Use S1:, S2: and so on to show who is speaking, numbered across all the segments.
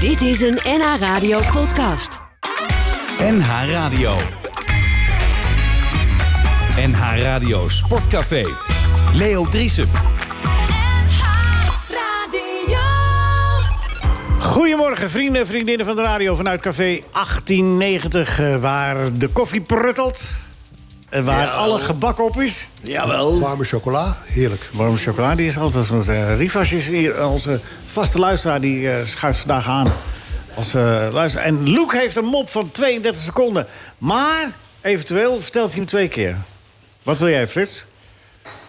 S1: Dit is een NH Radio podcast.
S2: NH Radio. NH Radio Sportcafé. Leo Driesen.
S3: Goedemorgen, vrienden en vriendinnen van de radio vanuit Café 1890, eh, waar de koffie pruttelt. en Waar alle gebak op is.
S4: Jawel.
S5: Warme chocola, heerlijk.
S3: Warme chocolade is altijd zo'n eh, Rivas is hier, eh, onze vaste luisteraar, die eh, schuift vandaag aan. Als, eh, luisteraar. En Luke heeft een mop van 32 seconden. Maar eventueel vertelt hij hem twee keer. Wat wil jij, Frits?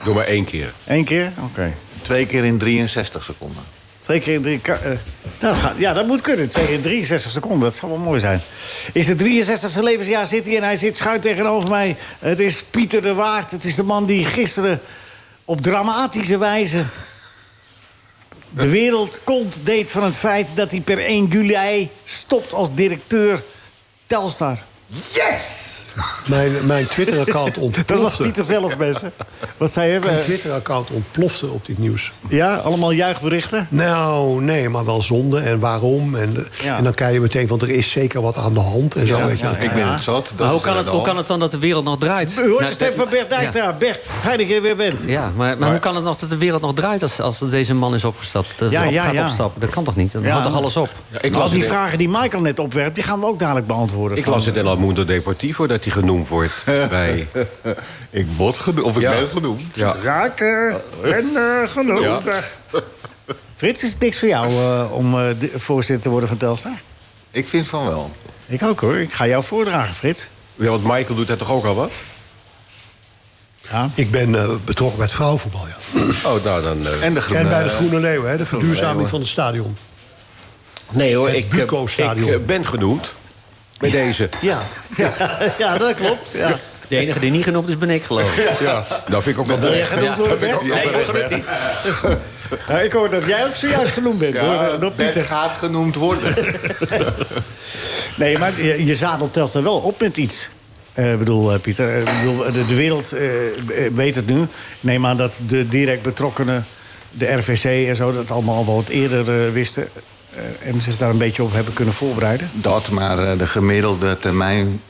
S6: Doe maar één keer.
S3: Eén keer? Oké.
S4: Twee keer in 63 seconden.
S3: Twee keer in drie... ka- eh, nou, ga- ja, dat moet kunnen. Twee keer in 63 seconden. Dat zou wel mooi zijn. Is het 63e levensjaar zit hij en hij zit schuin tegenover mij. Het is Pieter de Waard. Het is de man die gisteren op dramatische wijze... de wereld kont deed van het feit dat hij per 1 juli stopt als directeur Telstar.
S5: Mijn, mijn Twitter-account
S3: Dat was
S5: ontplofte.
S3: Pieter zelf, mensen. Wat zei je?
S5: Mijn
S3: Eh,
S5: Twitter-account ontplofte op dit nieuws.
S3: Ja, allemaal juichberichten.
S5: Nou, nee, maar wel zonde en waarom. En, eh,
S3: Ja.
S5: en dan krijg je meteen van, er is zeker wat aan de hand. En zo, weet je.
S3: ja,
S5: Dat-
S4: Ik ben het zat. dat
S7: Maar hoe
S4: is
S7: kan,
S4: aan
S7: het,
S4: de
S7: hoe
S4: hand.
S7: kan het dan dat de wereld nog draait?
S3: U hoort
S7: Nou,
S3: de stem van Bert Dijkstra. Bert, fijn dat je er weer bent.
S7: Ja, ja, maar, maar, hoe kan het nog dat de wereld nog draait als, als deze man is opgestapt? eh,
S3: Ja,
S7: op-
S3: ja,
S7: gaat
S3: ja.
S7: opstappen? Dat kan toch niet? Dan
S3: Ja.
S7: houdt toch alles op?
S6: Ja, ik,
S3: Al
S6: las
S3: die
S6: het,
S3: vragen die Michael net opwerpt, die gaan we ook dadelijk beantwoorden.
S6: ik
S3: Van-
S6: las het in El Mundo Deportivo dat hij genoemd wordt bij...
S4: Ik word genoemd, of ik
S6: Ja.
S4: ben genoemd.
S6: Ja.
S3: eh, Raken en eh, genoemd.
S6: Ja.
S3: Frits, is het niks voor jou eh, om eh, de- voorzitter te worden van Telstar?
S4: Ik vind van wel.
S3: Ik ook hoor. Ik ga jou voordragen, Frits.
S6: Ja, want Michael doet daar toch ook al wat?
S3: Ja.
S5: Ik ben eh, betrokken bij het vrouwenvoetbal, ja.
S6: Oh, nou dan... eh,
S4: En de groene.
S5: En bij de Groene Leeuw, hè, de
S4: Leeuwen.
S5: verduurzaming van het stadion.
S6: nee hoor, ik, eh, ik
S5: Buco-stadion.
S6: eh, ben genoemd. Bij deze.
S3: Ja. ja, dat klopt. Ja.
S7: De enige die niet genoemd is, ben ik geloof ik.
S6: Ja. Dat Nou, vind ik ook wel terecht.
S7: Ja.
S3: Genoemd worden, Bert?
S6: Ja, dat vind ik niet.
S3: Ja, ik hoor dat jij ook zojuist genoemd bent.
S4: Ja,
S3: hoor, eh, door
S4: Bert
S3: Pieter.
S4: gaat genoemd worden.
S3: Nee, maar je, je zadelt Telstar wel op met iets. Eh, Ik bedoel, eh, Pieter, eh, ik bedoel, de, de wereld eh, eh, weet het nu. Neem aan dat de direct betrokkenen, de RVC en zo... dat allemaal al wat eerder eh, wisten... eh, en zich daar een beetje op hebben kunnen voorbereiden.
S4: Dat, maar eh, de gemiddelde termijn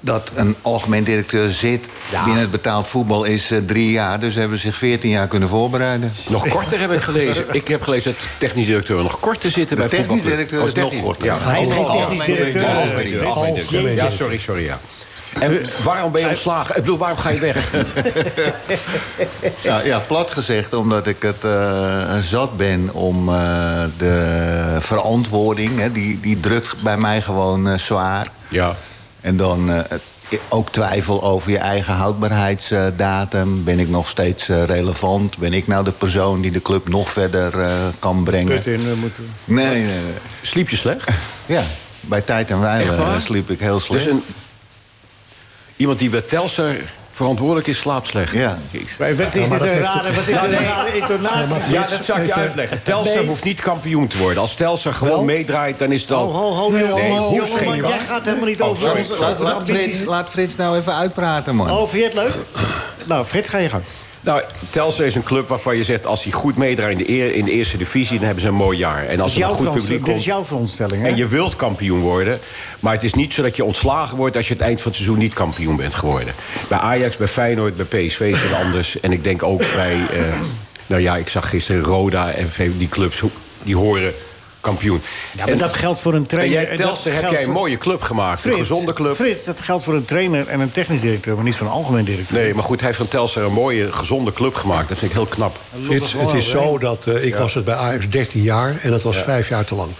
S4: dat een algemeen directeur zit binnen het betaald voetbal is eh, drie jaar. Dus hebben ze zich veertien jaar kunnen voorbereiden.
S6: Nog korter heb ik gelezen. Ik heb gelezen dat de technisch directeur nog korter zitten
S4: De
S6: bij
S4: technisch
S6: voetbalclub.
S4: directeur
S6: Oh,
S4: is nog
S6: technisch-
S4: korter.
S6: Ja. Oh,
S3: Hij is geen
S4: Algemeen
S3: technisch
S4: directeur.
S3: directeur.
S4: Algemeen directeur.
S3: Algemeen directeur.
S6: Ja, sorry, sorry, ja. En waarom ben je ontslagen? Ik bedoel, waarom ga je weg?
S4: Ja, ja, plat gezegd, omdat ik het eh, zat ben om eh, de verantwoording... Hè, die, die drukt bij mij gewoon eh, zwaar.
S6: Ja.
S4: En dan eh, het- ook twijfel over je eigen houdbaarheidsdatum. Ben ik nog steeds eh, relevant? Ben ik nou de persoon die de club nog verder eh, kan brengen?
S3: Put in eh, moeten we-
S4: Nee, nee, nee.
S6: Sliep je slecht?
S4: Ja, bij tijd en
S6: Echt
S4: wijle
S6: waar?
S4: eh, sliep ik heel slecht.
S6: Dus een, iemand die bij Telstar verantwoordelijk is, slaapt slecht.
S4: Ja.
S6: Jezus.
S3: Maar Wat is
S5: Ja,
S3: dit
S5: maar dat
S3: een
S5: heeft-
S3: rare, wat is dit een rare
S5: Ja,
S3: intonatie?
S5: maar-
S6: Ja, dat zou ik je
S5: Even-
S6: uitleggen. Telstar
S3: Nee.
S6: hoeft niet kampioen te worden. Als Telstar gewoon
S5: Wel?
S6: meedraait, dan is het
S3: Ho,
S6: al...
S3: ho, ho,
S5: Nee,
S3: jongen,
S5: nee,
S3: jongen,
S6: hoeft geen
S3: maar
S6: kwaad.
S3: jij gaat helemaal niet
S6: Oh,
S3: over
S6: sorry,
S3: onze
S4: Laat,
S3: over de
S4: laat Frits,
S3: ambities.
S4: laat Frits nou even uitpraten, man.
S3: Oh, vind je het leuk? Nou, Frits, ga je gang.
S6: Nou, Telstar is een club waarvan je zegt... als hij goed meedraait in de, eer- in de eerste divisie, dan hebben ze een mooi jaar. En als er een
S3: Jouw
S6: goed
S3: verons-
S6: publiek
S3: Nou, Dit is
S6: komt...
S3: jouw verontstelling, hè?
S6: En je wilt kampioen worden. Maar het is niet zo dat je ontslagen wordt als je het eind van het seizoen niet kampioen bent geworden. Bij Ajax, bij Feyenoord, bij PSV is het anders. En ik denk ook bij. eh, nou ja, ik zag gisteren Roda en VV die clubs ho- die horen kampioen.
S3: Ja, maar
S6: en,
S3: dat geldt voor een
S6: en
S3: trainer.
S6: jij,
S3: en dat
S6: Telstar, heb
S3: geldt
S6: jij een
S3: voor-
S6: mooie club gemaakt. een gezonde club.
S3: Frits, dat geldt voor een trainer en een technisch directeur, maar niet voor een algemeen directeur.
S6: Nee, maar goed, hij heeft van Telstar een mooie, gezonde club gemaakt. Dat vind ik heel knap.
S5: Frits, het is zo dat eh, ik was het bij Ajax 13 jaar en dat was vijf jaar te lang.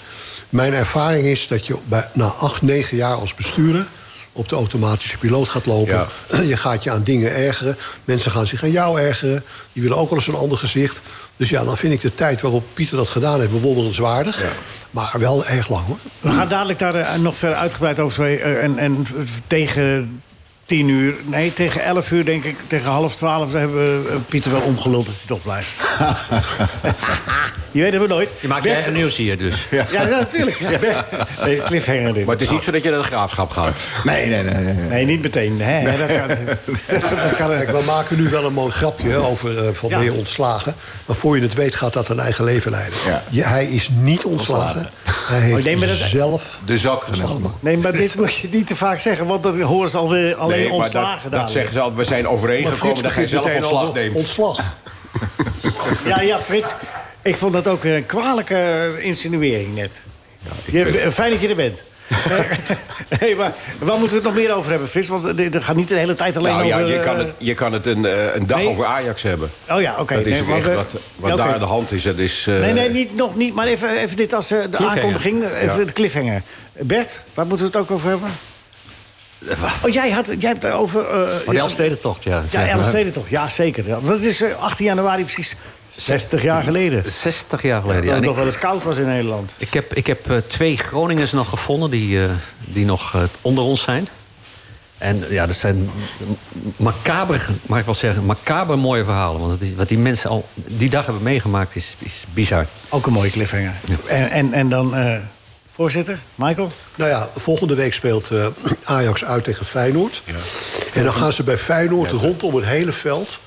S5: Mijn ervaring is dat je bij, na 8, 9 jaar als bestuurder op de automatische piloot gaat lopen. Je gaat je aan dingen ergeren. Mensen gaan zich aan jou ergeren. Die willen ook wel eens een ander gezicht. Dus ja, dan vind ik de tijd waarop Pieter dat gedaan heeft bewonderenswaardig. Maar wel erg lang hoor.
S3: We gaan dadelijk daar eh, nog verder uitgebreid over spreken. Eh, en, en v- v- tegen tien uur, nee, tegen elf uur denk ik, tegen half twaalf... hebben we eh, Pieter wel omgeluld dat hij toch blijft. je weet het maar nooit.
S7: Je maakt je
S3: Bert-
S7: eigen nieuws hier dus.
S3: Ja, ja, natuurlijk. Ja. Bert- Deze cliffhanger dit.
S6: Maar het is niet zo dat je naar de graafschap gaat.
S4: Nee, nee, nee. nee, nee.
S3: Nee, niet meteen. Hè? Dat kan, dat kan
S5: Kijk, we maken nu wel een mooi grapje hè, over eh, van
S3: Ja.
S5: ben je ontslagen. Maar voor je het weet gaat dat een eigen leven leiden.
S4: Ja.
S5: Je- hij is niet ontslagen. Hij heeft
S3: Oh, nee, maar dat-
S5: zelf...
S4: De zak genomen.
S3: Nee, maar dit moet je niet te vaak zeggen, want dat horen ze alweer alleen
S6: Dus Nee, maar dat,
S3: ontslagen
S6: dat
S3: dadelijk.
S6: zeggen ze altijd. We zijn overeengekomen dat jij
S5: begint
S6: zelf
S5: meteen
S6: ontslag
S5: over
S6: neemt.
S5: Ontslag.
S3: Ja, ja, Frits, ik vond dat ook een kwalijke insinuering net. Je- eh, Fijn dat je er bent. hey, maar waar moeten we het nog meer over hebben, Frits? Want dit- er gaat niet de hele tijd alleen
S6: Nou ja,
S3: over...
S6: je
S3: eh,
S6: kan het, je kan het een, eh, een dag
S3: nee.
S6: over Ajax hebben.
S3: Oh ja, oké.
S6: dat is
S3: nee,
S6: ook
S3: want,
S6: echt
S3: eh,
S6: wat, wat
S3: ja, oké.
S6: daar aan de hand is. Dat is eh,
S3: Nee, nee, niet, nog niet. Maar even, even dit als eh, de aankondiging. Even de cliffhanger. Bert, waar moeten we het ook over hebben? Oh, jij, had, jij hebt over... eh,
S7: Oh, de Elfstedentocht, ja.
S3: Ja, Elfsteden toch. Ja, zeker. Ja, Dat is eh, 18 januari precies 60 jaar geleden.
S7: 60 jaar geleden.
S3: Dat
S7: ja.
S3: het
S7: En
S3: nog
S7: ik,
S3: wel eens koud was in Nederland.
S7: ik heb, ik heb eh, twee Groningers nog gevonden die, eh, die nog eh, onder ons zijn. En ja, dat zijn macaber, mag ik wel zeggen, macaber mooie verhalen. Want het is, wat die mensen al die dag hebben meegemaakt is, is bizar.
S3: Ook een mooie cliffhanger. En, en, en dan, eh, voorzitter, Michael?
S5: Nou ja, volgende week speelt eh, Ajax uit tegen Feyenoord. En dan gaan ze bij Feyenoord rondom het hele veld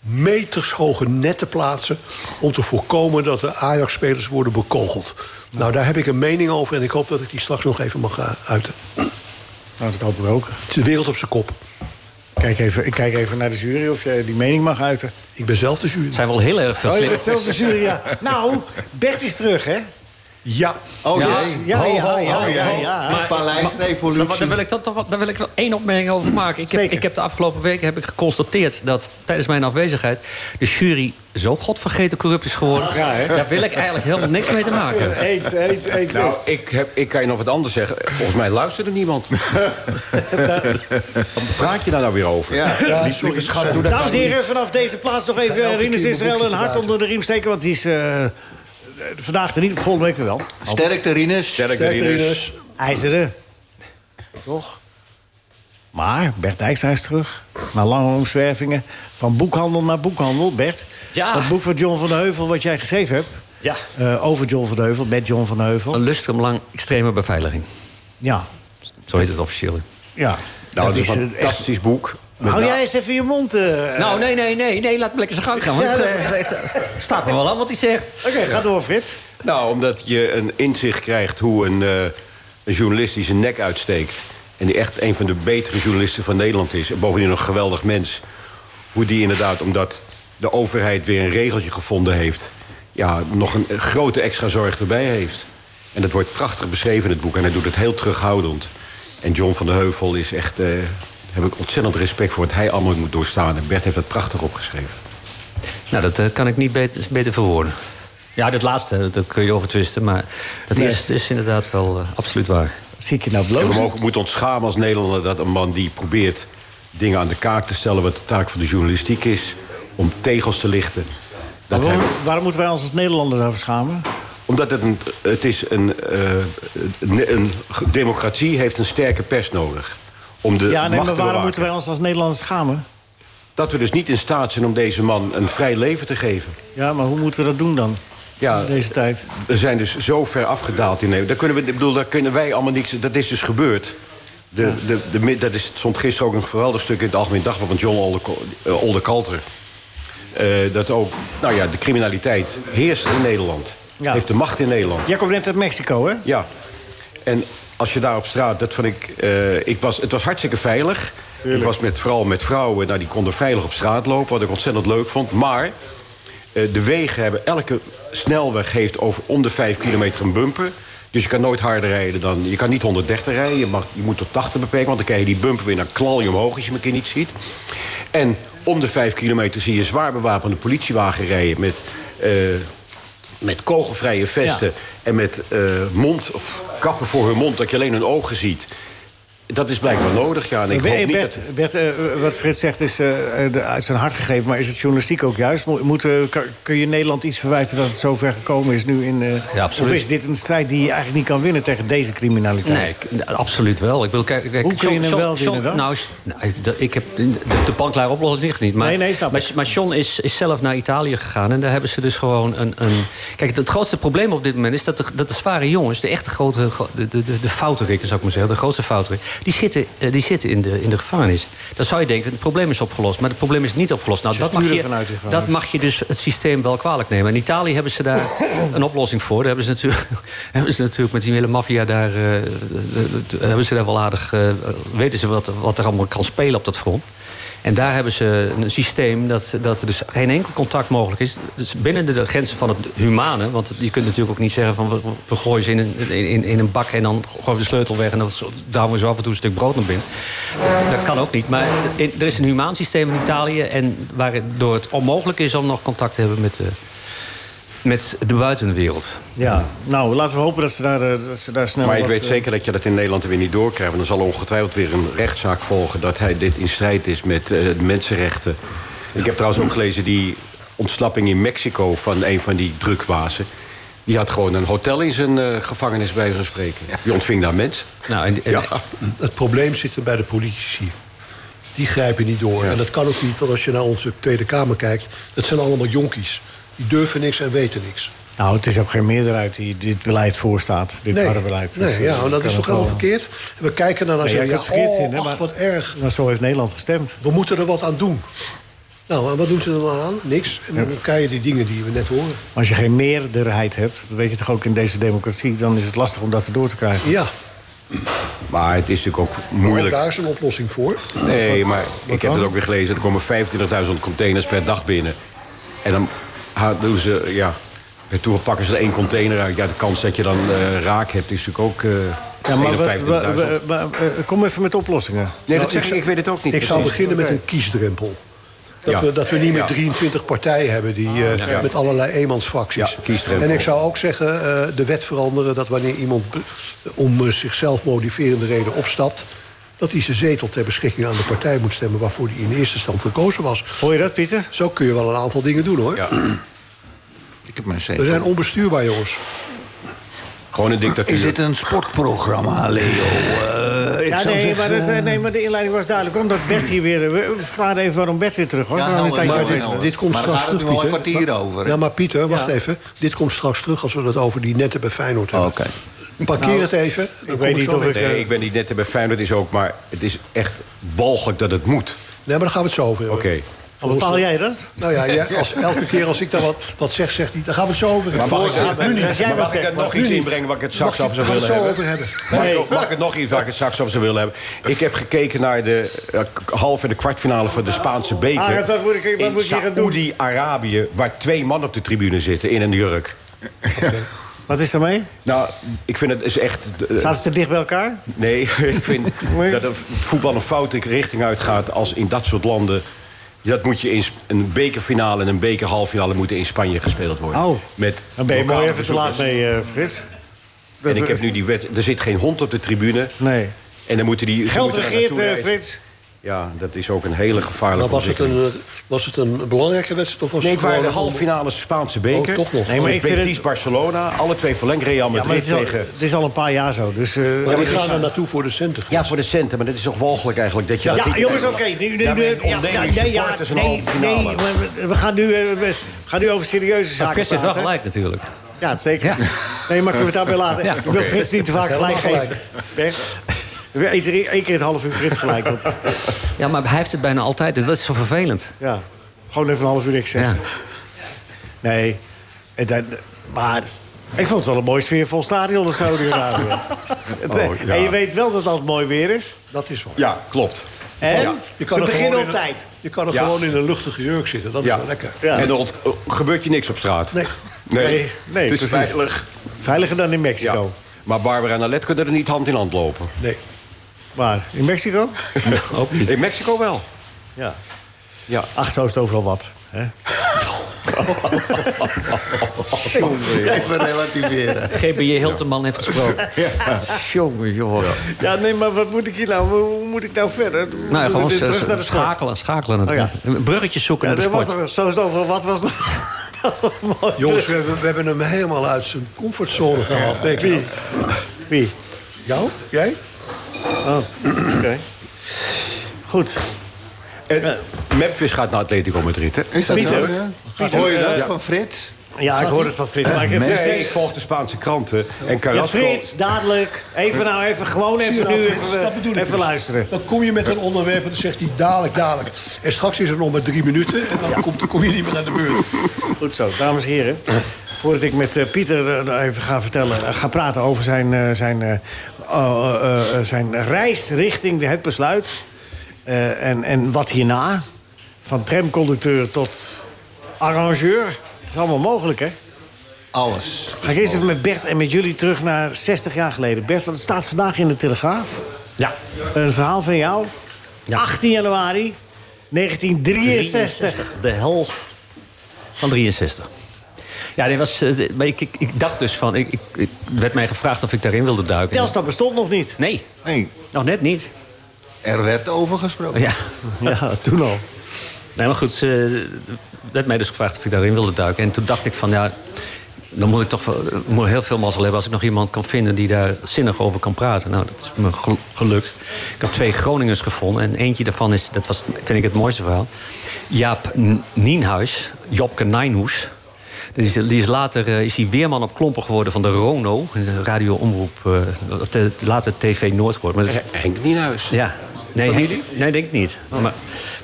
S5: metershoge netten plaatsen... om te voorkomen dat de Ajax-spelers worden bekogeld. Nou, daar heb ik een mening over en ik hoop dat ik die straks nog even mag eh, uiten.
S3: Nou, dat hoop ik ook.
S5: Het is de wereld op zijn kop.
S3: Kijk even, ik kijk even naar de jury of jij die mening mag uiten.
S5: Ik ben zelf de jury.
S7: Het zijn wel heel erg veel
S3: Oh, je bent
S7: slimme-
S3: zelf de jury, ja. Nou, Bert is terug, hè?
S5: Ja,
S4: Oh,
S7: Ja.
S4: jee.
S3: Ja,
S7: Ho,
S3: ja,
S7: ho,
S3: ja,
S7: ho,
S3: ja,
S7: ho.
S3: ja.
S7: Maar-
S4: Paleisrevolutie.
S7: Maar daar wil ik, dan toch wel, daar wil ik wel één opmerking over maken. Ik heb,
S3: Zeker.
S7: ik heb de afgelopen weken heb ik geconstateerd dat tijdens mijn afwezigheid de jury zo godvergeten corrupt is geworden.
S3: Ja, hè?
S7: daar wil ik eigenlijk helemaal niks mee te maken.
S3: Eens, eens, eens.
S6: Nou,
S3: eens.
S6: ik, heb, ik kan je nog wat anders zeggen. Volgens mij luisterde niemand. Wat praat je daar nou weer over?
S5: ja sorry. Schat, doe dat
S3: Dames
S5: nou
S3: en heren,
S5: niet.
S3: vanaf deze plaats nog even
S5: elke
S3: eh, Rinus
S5: keer
S3: Israël een
S5: een
S3: hart
S5: boekje
S3: onder de riem steken. Want die is eh, eh, vandaag er niet, volgende week weer wel.
S4: Sterkte, Rinus.
S6: Sterkte, Rinus.
S3: IJzeren. Toch? Maar Bert Dijkstra is terug. Na lange omzwervingen. Van boekhandel naar boekhandel. Bert,
S7: Ja.
S3: dat boek van John van de Heuvel wat jij geschreven hebt...
S7: Ja.
S3: eh, over John van de Heuvel, met John van de Heuvel.
S7: Een lustrum-lang extreme beveiliging.
S3: Ja,
S7: Zo heet het
S3: Eh.
S7: officieel.
S3: ja.
S6: Nou, dat is
S3: eh,
S6: een
S3: echt-
S6: fantastisch boek. Met
S3: Hou
S6: na-
S3: jij eens even je mond... eh,
S7: nou, nee, nee, nee, nee, laat me lekker zijn gang gaan. Want
S3: Ja,
S7: ja,
S3: dat-
S7: staat me wel aan wat hij zegt.
S3: Oké, ga door, Frits.
S6: Nou, omdat je een inzicht krijgt hoe een, eh, een journalist die zijn nek uitsteekt... en die echt een van de betere journalisten van Nederland is... en bovendien een geweldig mens... hoe die inderdaad, omdat de overheid weer een regeltje gevonden heeft... ja, nog een eh, grote extra zorg erbij heeft. En dat wordt prachtig beschreven in het boek. En hij doet het heel terughoudend. En John van de Heuvel is echt... eh, heb ik ontzettend respect voor wat hij allemaal moet doorstaan. En Bert heeft dat prachtig opgeschreven.
S7: Nou, dat eh, kan ik niet beter, beter verwoorden. Ja, dit laatste, daar kun je over twisten. Maar dat
S3: Nee.
S7: is, is inderdaad wel eh, absoluut waar.
S3: Zie ik je nou
S6: En we
S3: blozen?
S6: mogen, moeten ons schamen als Nederlander dat een man die probeert dingen aan de kaak te stellen, wat de taak van de journalistiek is, om tegels te lichten. Dat hij,
S3: Waarom, waarom moeten wij ons als nou Nederlanders daarvoor schamen?
S6: omdat het een, het is een, eh, een, een ge- democratie heeft een sterke pers nodig. Om de
S3: Ja, nee,
S6: macht
S3: maar
S6: te
S3: waarom
S6: bewaken.
S3: moeten wij ons als Nederlanders schamen?
S6: Dat we dus niet in staat zijn om deze man een vrij leven te geven.
S3: Ja, maar hoe moeten we dat doen dan?
S6: Ja,
S3: In deze tijd.
S6: We zijn dus zo ver afgedaald in Nederland. Daar kunnen, we, ik bedoel, daar kunnen wij allemaal niks... Dat is dus gebeurd. De, de, de, mi- dat is, stond gisteren ook een geweldig stuk in het Algemeen Dagblad... van John Oldeco- eh, Oldekalter. Eh, dat ook, nou ja, de criminaliteit heerst in Nederland.
S3: Ja.
S6: Heeft de macht in Nederland.
S3: Jij komt net uit Mexico, hè?
S6: Ja. En als je daar op straat, dat vond ik... eh, ik was, het was hartstikke veilig. Ik was met, vooral met vrouwen, nou, die konden veilig op straat lopen... wat ik ontzettend leuk vond. Maar eh, de wegen hebben... Elke snelweg heeft over om de 5 kilometer een bumper. Dus je kan nooit harder rijden dan... Je kan niet 130 rijden, je, mag, je moet tot 80 beperken... want dan krijg je die bumper weer, dan knal je omhoog als je hem een keer niet ziet. En om de 5 kilometer zie je een zwaar bewapende politiewagen rijden... met eh, met kogelvrije vesten
S3: Ja.
S6: en met eh, mond of kappen voor hun mond, dat je alleen hun ogen ziet. Dat is blijkbaar nodig, ja. En ik
S3: Hey,
S6: hoop niet
S3: Bert,
S6: dat...
S3: Bert, eh, wat Frits zegt is eh, eh, de- uit zijn hart gegeven, maar is het journalistiek ook juist? Mo- Moet, eh, ka- kun je Nederland iets verwijten dat het zo ver gekomen is nu? In, eh,
S7: Ja, absoluut.
S3: Of is dit een strijd die je eigenlijk niet kan winnen tegen deze criminaliteit?
S7: Nee, ik- absoluut wel. Ik wil kijk, kijk,
S3: Hoe kun je
S7: John-
S3: hem
S7: John-
S3: wel
S7: John-
S3: winnen dan?
S7: Nou, s- nou, d- ik heb de, de panklaar oplossing ligt niet. Maar,
S3: Nee, nee, snap
S7: maar,
S3: ik.
S7: maar John is, is zelf naar Italië gegaan en daar hebben ze dus gewoon een... een kijk, het, het grootste probleem op dit moment is dat de, dat de zware jongens, de echte grote, gro- de, de, de, de fouterikken, zou ik maar zeggen, de grootste fouterikken, die zitten, eh, die zitten in, de, in de gevangenis. Dan zou je denken, het probleem is opgelost. Maar het probleem is niet opgelost. Nou,
S3: Ze
S7: dat, mag
S3: sturen
S7: je,
S3: vanuit de gevangenis.
S7: dat mag je dus het systeem wel kwalijk nemen. In Italië hebben ze daar een oplossing voor. Daar hebben ze natuurlijk, hebben ze natuurlijk met die hele maffia daar... eh, eh, eh, hebben ze daar wel aardig... eh, weten ze wat, wat er allemaal kan spelen op dat front. En daar hebben ze een systeem dat, dat er dus geen enkel contact mogelijk is. Dus binnen de grenzen van het humane. Want je kunt natuurlijk ook niet zeggen van we, we gooien ze in een, in, in een bak en dan gooien we de sleutel weg. En dan duwen we zo af en toe een stuk brood naar binnen. Dat kan ook niet. Maar in- er is een humaan systeem in Italië. En waardoor het onmogelijk is om nog contact te hebben met de, met de buitenwereld.
S3: Ja, nou, laten we hopen dat ze daar, eh, dat ze daar snel...
S6: Maar ik
S3: wat,
S6: weet
S3: eh,
S6: zeker dat je dat in Nederland er weer niet doorkrijgt. Want er zal ongetwijfeld weer een rechtszaak volgen dat hij dit in strijd is met eh, de mensenrechten. Ik heb trouwens ook gelezen die ontsnapping in Mexico van een van die drukbazen. Die had gewoon een hotel in zijn eh, gevangenis bij van spreken. Die ontving daar mensen.
S7: Nou, en, en-
S6: Ja.
S5: Het probleem zit er bij de politici. Die grijpen niet door. En dat kan ook niet, want als je naar onze Tweede Kamer kijkt... dat zijn allemaal jonkies. Die durven niks en weten niks.
S3: Nou, het is ook geen meerderheid die dit beleid voorstaat. Dit harde beleid. Dus,
S5: nee
S3: eh,
S5: ja, en
S3: kan
S5: dat is toch
S3: het wel.
S5: helemaal verkeerd? En we kijken naar en
S3: Nee, jij
S5: zeggen,
S3: kunt
S5: ja,
S3: het verkeerd
S5: oh,
S3: vinden,
S5: ach,
S3: maar-
S5: wat erg.
S3: Nou, zo heeft Nederland gestemd.
S5: We moeten er wat aan doen. Nou, en wat doen ze er dan aan? Niks. En dan krijg je die dingen die we net horen.
S3: Maar als je geen meerderheid hebt, dat weet je toch ook in deze democratie... dan is het lastig om dat erdoor te krijgen.
S5: Ja,
S6: Maar het is natuurlijk ook
S5: Moeilijk.
S6: moeilijk.
S5: daar is een oplossing voor.
S6: Nee, maar ik heb
S3: dan?
S6: het ook weer gelezen. Er komen 25.000 containers per dag binnen. En dan ha- doen ze, ja... Per toer pakken ze er één container uit. Ja, de kans dat je dan eh, raak hebt is natuurlijk ook... eh
S3: Ja, maar wat,
S6: 51.000.
S3: wa- wa- wa- eh, kom even met oplossingen.
S6: Nee,
S5: Nou,
S6: dat zeg ik, ik weet het ook niet.
S5: Ik zou
S6: precies.
S5: beginnen met een kiesdrempel. Dat,
S6: Ja.
S5: we, dat we niet meer
S6: Ja. Ah,
S5: 23 partijen hebben die, eh,
S6: ja.
S5: met allerlei eenmansfracties.
S6: Ja, kiesdrempel.
S5: en ik zou ook zeggen, eh, de wet veranderen... dat wanneer iemand be- om eh, zichzelf motiverende reden opstapt... dat hij zijn zetel ter beschikking aan de partij moet stemmen... waarvoor hij in eerste stand gekozen was.
S3: Hoor je dat, Pieter?
S5: Zo kun je wel een aantal dingen doen, hoor.
S6: Ja.
S4: Ik heb mijn
S5: We
S4: zetel.
S5: zijn onbestuurbaar, jongens.
S6: Gewoon een
S4: Is
S6: dictatuur.
S4: dit een sportprogramma, Leo? Eh, ik
S3: Ja,
S4: zou
S3: nee,
S4: zeggen,
S3: maar het, eh, nee, maar de inleiding was duidelijk. Omdat Bert hier weer... eh, We we verklaren even waarom Bert weer terug was.
S4: Ja,
S3: We gaan
S4: nou,
S3: een tijdje
S4: maar
S3: over.
S5: dit,
S4: Helder.
S5: dit komt
S4: Maar daar
S5: straks
S4: gaat het
S5: terug,
S4: nu al
S5: Pieter.
S4: een kwartier over, hè?
S5: Ja, maar Pieter, wacht
S3: Ja.
S5: even. Dit komt straks terug als we het over die netten bij Feyenoord hebben.
S4: Oké.
S5: Parkeer het even. dan kom
S3: weet niet
S5: zo
S3: of
S5: weer
S3: ik,
S5: terug.
S6: Nee, ik eh, ben niet net bij Feyenoord is ook, maar het is echt walgelijk dat het moet.
S5: Nee, maar daar gaan we het zo over
S6: Oké.
S5: hebben.
S3: Al bepaal jij dat?
S5: Nou ja, jij- als, elke keer als ik daar wat, wat zeg, zegt hij... daar gaan we het zo over hebben.
S6: mag ik-
S5: Ja,
S6: maar-
S5: nu niet.
S3: als jij
S6: Maar
S3: wat
S6: mag ik
S3: zegt,
S6: er nog
S3: mag
S6: iets
S3: nu niet.
S6: inbrengen wat ik het straks
S5: Mag
S6: af
S5: ik-
S6: zou
S5: gaan we
S6: willen
S5: het zo
S6: hebben?
S5: over hebben.
S6: Mag, ik, ook- mag ik het nog iets waar ik het straks over zou willen hebben? Ik heb gekeken naar de eh, k- halve en de kwartfinale van de Spaanse beker.
S3: Arend, wat Ah, moet ik- wat moet ik hier gaan doen?
S6: Saoedi-Arabië, waar twee man op de tribune zitten in een jurk.
S3: Wat is daarmee?
S6: Nou, ik vind het is echt... eh,
S3: Zaten ze dicht bij elkaar?
S6: Nee, ik vind
S3: Nee.
S6: dat het voetbal een foute richting uitgaat als in dat soort landen. Dat moet je in Sp- een bekerfinale en een bekerhalffinale moeten in Spanje gespeeld worden.
S3: Oh,
S6: Met
S3: dan ben je
S6: lokale
S3: mooi even te laat
S6: bezoekers.
S3: mee, eh, Frits.
S6: En ik heb nu die wet. Er zit geen hond op de tribune.
S3: Nee.
S6: En dan moeten die. ze
S3: Geld
S6: moeten daar
S3: regeert,
S6: naartoe
S3: eh,
S6: reizen.
S3: Frits.
S6: Ja, dat is ook een hele gevaarlijke.
S5: Maar was het,
S6: ontwikkeling.
S5: een, eh, was het een belangrijke wedstrijd? Of was
S6: Nee, het
S5: het
S6: waren de
S5: gewoon een-
S6: halffinale Spaanse beker.
S5: Oh, toch nog.
S3: Nee, maar
S6: Dus
S3: ik vind het-
S6: Betis, Barcelona, alle twee verlengd. Real
S3: Ja, maar het
S6: Madrid
S3: is, al,
S6: tegen...
S3: het is al een paar jaar zo. Dus, eh,
S5: Maar die
S6: maar
S5: gaan
S6: ik-
S5: er naartoe voor de centen.
S6: Ja, voor de centen, maar dat is toch walgelijk eigenlijk dat je dat
S3: ja,
S6: niet-
S3: jongens, oké. Nu, nu,
S6: Daar
S3: nu-
S6: ben je
S3: ja,
S6: ontdekt,
S3: ja,
S6: je
S3: nee, ja,
S6: supporters een
S3: nee,
S6: halve
S3: nee,
S6: finale.
S3: maar we, we gaan nu, eh, we gaan nu over serieuze zaken
S7: Chris heeft wel
S3: praten.
S7: gelijk natuurlijk.
S3: Ja, zeker. Nee, maar kunnen we het daarbij laten?
S7: Ja,
S3: Ik wil Frits niet te vaak
S5: Helemaal
S3: gelijk geven. Bert, we hebben Eén keer- één keer het half uur Frits gelijk. want-
S7: Ja, maar hij heeft het bijna altijd. Dat is zo vervelend.
S3: ja, gewoon even een half uur niks zeggen.
S7: Ja.
S3: Nee, en dan, maar ik vond het wel een mooi sfeervol stadion in Saudi-Arabië. Het, eh,
S6: Oh, ja.
S3: En je weet wel dat als het mooi weer is.
S5: Dat is waar.
S6: Ja, klopt.
S3: En
S6: Ja.
S5: Je
S3: ze
S5: er
S3: beginnen
S5: gewoon
S3: op
S5: in een-
S3: tijd.
S5: Je kan er
S6: Ja.
S5: gewoon in een luchtige jurk zitten. Dat is wel lekker.
S3: Ja.
S6: En er ont- eh, gebeurt je niks op straat.
S5: Nee.
S6: Nee,
S3: Nee, nee,
S6: het is
S3: precies.
S6: veilig.
S3: Veiliger dan in
S6: Ja.
S3: Mexico.
S6: Maar Barbara en Alet kunnen er niet hand in hand lopen.
S5: Nee.
S3: Maar in Mexico?
S7: Ook niet.
S6: In Mexico wel.
S3: Ja.
S6: Ja.
S3: Ach, zo is het overal wat. Hè?
S4: Even relativeren.
S7: GBJ Hilteman heeft gesproken. Jongen, joh.
S3: Ja, nee, maar wat moet ik hier nou? Hoe hoe moet ik nou verder? Moeten
S7: Nou,
S3: we
S7: gewoon
S3: dit
S7: s-
S3: terug naar de
S7: s-
S3: sport?
S7: schakelen, schakelen.
S3: Oh, ja.
S7: Bruggetjes zoeken
S3: Ja,
S7: naar
S3: dat
S7: de
S3: was
S7: sport.
S3: toch, zo is het overal wat. Was toch, dat was toch mooi.
S5: Jongens, we hebben, we hebben hem helemaal uit zijn comfortzone gehaald. Denk je dat?
S3: Wie?
S5: Jou? Jij?
S3: Oké. Goed.
S6: En Memphis gaat naar Atletico Madrid, hè?
S4: Is dat
S3: Pieter.
S4: zo, ja? Hoor je dat van Frits?
S3: Eh, Ja, ik hoor het van Frits. Maar ik heb
S6: Nee, ik
S3: Frits,
S6: volg de Spaanse kranten. En
S3: ja,
S6: Carrasco...
S3: Frits, dadelijk. Even nou, even gewoon
S5: Zie je
S3: even
S5: nou,
S3: nu
S5: Frits?
S3: even,
S5: dat bedoel ik
S3: even
S5: dus.
S3: luisteren.
S5: Dan kom je met een onderwerp en dan zegt hij dadelijk, dadelijk. En straks is het nog maar drie minuten en dan komt, kom je niet meer aan de beurt.
S3: Goed zo, dames en heren. Voordat ik met eh, Pieter eh, nou even ga vertellen, eh, ga praten over zijn, eh, zijn, eh, oh, eh, eh, zijn reis richting de- het besluit. eh, en, en wat hierna. Van tramconducteur tot arrangeur. Het is allemaal mogelijk, hè?
S4: Alles.
S3: Ga ik eerst even met Bert en met jullie terug naar 60 jaar geleden. Bert, want het staat vandaag in de Telegraaf.
S7: Ja.
S3: Een verhaal van jou. 18 januari 1963.
S7: De hel van 63. Ja, dit was, eh, maar ik, ik, ik dacht dus van... Ik, ik, ik werd mij gevraagd of ik daarin wilde duiken.
S3: Telstar bestond nog niet.
S7: Nee,
S4: Nee,
S7: nog net niet.
S4: er werd over gesproken.
S7: Ja.
S3: Ja, toen al.
S7: Nee, maar goed, ze werd mij dus gevraagd of ik daarin wilde duiken. En toen dacht ik van, ja, dan moet ik toch wel- ik moet heel veel mazzel hebben... als ik nog iemand kan vinden die daar zinnig over kan praten. Nou, dat is me gel- gelukt. Ik heb twee Groningers gevonden. En eentje daarvan is, dat was, vind ik het mooiste verhaal... Jaap N- Nienhuis, Jopke Nijnhoes... Die is, die is later eh, is hij weerman op klompen geworden van de RONO. de Radio-omroep, eh, of de- later TV Noord geworden. Maar dat is-
S6: Henk Nienhuis.
S7: ja. Nee, Henk- nee, denk ik niet. Maar,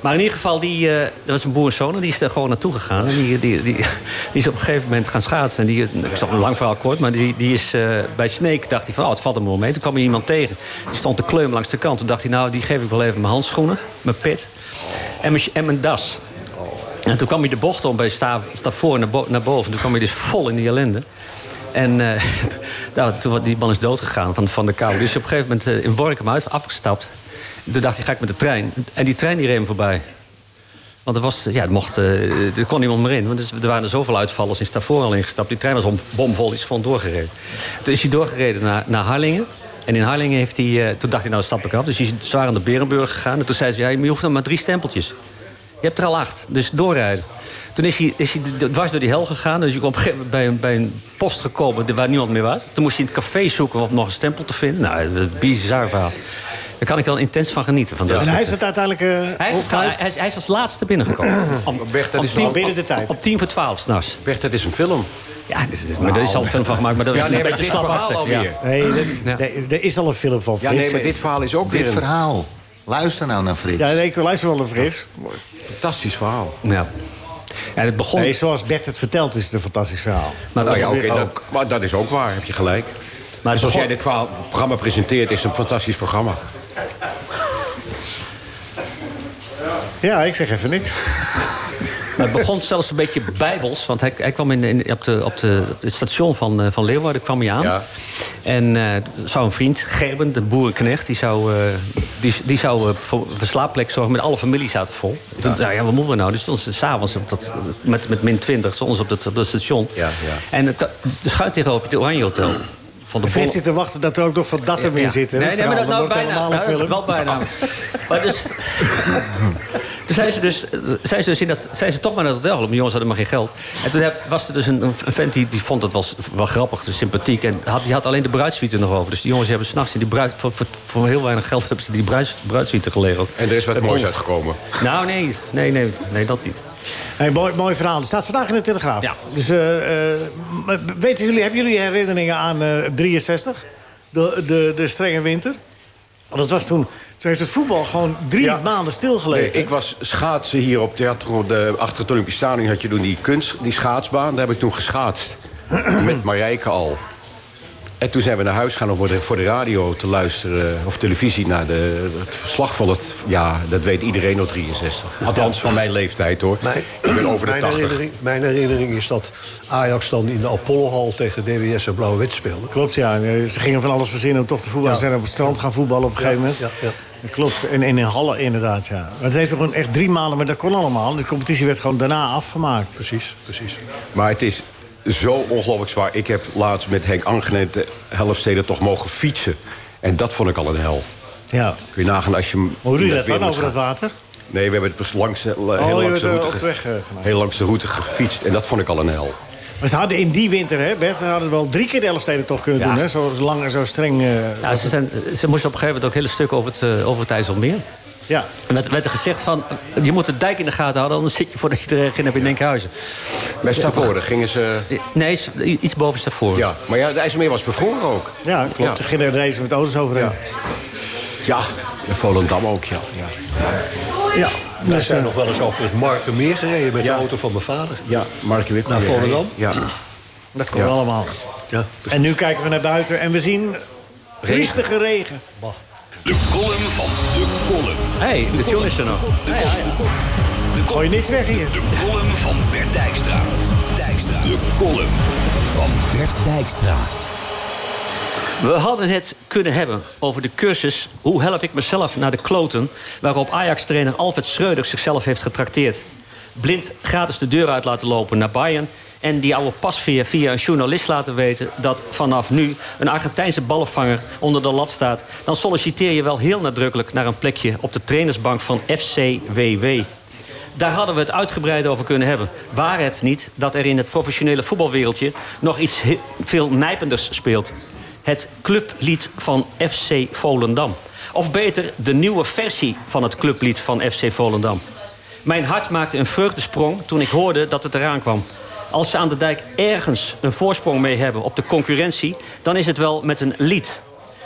S7: maar in ieder geval, die, eh, dat was een boerenzoon en die is daar gewoon naartoe gegaan. En die, die, die, die is op een gegeven moment gaan schaatsen. En die, dat is toch een lang verhaal kort, maar die, die is eh, bij Sneek dacht hij van, oh, het valt hem wel mee. Toen kwam hij iemand tegen. Die stond te kleumen langs de kant. Toen dacht hij, nou, die geef ik wel even mijn handschoenen, mijn pet en mijn, en mijn das. En toen kwam hij de bocht om bij Sta- Stavoren naar, bo- naar boven. Toen kwam hij dus vol in die ellende. En eh, t- nou, toen, was- die man is doodgegaan van, van de kou. Dus op een gegeven moment eh, in Workum uit, afgestapt. Toen dacht hij, ga ik met de trein. En die trein die reed hem voorbij. Want er, was, ja, het mocht, eh, er kon niemand meer in. Want dus- er waren er zoveel uitvallers in Stavoren al ingestapt. Die trein was om- bomvol, die is gewoon doorgereden. Toen is hij doorgereden naar, naar Harlingen. En in Harlingen heeft hij... eh, toen dacht hij, nou stap ik af. Dus hij is zwaar aan de Berenburg gegaan. En toen zei ze, ja, je hoeft nog maar drie stempeltjes. Je hebt er al acht, dus doorrijden. Toen is hij, is hij d- dwars door die hel gegaan. Dus ik op een gegeven moment bij een, bij een post gekomen waar niemand meer was. Toen moest hij in het café zoeken om nog een stempel te vinden. Nou, dat is een bizar verhaal. Daar kan ik wel intens van genieten. Van dat
S3: En
S7: soort-
S3: hij heeft het uiteindelijk... eh,
S7: hij is,
S3: opgehaald.
S7: hij, is, hij is als laatste binnengekomen. Om,
S6: Bert, dat
S7: om
S6: is
S7: tien-
S6: wel
S3: binnen de
S7: op-
S3: tijd.
S7: Op tien voor twaalf s'nachts.
S6: Bert, dat is een film.
S7: Ja, dus, dus, maar daar is al een film van gemaakt. Maar dat is
S6: Ja, nee,
S7: een
S6: maar
S7: beetje
S6: dit
S7: slap
S6: verhaal
S7: achter.
S6: alweer.
S3: Nee, dat- nee, er is al een film van
S6: Ja,
S3: Frits.
S6: nee, maar dit verhaal is ook weer
S4: Dit
S6: een
S4: verhaal. Luister nou naar Frits.
S3: Ja, nee, ik luister wel naar Frits.
S6: fantastisch verhaal.
S7: Ja. Ja. Ja, het begon...
S3: Nee, zoals Bert het vertelt, is het een fantastisch verhaal.
S7: maar het
S6: Nou ja,
S7: begon-
S6: oké, dat, maar dat is ook waar, heb je gelijk.
S7: Maar
S6: Maar
S7: het
S6: zoals jij
S7: begon-
S6: dit verhaal- programma presenteert, is het een fantastisch programma.
S3: Ja, ik zeg even niks.
S7: Maar het begon zelfs een beetje bijbels. Want hij, hij kwam in, in- op, de, op, de, op het station van, eh, van Leeuwarden kwam hij aan.
S6: Ja.
S7: En eh, zou een vriend, Gerben, de boerenknecht... die zou, eh, die, die zou eh, voor een slaapplek zorgen. Met alle familie zaten vol. Ja. Toen, nou ja, wat moeten we nou? Dus toen stonden ze s'avonds op dat, met, met min 20 stonden ze op dat, op dat station.
S6: Ja, ja.
S7: En het, de schuit tegenover het Oranje Hotel. Van de
S3: Frits
S7: Bolle-
S3: zit te wachten dat er ook nog van dat er
S7: ja.
S3: meer zit. hè?
S7: Nee, nee, maar dat,
S3: verhaal,
S7: nou,
S3: wordt
S7: bijna.
S3: allemaal een
S7: Nou,
S3: film.
S7: wel bijna. maar dus, toen zijn ze dus, zijn ze dus in dat, zijn ze toch maar naar het hotel gelopen. Die jongens hadden maar geen geld. En toen heb- was er dus een, een vent die, die vond dat wel, wel grappig, dus sympathiek. En had, die had alleen de bruidsuite nog over. Dus die jongens hebben s'nachts in die bruid... Voor, voor, voor heel weinig geld hebben ze die bruid, bruidsuite gelegeld.
S6: En er is wat
S7: Bij
S6: moois
S7: Bon.
S6: uitgekomen.
S7: Nou, nee, nee, nee, nee, dat niet.
S3: Hey, mooi, mooi verhaal. Het staat vandaag in de Telegraaf.
S7: Ja.
S3: Dus eh, eh, maar weten jullie, hebben jullie herinneringen aan eh, 63? De, de, de strenge winter? Want dat was toen... Toen heeft het voetbal gewoon drie
S6: Ja.
S3: maanden stilgelegen.
S6: Nee, ik was schaatsen hier op Theater de, achter het Olympisch Stadion. Had je toen die, kunst, die schaatsbaan. Daar heb ik toen geschaatst. met Marijke al. En toen zijn we naar huis gaan om voor de, voor de radio te luisteren. Of televisie naar de, het verslag van het... Ja, dat weet iedereen nog 63. Althans, van mijn leeftijd hoor.
S5: Mijn,
S6: ik ben over de
S5: mijn
S6: 80.
S5: Herinnering, mijn herinnering is dat Ajax dan in de Apollohal tegen DWS en Blauwe Wit speelde.
S3: Klopt, ja. En, eh, Ze gingen van alles verzinnen om toch te voetballen.
S5: Ja.
S3: Ze zijn op het strand gaan voetballen op een gegeven moment.
S5: ja, ja.
S3: Dat Klopt, en, en in Halle inderdaad, ja. Maar het heeft gewoon echt drie maanden, maar dat kon allemaal. De competitie werd gewoon daarna afgemaakt.
S5: Precies, precies.
S6: Maar het is zo ongelooflijk zwaar. Ik heb laatst met Henk Angenet de Helftsteden toch mogen fietsen. En dat vond ik al een hel.
S3: Ja.
S6: Kun je nagaan als je... hem
S3: Hoe doe
S6: in
S3: je dat
S6: weer
S3: dan
S6: moet
S3: over dat
S6: gaan.
S3: water?
S6: Nee, we hebben het pas langs, eh,
S3: je
S6: heel, langs
S3: bent,
S6: de
S3: eh,
S6: route
S3: op
S6: ge-
S3: weg, eh, gemaakt.
S6: heel langs de route gefietst. En dat vond ik al een hel.
S3: Maar ze hadden in die winter, hè Bert, ze hadden wel drie keer de Elfsteden toch kunnen
S7: Ja.
S3: doen, hè? Zo lang en zo streng. eh,
S7: Nou, Ja, ze, zijn, ze moesten op een gegeven moment ook hele stuk over het, eh, over het IJsselmeer.
S3: Ja.
S7: En werd, werd er gezegd van, je moet de dijk in de gaten houden... anders zit je voordat je er geen hebt in Denkhuizen.
S6: Bij Stavoren gingen ze...
S7: Eh, Nee, is- iets boven Stavoren.
S6: Ja, maar ja, de IJsselmeer was bevroren ook.
S3: Ja, klopt.
S6: Ja.
S3: Er gingen reizen met auto's overheen.
S6: Ja, en Volendam ook, ja. ja.
S3: Ja.
S5: Wij
S3: Dus,
S5: zijn
S3: eh,
S5: nog wel eens over het Markenmeer gereden met
S6: Ja.
S5: de auto van mijn vader.
S6: Ja, Mark Wip.
S5: Naar Volendam?
S6: Ja.
S3: dat komt
S6: Ja.
S3: allemaal.
S5: Ja.
S3: En nu kijken we naar buiten en we zien triestige regen.
S2: De column van de column.
S7: hey, de tune is er nog.
S2: De kop. De kop.
S3: Gooi niks weg hier.
S2: De column van Bert Dijkstra. Dijkstra. De column van Bert Dijkstra.
S7: We hadden het kunnen hebben over de cursus... Hoe help ik mezelf naar de kloten... waarop Ajax-trainer Alfred Schreuder zichzelf heeft getrakteerd. Blind gratis de deur uit laten lopen naar Bayern... en die oude pasveer via een journalist laten weten... dat vanaf nu een Argentijnse ballenvanger onder de lat staat... dan solliciteer je wel heel nadrukkelijk naar een plekje... op de trainersbank van FCWW. Daar hadden we het uitgebreid over kunnen hebben. Waar het niet dat er in het professionele voetbalwereldje nog iets he- veel nijpenders speelt. Het clublied van FC Volendam. Of beter, de nieuwe versie van het clublied van FC Volendam. Mijn hart maakte een vreugdesprong toen ik hoorde dat het eraan kwam. Als ze aan de dijk ergens een voorsprong mee hebben op de concurrentie, dan is het wel met een lied.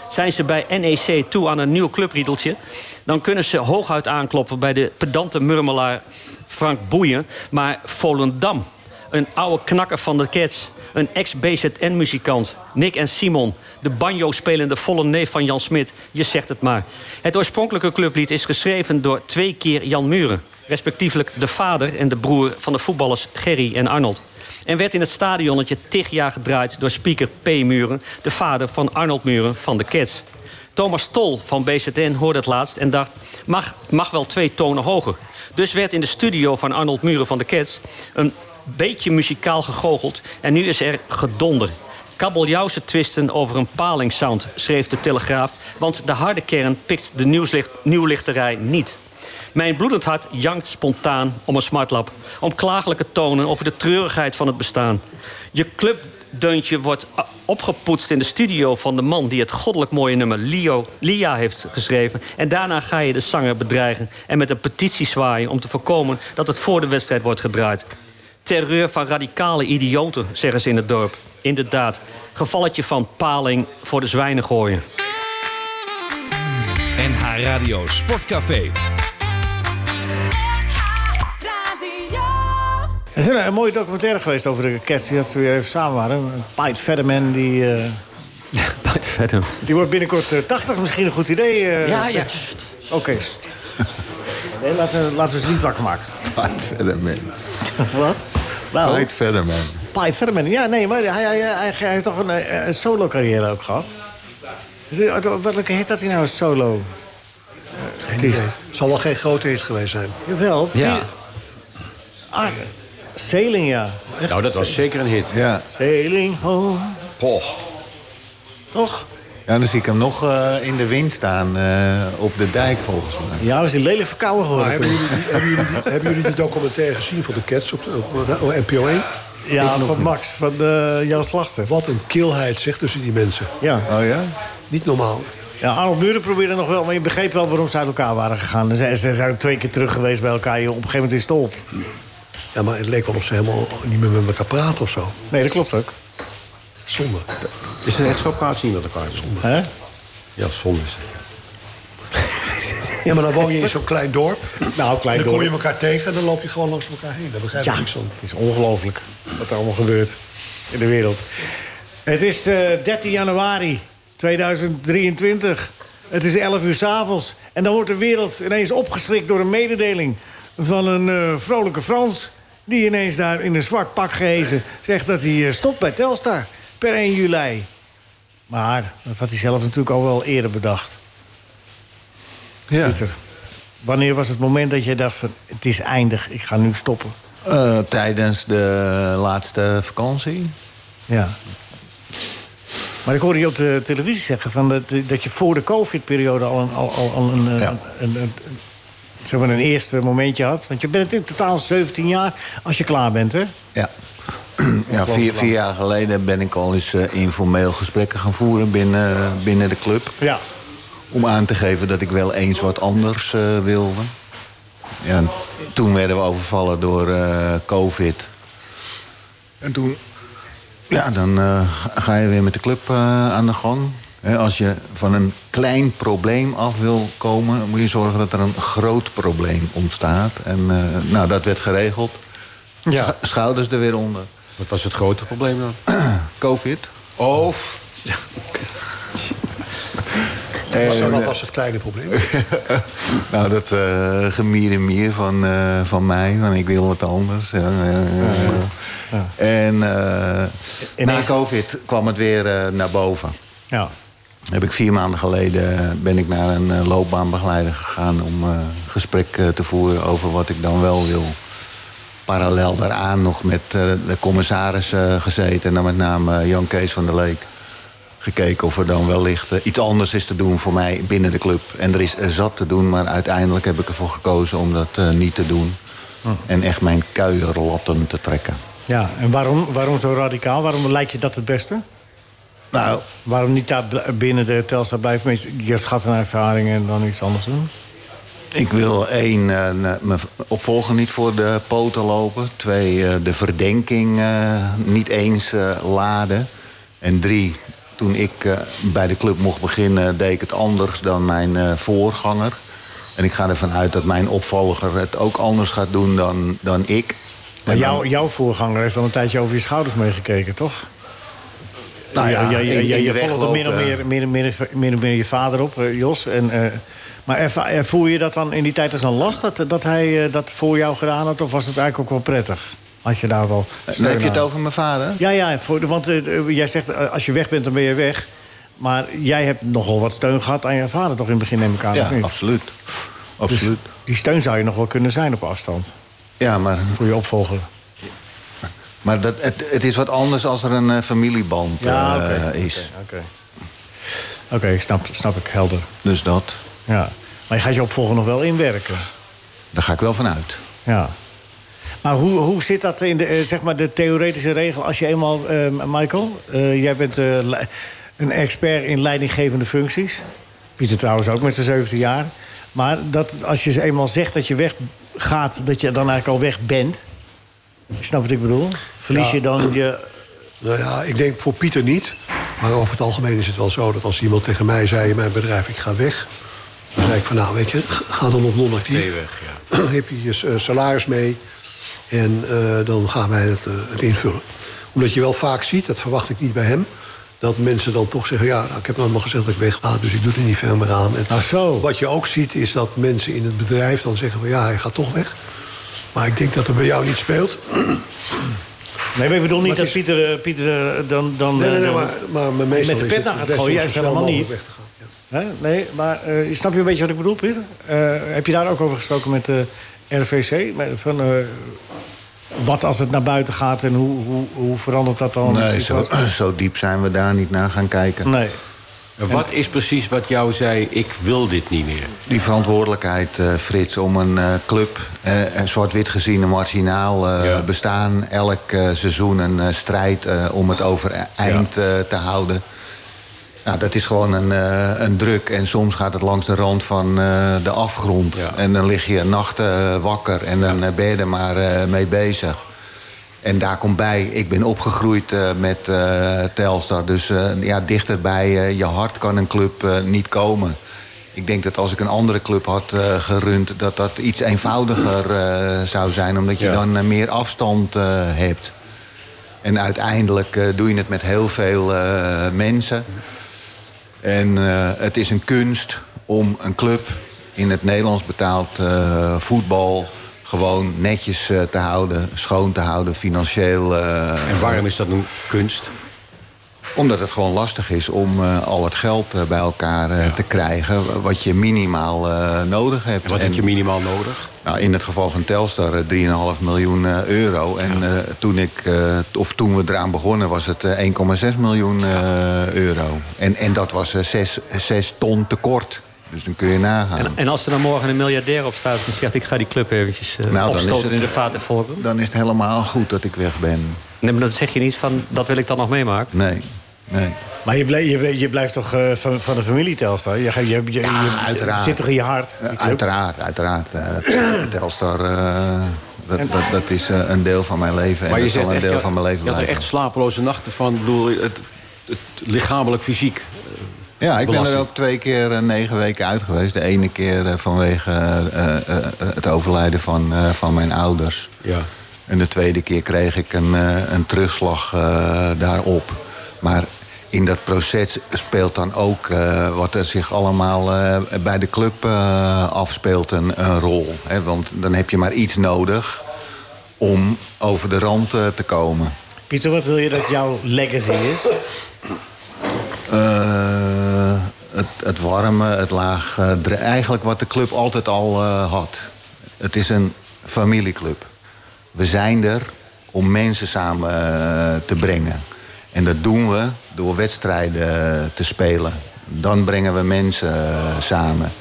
S7: Zijn ze bij NEC toe aan een nieuw clubriedeltje... dan kunnen ze hooguit aankloppen bij de pedante murmelaar Frank Boeien. Maar Volendam, een oude knakker van de Cats... een ex-BZN-muzikant, Nick en Simon... de banjo-spelende volle neef van Jan Smit, je zegt het maar. Het oorspronkelijke clublied is geschreven door twee keer Jan Muren... respectievelijk de vader en de broer van de voetballers Gerry en Arnold en werd in het stadionnetje tig jaar gedraaid door speaker P. Muren... de vader van Arnold Muren van de Cats. Thomas Tol van BZN hoorde het laatst en dacht... Mag, mag wel twee tonen hoger. Dus werd in de studio van Arnold Muren van de Cats... een beetje muzikaal gegoocheld en nu is er gedonder. Kabeljauwse twisten over een palingsound, schreef de Telegraaf... want de harde kern pikt de nieuwslicht, nieuwlichterij niet. Mijn bloedend hart jankt spontaan om een smartlap. Om klagelijke tonen over de treurigheid van het bestaan. Je clubdeuntje wordt a- opgepoetst in de studio van de man... die het goddelijk mooie nummer Lio, Lia heeft geschreven. En daarna ga je de zanger bedreigen en met een petitie zwaaien... om te voorkomen dat het voor de wedstrijd wordt gedraaid. Terreur van radicale idioten, zeggen ze in het dorp. Inderdaad, gevalletje van paling voor de zwijnen gooien.
S2: NH Radio Sportcafé.
S3: Er is een, een mooie documentaire geweest over de cats die dat ze weer even samen waren. Piet Fetterman, die, eh,
S7: Buiten verder.
S3: die wordt binnenkort eh, 80. Misschien een goed idee. eh.
S7: Ja, ja.
S3: Oké. Nee, laten, we- laten we ze niet wakker maken.
S4: Fight verder, man.
S3: Wat? Nou,
S4: Fight verder, man.
S3: Piet Fetterman. Ja, nee, maar hij, hij, hij, hij heeft toch een, eh, een solo-carrière ook gehad? Welke hit had hij nou als solo? eh,
S5: Geen idee. Zal wel geen grote hit geweest zijn.
S3: Jawel.
S7: Ja.
S3: Ah, sailing, ja.
S6: Nou, dat was zeker een hit.
S4: Ja.
S3: Sailing home.
S6: Goh.
S3: Toch?
S4: ja, dan zie ik hem nog eh, in de wind staan eh, op de dijk, volgens mij.
S3: Ja, we zijn lelijk verkouden
S5: Maar
S3: geworden
S5: hebben
S3: toen.
S5: jullie, die- hebben, jullie, die- hebben jullie die documentaire gezien van de Cats op, op, op NPO 1?
S3: Ja, van Max, van eh, Jan Slachter.
S5: Wat een kilheid zeg tussen die mensen.
S3: Ja.
S4: Oh ja?
S5: Niet normaal.
S3: Ja, Arnold Muren probeerde nog wel, maar je begreep wel waarom ze uit elkaar waren gegaan. Ze, ze zijn twee keer terug geweest bij elkaar. joh. Op een gegeven moment is het op.
S5: Ja, maar het leek wel of ze helemaal niet meer met elkaar praten of zo.
S3: Nee, dat klopt ook.
S5: Zonde.
S6: Is het echt zo praat zien met elkaar?
S3: Hè?
S6: Ja, zonde is dat. ja.
S5: Ja, maar dan woon je in zo'n klein dorp.
S3: Nou, klein
S5: Dan kom je
S3: dorp.
S5: elkaar tegen en dan loop je gewoon langs elkaar heen. Daar begrijp ik
S3: Ja,
S5: niks van.
S3: het is ongelooflijk wat er allemaal gebeurt in de wereld. Het is eh, 13 januari 2023. Het is 11 uur s'avonds. En dan wordt de wereld ineens opgeschrikt door een mededeling van een eh, vrolijke Frans. Die ineens daar in een zwart pak gehezen zegt dat hij eh, stopt bij Telstar per 1 juli. Maar dat had hij zelf natuurlijk al wel eerder bedacht.
S4: Ja.
S3: Pieter, wanneer was het moment dat jij dacht van het is eindig, ik ga nu stoppen?
S4: Eh, tijdens de laatste vakantie.
S3: Ja. Maar ik hoorde je op de televisie zeggen van dat, dat je voor de COVID-periode al een, al, al, al een, eh,
S4: Ja.
S3: een, een- een- zeg maar een eerste momentje had. Want je bent in totaal 17 jaar als je klaar bent, hè?
S4: Ja. Ja, vier, vier jaar geleden ben ik al eens eh, informeel gesprekken gaan voeren binnen, binnen de club.
S3: Ja.
S4: Om aan te geven dat ik wel eens wat anders eh, wilde. Ja, en toen werden we overvallen door eh, COVID. En toen, ja, dan eh, ga je weer met de club eh, aan de gang. Hè, als je van een klein probleem af wil komen, moet je zorgen dat er een groot probleem ontstaat. En eh, nou, dat werd geregeld. Ja. Schouders er weer onder.
S6: Wat was het grote probleem dan?
S4: Covid.
S6: Of.
S5: Was,
S4: En,
S5: wat
S4: eh,
S5: was het kleine probleem?
S4: nou, dat eh gemier en mier van, eh, van mij, van ik wil wat anders. Ja, ja, ja, ja. En eh, na
S3: Ineens-
S4: COVID kwam het weer eh, naar boven.
S3: Ja.
S4: Heb ik vier maanden geleden eh, ben ik naar een eh, loopbaanbegeleider gegaan om eh, gesprek eh, te voeren over wat ik dan wel wil. Parallel daaraan nog met eh, de commissaris eh, gezeten en dan met name eh, Jan Kees van der Leek. Gekeken of er dan wellicht eh, iets anders is te doen voor mij binnen de club. En er is eh, zat te doen, maar uiteindelijk heb ik ervoor gekozen om dat eh, niet te doen. En echt mijn kuierlatten te trekken.
S3: ja. En waarom, waarom zo radicaal? Waarom lijkt je dat het beste?
S4: Nou,
S3: Waarom niet daar bl- binnen de Telstra blijven? Met je schat en ervaring en dan iets anders doen?
S4: Ik wil één, eh, n- mijn v- opvolger niet voor de poten lopen. Twee, eh, de verdenking eh, niet eens eh, laden. En drie, toen ik eh, bij de club mocht beginnen... deed ik het anders dan mijn eh, voorganger. En ik ga ervan uit dat mijn opvolger het ook anders gaat doen dan, dan ik.
S3: Maar
S4: En
S3: jouw, jouw voorganger heeft al een tijdje over je schouders meegekeken, toch?
S4: dan- nou ja,
S3: je je,
S4: in-
S3: je,
S4: in
S3: je
S4: de
S3: volgt er
S4: wegloop,
S3: min of
S4: eh,
S3: meer, min of meer, min of meer je vader op, eh, Jos. En, eh, maar erva- er- voel je dat dan in die tijd als een last dat, dat hij eh, dat voor jou gedaan had? Of was het eigenlijk ook wel prettig? Had je daar wel.
S4: Dan Eh, heb
S3: steun
S4: je het
S3: aan?
S4: over mijn vader?
S3: Ja, ja, voor, de- want eh, jij zegt eh, als je weg bent, dan ben je weg. Maar jij hebt nogal wat steun gehad aan je vader, toch in het begin, neem ik Dus- aan?
S4: Ja,
S3: of niet?
S4: absoluut. Absoluut.
S3: Die steun zou je nog wel kunnen zijn op afstand
S4: Ja, maar
S3: voor je opvolger.
S4: Maar dat, het, het is wat anders als er een eh, familieband
S3: Ja,
S4: eh,
S3: oké.
S4: is.
S3: Oké, Oké, ik snap, snap ik, helder.
S4: Dus dat,
S3: Ja. Maar je gaat je opvolger nog wel inwerken.
S4: daar ga ik wel van uit.
S3: Ja. Maar hoe, hoe zit dat in de, eh, zeg maar de theoretische regel als je eenmaal... eh, Michael, eh, jij bent eh, le- een expert in leidinggevende functies. Pieter trouwens ook met zijn 17 jaar. Maar dat, als je eenmaal zegt dat je weggaat, dat je dan eigenlijk al weg bent... Je snapt wat ik bedoel? Verlies
S5: Ja.
S3: je dan je...
S5: Nou ja, ik denk voor Pieter niet. Maar over het algemeen is het wel zo dat als iemand tegen mij zei... in mijn bedrijf, ik ga weg. Dan zei ik van, nou weet je, g- ga dan op non-actief.
S6: Nee, weg,
S5: heb je je s- eh, salaris mee. En eh, dan gaan wij het, eh, het invullen. Omdat je wel vaak ziet, dat verwacht ik niet bij hem... dat mensen dan toch zeggen, ja, nou, ik heb nou maar gezegd dat ik wegga... dus ik doe er niet veel meer aan. En
S3: Ach zo.
S5: Wat je ook ziet is dat mensen in het bedrijf dan zeggen... van ja, hij gaat toch weg. Maar ik denk dat het bij jou niet speelt.
S3: Nee, maar ik bedoel niet
S5: Maar het
S3: dat
S5: is-
S3: Pieter, eh, Pieter eh, dan... dan
S5: Nee, nee, nee,
S3: eh,
S5: maar, maar meestal
S3: met de
S5: is
S3: pet
S5: het
S3: aan gaat
S5: best om
S3: gooien, juist
S5: zo snel
S3: helemaal
S5: mogelijk
S3: niet.
S5: weg te gaan, ja.
S3: Hè? Nee, maar eh, snap je een beetje wat ik bedoel, Pieter? Eh, heb je daar ook over gesproken met eh, de RVC? Met- Van, eh, wat als het naar buiten gaat en hoe, hoe, hoe verandert dat dan? de
S4: Nee, zo,
S3: situatie?
S4: zo diep zijn we daar niet naar gaan kijken.
S3: Nee.
S6: En wat is precies wat jou zei, ik wil dit niet meer?
S4: Die verantwoordelijkheid, eh, Frits, om een eh, club, eh, een zwart-wit gezien, een marginaal eh,
S6: Ja.
S4: bestaan. Elk eh, seizoen een eh, strijd eh, om het overeind eh te houden. Nou, dat is gewoon een, eh, een druk. En soms gaat het langs de rand van eh, de afgrond.
S6: Ja.
S4: En dan lig je nachten eh, wakker en dan eh, ben je er maar eh, mee bezig. En daar komt bij, ik ben opgegroeid eh, met eh, Telstar. Dus eh, ja, dichterbij eh, je hart kan een club eh, niet komen. Ik denk dat als ik een andere club had eh, gerund... dat dat iets eenvoudiger eh, zou zijn. Omdat je
S6: Ja.
S4: dan eh, meer afstand eh, hebt. En uiteindelijk eh, doe je het met heel veel eh, mensen. En eh, het is een kunst om een club in het Nederlands betaald eh, voetbal gewoon netjes eh, te houden, schoon te houden, financieel. eh,
S6: En waarom is dat een kunst?
S4: omdat het gewoon lastig is om eh, al het geld eh, bij elkaar eh, te krijgen wat je minimaal eh, nodig hebt.
S6: En wat heb je minimaal nodig?
S4: Nou, in het geval van Telstar eh, 3,5 miljoen eh, euro. En eh, toen, ik, eh, t- of toen we eraan begonnen was het eh, 1,6 miljoen eh, euro. En, en dat was 6, ton tekort. Dus dan kun je nagaan.
S7: En, en als er dan morgen een miljardair op staat en zegt... ik ga die club eventjes eh,
S4: Nou, dan is
S7: opstoten
S4: het-
S7: in de vaten volgen.
S4: Dan is het helemaal goed dat ik weg ben.
S7: Nee, maar dan zeg je niet van, dat wil ik dan nog meemaken.
S4: Nee. Nee.
S3: Maar je, blij- je, blij- je blijft toch eh, van, van de familie Telstar? Je, ga- je, je, je-
S4: Ja,
S3: je-
S4: uiteraard.
S3: zit toch in je hart? die
S4: Eh,
S3: club?
S4: uiteraard, uiteraard. eh, Telstar, eh, dat, dat, dat is eh, een deel van mijn leven. En
S6: Maar je
S4: dat
S6: zegt
S4: zal een
S6: echt,
S4: deel
S6: ja,
S4: van mijn leven
S6: je had er
S4: blijven.
S6: echt slapeloze nachten van. Ik bedoel, het, het lichamelijk, fysiek.
S4: Ja, ik ben er
S6: belasting.
S4: ook twee keer eh, negen weken uit geweest. De ene keer eh, vanwege eh, eh, eh, het overlijden van, eh, van mijn ouders.
S6: Ja.
S4: En de tweede keer kreeg ik een, eh, een terugslag eh, daarop. Maar in dat proces speelt dan ook eh, wat er zich allemaal eh, bij de club eh, afspeelt een, een rol. Hè? Want dan heb je maar iets nodig om over de rand eh, te komen.
S3: Pieter, wat wil je dat jouw legacy is?
S4: Eh, het, het warme, het laag. eh, dre- eigenlijk wat de club altijd al eh, had. Het is een familieclub. We zijn er om mensen samen eh, te brengen. En dat doen we door wedstrijden eh, te spelen. Dan brengen we mensen eh, samen.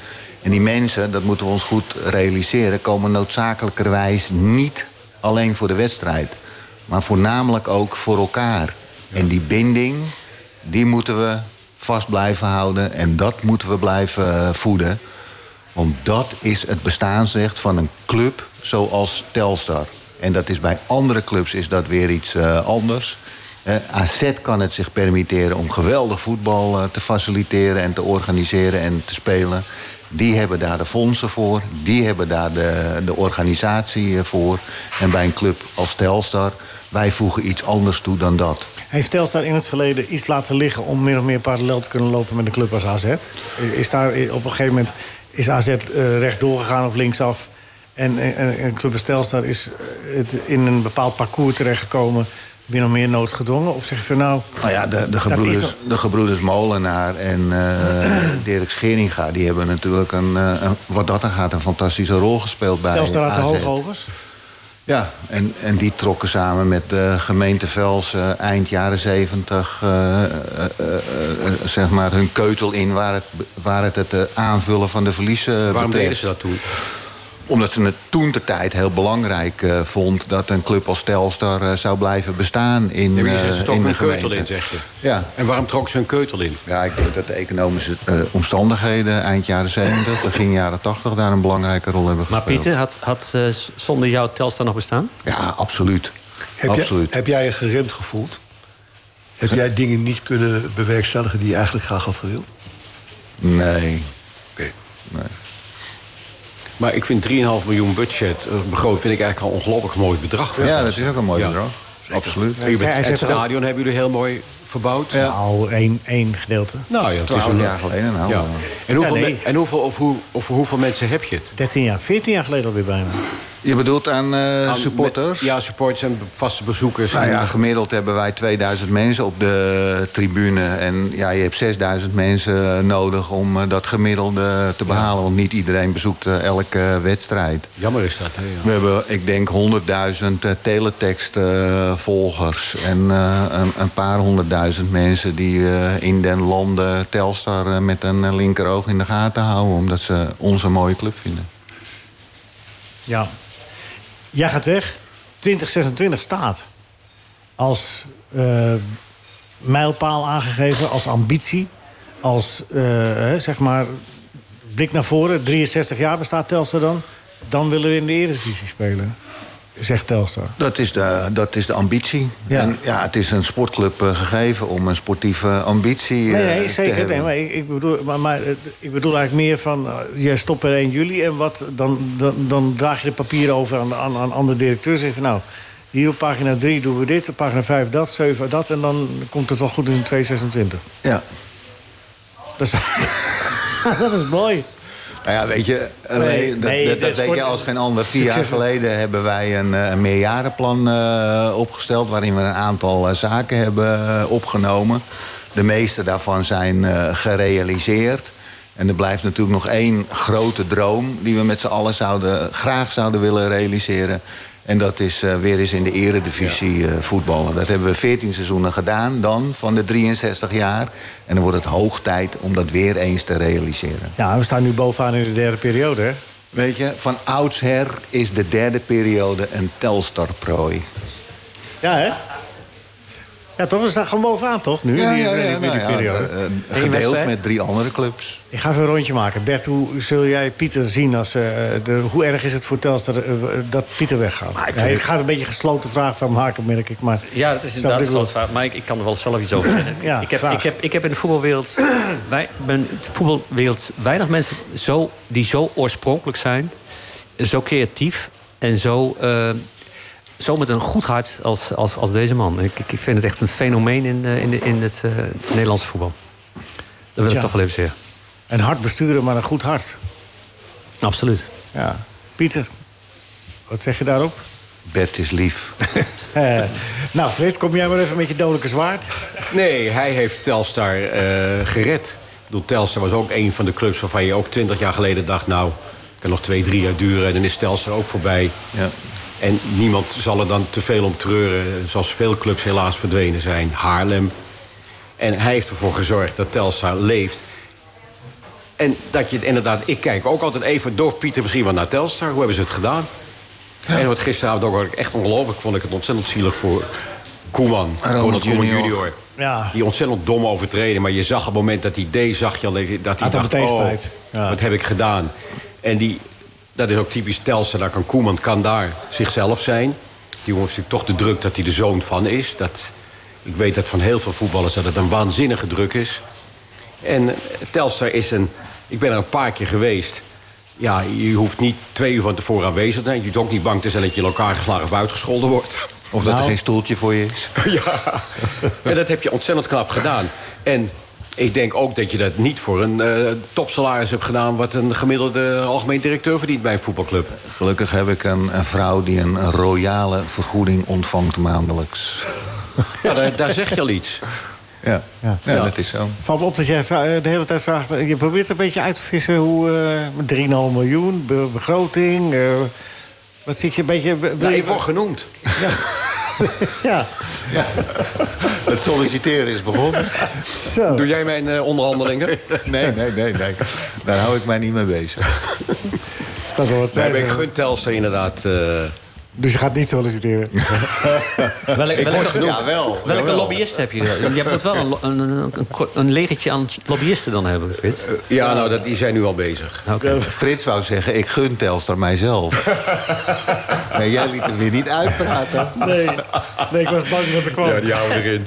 S4: En die mensen, dat moeten we ons goed realiseren, komen noodzakelijkerwijs niet alleen voor de wedstrijd. Maar voornamelijk ook voor elkaar. En die binding, die moeten we vast blijven houden en dat moeten we blijven eh, voeden. Want dat is het bestaansrecht van een club zoals Telstar. En dat is bij andere clubs is dat weer iets eh, anders. Eh, AZ kan het zich permitteren om geweldig voetbal eh, te faciliteren en te organiseren en te spelen. Die hebben daar de fondsen voor, die hebben daar de, de organisatie eh, voor. En bij een club als Telstar, wij voegen iets anders toe dan dat.
S3: Heeft Telstar in het verleden iets laten liggen om min of meer parallel te kunnen lopen met een club als AZ? Is daar eh, op een gegeven moment is AZ eh, rechtdoor gegaan of linksaf? En, en, en een club als Telstar is eh, het in een bepaald parcours terechtgekomen, min of meer noodgedwongen? Of zeg je van nou.
S4: Nou ja, de, de,
S3: dat is
S4: gebroeders,
S3: toch-
S4: de gebroeders Molenaar en eh Dirk Scheringa... die hebben natuurlijk, een, eh, een- wat dat dan gaat, een fantastische rol gespeeld bij
S3: Telstar had de
S4: AZ.
S3: hoogovers.
S4: Ja, en, en die trokken samen met de gemeente Vels eh, eind jaren zeventig... eh, zeg maar hun keutel in waar het, waar het het eh, aanvullen van de verliezen eh,
S6: Waarom
S4: betreft.
S6: deden ze dat toen?
S4: Omdat ze het toen de tijd heel belangrijk eh, vond... dat een club als Telstar eh, zou blijven bestaan in,
S6: Ja, maar je
S4: eh,
S6: zet ze
S4: in
S6: toch
S4: de
S6: een keutel in,
S4: gemeente.
S6: zegt je.
S4: Ja,
S6: En waarom trok ze een keutel in?
S4: Ja, ik denk dat de economische eh, omstandigheden eind jaren 70, begin jaren 80 daar een belangrijke rol hebben
S7: Maar
S4: gespeeld.
S7: Pieter, had, had eh, z- zonder jou Telstar nog bestaan?
S4: Ja, absoluut.
S5: Heb, jij,
S4: absoluut.
S5: heb jij je geremd gevoeld? Heb jij dingen niet kunnen bewerkstelligen die je eigenlijk graag had gewild?
S4: Nee.
S6: Maar ik vind 3,5 miljoen budget eh, begroot vind ik eigenlijk al een ongelooflijk mooi bedrag. voor
S4: Ja,
S6: het
S4: dat is ook een mooi
S6: Ja.
S4: bedrag. Absoluut.
S6: En je bent-
S3: Hij zegt
S6: het
S3: ook-
S6: stadion hebben jullie heel mooi verbouwd.
S3: Nou, één, één gedeelte.
S6: Nou ja, het is
S4: Twaalf
S6: een-
S4: jaar geleden nou.
S6: Ja. En, hoeveel
S3: Ja, nee.
S6: me- en hoeveel, of hoe, of hoeveel mensen heb je het?
S3: 13 jaar, 14 jaar geleden alweer bijna.
S4: Je bedoelt aan eh,
S6: Aan-
S4: supporters?
S6: met- ja, supporters en vaste bezoekers.
S4: Nou ja,
S6: En-
S4: gemiddeld hebben wij 2000 mensen op de tribune. En ja, je hebt 6000 mensen nodig om eh, dat gemiddelde te behalen. Want niet iedereen bezoekt eh, elke wedstrijd.
S6: Jammer is dat, hè? ja.
S4: We hebben, ik denk, 100.000 eh, teletext-volgers. en eh, een, een paar honderdduizend mensen die eh, in den landen Telstar eh, met een eh, linkeroog in de gaten houden. Omdat ze ons een mooie club vinden.
S3: Ja. Jij gaat weg. 2026 staat als eh, mijlpaal aangegeven, als ambitie, als eh, hè, zeg maar blik naar voren. 63 jaar bestaat Telstar dan. Dan willen we in de Eredivisie spelen, zegt Telstar.
S4: Dat is de, dat is de ambitie.
S3: Ja.
S4: En ja, het is een sportclub eh, gegeven om een sportieve ambitie eh,
S3: Nee, nee
S4: te
S3: zeker.
S4: hebben.
S3: Nee, maar ik, ik bedoel, maar, maar, eh, ik bedoel eigenlijk meer van... eh, jij stopt per 1 juli en wat, dan, dan, dan draag je de papieren over aan, aan, aan andere directeurs. Zeg van nou, hier op pagina 3 doen we dit, op pagina 5 dat, 7 dat... en dan komt het wel goed in 2026.
S4: Ja.
S3: Dat is, dat is mooi.
S4: Nou ja, weet je, nee,
S3: Nee,
S4: dat,
S3: nee, dus
S4: dat-
S3: de
S4: dat weet je
S3: sport-
S4: als geen ander. Vier jaar
S3: Succes.
S4: geleden hebben wij een, eh, een meerjarenplan eh, opgesteld... waarin we een aantal eh, zaken hebben eh, opgenomen. De meeste daarvan zijn eh, gerealiseerd. En er blijft natuurlijk nog één grote droom... die we met z'n allen zouden, graag zouden willen realiseren. En dat is eh, weer eens in de eredivisie eh, voetballen. Dat hebben we 14 seizoenen gedaan dan, van de 63 jaar. En dan wordt het hoog tijd om dat weer eens te realiseren.
S3: Ja, we staan nu bovenaan in de derde periode, hè?
S4: Weet je, van oudsher is de derde periode een Telstar-prooi.
S3: Ja, hè? Ja, toch? We staan gewoon bovenaan, toch? Nu,
S4: Ja,
S3: in die,
S4: ja,
S3: in die-
S4: ja,
S3: in die
S4: nou ja,
S3: periode.
S4: eh, eh,
S3: Eén
S4: gedeeld
S3: wedstrijd.
S4: met drie andere clubs.
S3: Ik ga even een rondje maken. Bert, hoe zul jij Pieter zien als... eh, de, hoe erg is het voor Telstar eh, dat Pieter weggaat?
S7: ik
S3: ik,
S7: vind
S3: ik ga een beetje een gesloten vraag van maken, merk ik. Maar
S7: Ja, dat is
S3: Snap
S7: inderdaad
S3: ik
S7: een
S3: wel.
S7: grote vraag. Maar ik, ik kan er wel zelf iets over zeggen.
S3: Ja,
S7: ik, heb,
S3: graag.
S7: ik, heb, ik heb in de voetbalwereld, wij, ben, de voetbalwereld weinig mensen zo, die zo oorspronkelijk zijn, zo creatief en zo, eh, zo met een goed hart als, als, als deze man. Ik, ik- ik vind het echt een fenomeen in, eh, in, de- in het eh, Nederlandse voetbal. Dat wil
S3: Ja.
S7: ik toch wel even zeggen.
S3: een hard besturen, maar een goed hart.
S7: Absoluut.
S3: Ja. Pieter, wat zeg je daarop?
S4: Bert is lief.
S3: Eh, nou, Frits, kom jij maar even met je dodelijke zwaard.
S6: Nee, hij heeft Telstar eh, gered. Ik bedoel, Telstar was ook een van de clubs waarvan je ook twintig jaar geleden dacht... nou, kan nog twee, drie jaar duren en dan is Telstar ook voorbij.
S4: Ja.
S6: En niemand zal er dan te veel om treuren, zoals veel clubs helaas verdwenen zijn. Haarlem. En hij heeft ervoor gezorgd dat Telstar leeft. En dat je het inderdaad... Ik kijk ook altijd even door Pieter misschien wel naar Telstar. Hoe hebben ze het gedaan? En wat gisteravond ook wat ik echt ongelooflijk vond. Ik het ontzettend zielig voor Koeman.
S4: Ronald
S6: Ronald Koeman
S4: junior.
S6: junior.
S3: Ja.
S6: Die ontzettend dom overtreden. Maar je zag op het moment dat hij deed, zag je al dat hij
S3: hem
S6: dacht...
S3: meteen
S6: oh,
S3: spijt. Ja.
S6: wat heb ik gedaan? En die, dat is ook typisch Telstra. Daar kan Koeman kan daar zichzelf zijn. Die jongen heeft natuurlijk toch de druk dat hij de zoon van is. Dat, ik weet dat van heel veel voetballers dat het een waanzinnige druk is. En Telstar is een... Ik ben er een paar keer geweest. Ja, je hoeft niet twee uur van tevoren aanwezig te zijn. Je hoeft ook niet bang te zijn dat je in elkaar geslagen of uitgescholden wordt.
S4: Of dat er geen stoeltje voor je is.
S6: Ja, en dat heb je ontzettend knap gedaan. En ik denk ook dat je dat niet voor een eh, topsalaris hebt gedaan... wat een gemiddelde algemeen directeur verdient bij een voetbalclub.
S4: Gelukkig heb ik een, een vrouw die een royale vergoeding ontvangt maandelijks.
S6: Ja, daar, daar zeg je al iets.
S4: Ja, ja.
S6: Ja.
S4: dat is zo.
S3: Valt me op dat jij vra- eh, de hele tijd vraagt... eh, Je probeert een beetje uit te vissen hoe... eh 3,5 miljoen, be- begroting... eh, wat zit je een beetje... be-
S6: Nou, ik word genoemd.
S3: Ja,
S4: Het solliciteren is begonnen.
S3: zo.
S6: Doe jij mijn eh, onderhandelingen?
S4: Nee, nee, nee, nee. Daar hou ik mij niet mee bezig.
S3: Staat er wat
S6: Nee,
S3: zijn.
S6: maar ik gun Telstra inderdaad... eh,
S3: Dus je gaat niet solliciteren.
S7: Welke, welke,
S4: Jawel.
S7: welke lobbyist heb je? Je moet wel een, lo- een, een, een ko- een legertje aan lobbyisten dan hebben, Frits.
S6: ja, nou, dat, die zijn nu al bezig.
S7: Oké.
S4: Eh, Frits wou zeggen, ik gun Telstar mijzelf. Maar jij liet hem weer niet uitpraten.
S3: Nee, nee ik was bang dat er kwam.
S6: houden erin.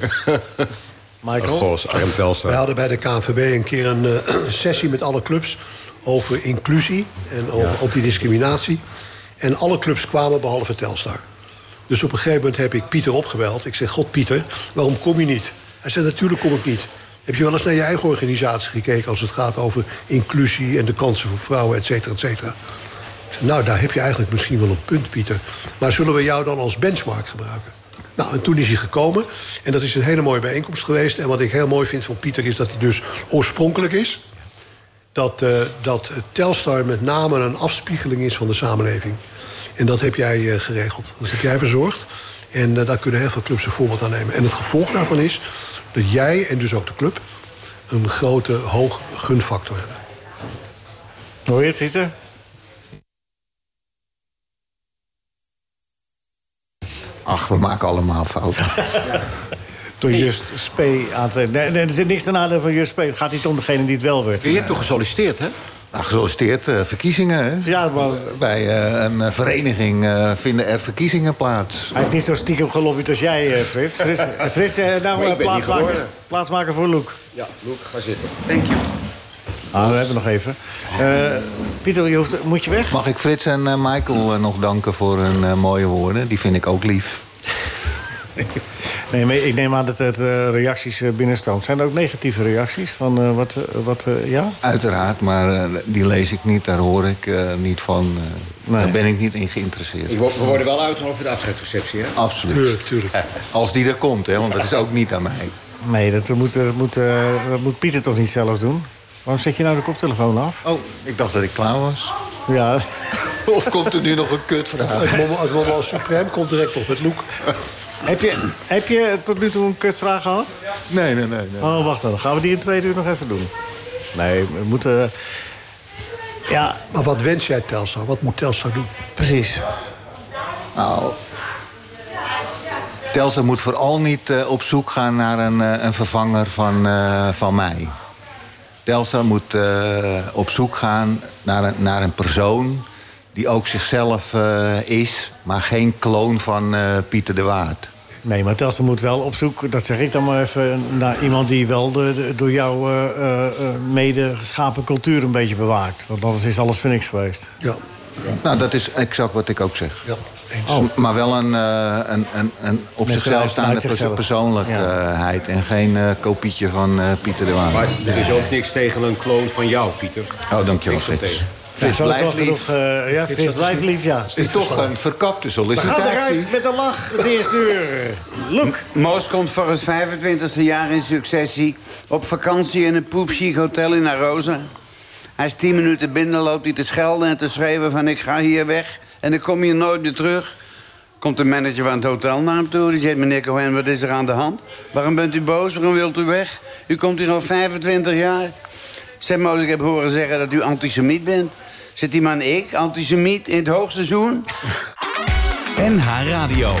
S3: Michael?
S6: Gos, arm
S5: Wij
S6: Telstra.
S5: hadden bij de KNVB een keer een eh, sessie met alle clubs over inclusie en over antidiscriminatie. En alle clubs kwamen behalve Telstar. Dus op een gegeven moment heb ik Pieter opgebeld. Ik zeg, god Pieter, waarom kom je niet? Hij zei, natuurlijk kom ik niet. Heb je wel eens naar je eigen organisatie gekeken... als het gaat over inclusie en de kansen voor vrouwen, et cetera, et cetera? Ik zei, nou, daar heb je eigenlijk misschien wel een punt, Pieter. Maar zullen we jou dan als benchmark gebruiken? Nou, en toen is hij gekomen. En dat is een hele mooie bijeenkomst geweest. En wat ik heel mooi vind van Pieter is dat hij dus oorspronkelijk is dat, eh, dat Telstar met name een afspiegeling is van de samenleving. En dat heb jij eh, geregeld. Dat heb jij verzorgd. En eh, daar kunnen heel veel clubs een voorbeeld aan nemen. En het gevolg daarvan is dat jij en dus ook de club een grote hoog gunfactor hebben.
S3: Hoor je het, Pieter?
S4: Ach, we maken allemaal fouten.
S3: Door Just Sp aan te... Nee, nee, er zit niks ten nadeel van Just Sp. Het gaat niet om degene die het wel werd.
S6: Je hebt toch gesolliciteerd, hè?
S4: Nou, gesolliciteerd, eh, verkiezingen. Hè?
S3: Ja, maar
S4: Bij eh, een eh, vereniging eh, vinden er verkiezingen plaats.
S3: hij heeft niet zo stiekem gelobbyd als jij, eh, Frits. Frits, eh, Frits eh, nou
S6: ben
S3: eh,
S6: niet
S3: plaatsmaken,
S6: geworden.
S3: plaatsmaken voor Loek.
S6: Ja, Loek, ga zitten.
S3: Ah, we hebben nog even. Eh, Pieter, je hoeft, moet je weg?
S4: Mag ik Frits en eh, Michael eh, nog danken voor hun eh, mooie woorden? Die vind ik ook lief.
S3: Nee, maar ik neem aan dat het eh, reacties eh, binnenstroomt. Zijn er ook negatieve reacties? Van eh, wat, eh, wat eh, ja?
S4: Uiteraard, maar eh, die lees ik niet, daar hoor ik eh, niet van. eh,
S3: Nee.
S4: Daar ben ik niet in geïnteresseerd.
S6: We worden wel uitgenodigd voor de afscheidsreceptie, hè?
S4: Absoluut. Eh,
S5: Tuurlijk, tuurlijk.
S4: Als die er komt, hè, want dat is ook niet aan mij.
S3: Nee, dat moet, dat, moet, eh, dat moet Pieter toch niet zelf doen? Waarom zet je nou de koptelefoon af?
S4: Oh, ik dacht dat ik klaar was.
S3: Ja,
S4: Of komt er nu nog een kutvraag?
S5: Het Momo- Het Momo Supreme komt direct op met Loek.
S3: heb, je, heb je tot nu toe een kutvraag gehad?
S4: Nee, nee, nee. nee.
S3: Oh, wacht dan. Gaan we die in twee uur nog even doen? Nee, we moeten... eh, Ja,
S5: Maar wat wens jij Telstar? Wat moet Telstar doen?
S3: precies.
S4: Nou, Telstra moet vooral niet eh, op zoek gaan naar een, eh, een vervanger van, eh, van mij. Telstra moet eh, op zoek gaan naar een, naar een persoon die ook zichzelf eh, is, maar geen kloon van eh, Pieter de Waard.
S3: Nee, maar Telstra moet wel op zoek, dat zeg ik dan maar even... naar iemand die wel de, de- door jou eh, eh, eh, mede geschapen cultuur een beetje bewaakt. Want anders is alles voor niks geweest.
S5: Ja.
S4: Nou, dat is exact wat ik ook zeg.
S5: Ja.
S4: M- Maar wel een, eh, een, een, een op
S3: Met
S4: zichzelf
S3: vanuit
S4: staande perso-
S3: zichzelf.
S4: persoonlijkheid en geen eh, kopietje van eh, Pieter de Waard.
S6: Maar er is ook niks tegen een kloon van jou, Pieter.
S4: Oh, dankjewel,
S6: Niks op
S4: Frits.
S6: tegen.
S4: Frits,
S3: zo is wel
S4: blijf lief.
S3: genoeg. eh, ja, Frits, blijf lief, ja.
S4: is toch een verkapte
S3: We gaan
S4: sollicitatie.
S3: eruit met een lach, het eerste uur. Loek.
S8: Moos komt voor het 25e jaar in successie op vakantie in een poepchic hotel in Arosa. Hij is 10 minuten binnen, loopt hij te schelden en te schreeuwen van ik ga hier weg en ik kom hier nooit meer terug. Komt de manager van het hotel naar hem toe, die zegt meneer Cohen wat is er aan de hand? Waarom bent u boos, waarom wilt u weg? U komt hier al 25 jaar. Zeg Moos, ik heb horen zeggen dat u antisemiet bent. Zit die man ik, antisemiet, in het hoogseizoen?
S2: NH Radio.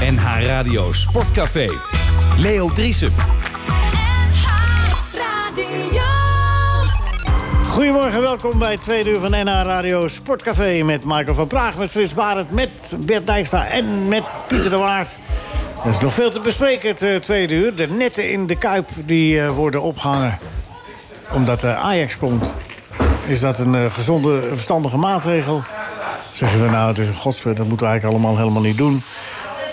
S2: NH Radio Sportcafé. Leo Driesen.
S3: Goedemorgen, welkom bij het tweede uur van NH Radio Sportcafé... met Michael van Praag, met Frits Barend, met Bert Dijkstra en met Pieter de Waard. Er is nog veel te bespreken het eh, tweede uur. De netten in de Kuip die eh, worden opgehangen omdat eh, Ajax komt. Is dat een eh, gezonde, verstandige maatregel? Zeggen we nou, het is een godspe, dat moeten we eigenlijk allemaal helemaal niet doen.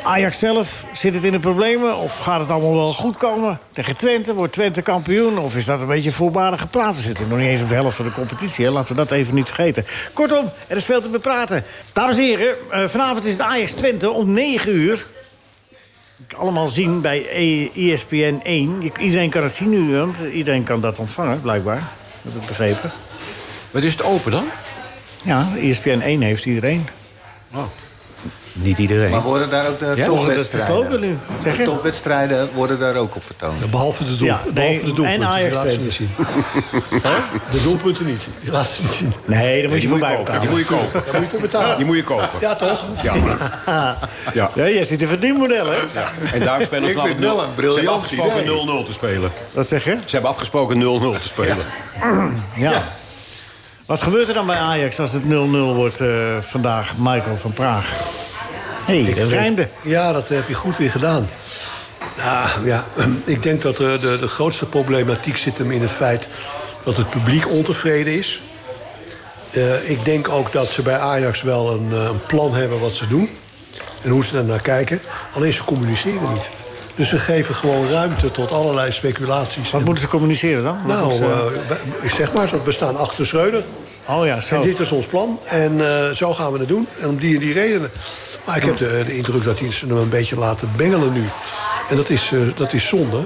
S3: Ajax zelf, zit het in de problemen? Of gaat het allemaal wel goed komen? Tegen Twente, wordt Twente kampioen? Of is dat een beetje voorbarig gepraat? We zitten nog niet eens op de helft van de competitie. Hè? Laten we dat even niet vergeten. Kortom, er is veel te bepraten. Dames en heren, eh, vanavond is het Ajax Twente om 9 uur. Allemaal zien bij E ESPN 1. Je- Iedereen kan het zien nu, want iedereen kan dat ontvangen, blijkbaar. Dat heb ik begrepen. E
S6: Wat is het open dan?
S3: Ja, ESPN 1 heeft iedereen.
S7: Niet iedereen.
S4: Maar worden daar ook de
S7: Ja,
S3: dat is dus de slogan
S4: topwedstrijden?
S3: nu. Zeg
S4: De
S3: je?
S4: topwedstrijden worden daar ook op vertoond.
S5: Behalve de, doel,
S3: Ja, nee,
S5: behalve de doelpunten.
S3: en Ajax
S5: die laten ze
S3: Twente.
S5: niet zien. De doelpunten niet. Die laten ze niet zien.
S3: Nee, dan moet je
S6: Die moet je
S3: voorbij
S6: kopen. Die
S3: elkaar.
S6: moet je kopen.
S5: Daar moet je voor betalen.
S6: Die moet je kopen.
S5: Ja, toch?
S6: Ja. Ja.
S3: Ja, jij zit in verdienmodel, hè?
S6: En daar spelen
S4: Ik
S6: ze
S4: vind wel een briljant
S6: Ze hebben
S4: idee.
S6: afgesproken 0-0 te spelen.
S3: Wat zeg je?
S6: Ze hebben afgesproken 0-0 te spelen.
S3: Ja. Wat gebeurt er dan bij Ajax als het 0-0 wordt eh, vandaag, Michael van Praag? Hé, hey, dat rijmde.
S5: Ja, dat heb je goed weer gedaan. Nou ja, ik denk dat de, de, de grootste problematiek zit hem in het feit dat het publiek ontevreden is. Eh, ik denk ook dat ze bij Ajax wel een, eh, een plan hebben wat ze doen en hoe ze naar kijken. Alleen ze communiceren niet. Dus ze geven gewoon ruimte tot allerlei speculaties.
S3: Wat
S5: En-
S3: moeten ze communiceren dan? Wat
S5: nou,
S3: moeten ze-
S5: eh, wij- zeg maar, zo, we staan achter Schreuder.
S3: oh ja,
S5: En
S3: zo.
S5: dit is ons plan. En eh, zo gaan we het doen. En om die en die redenen. Maar ik heb de, de indruk dat die ze hem een beetje laten bengelen nu. En dat is, eh, dat is zonde.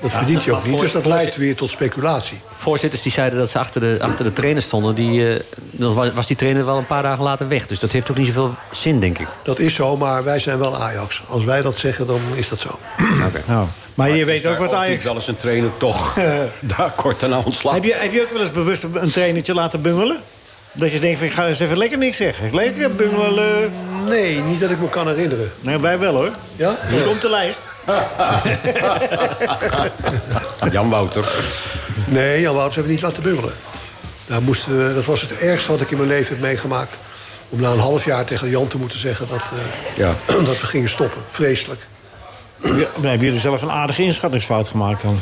S5: Dat verdient je ook
S7: maar
S5: niet.
S7: voor-
S5: Dus dat
S7: voor-
S5: leidt weer tot speculatie.
S7: Voorzitters die zeiden dat ze achter de, achter de trainer stonden... Die, eh, dan wa- was die trainer wel een paar dagen later weg. Dus dat heeft ook niet zoveel zin, denk ik.
S5: Dat is zo, maar wij zijn wel Ajax. Als wij dat zeggen, dan is dat zo.
S3: Nou, maar je
S6: Is
S3: weet
S6: daar
S3: ook wat
S6: niet
S3: Ajax...
S6: wel eens een trainer toch eh, daar kort daarna ontslag.
S3: Heb je, heb je ook wel eens bewust een trainertje laten bungelen? Dat je denkt, van, ik ga eens even lekker niks zeggen. Lekker bungelen.
S5: Nee, niet dat ik me kan herinneren.
S3: Nee, wij wel hoor.
S5: Ja?
S3: Hier komt de lijst.
S6: Jan Wouter.
S5: Nee, Jan Wouters hebben we niet laten bubbelen. Daar moesten we- dat was het ergste wat ik in mijn leven heb meegemaakt. Om na een half jaar tegen Jan te moeten zeggen dat, eh,
S6: Ja.
S5: dat we gingen stoppen. Vreselijk.
S3: Ja, dan hebben jullie zelf een aardige inschattingsfout gemaakt dan.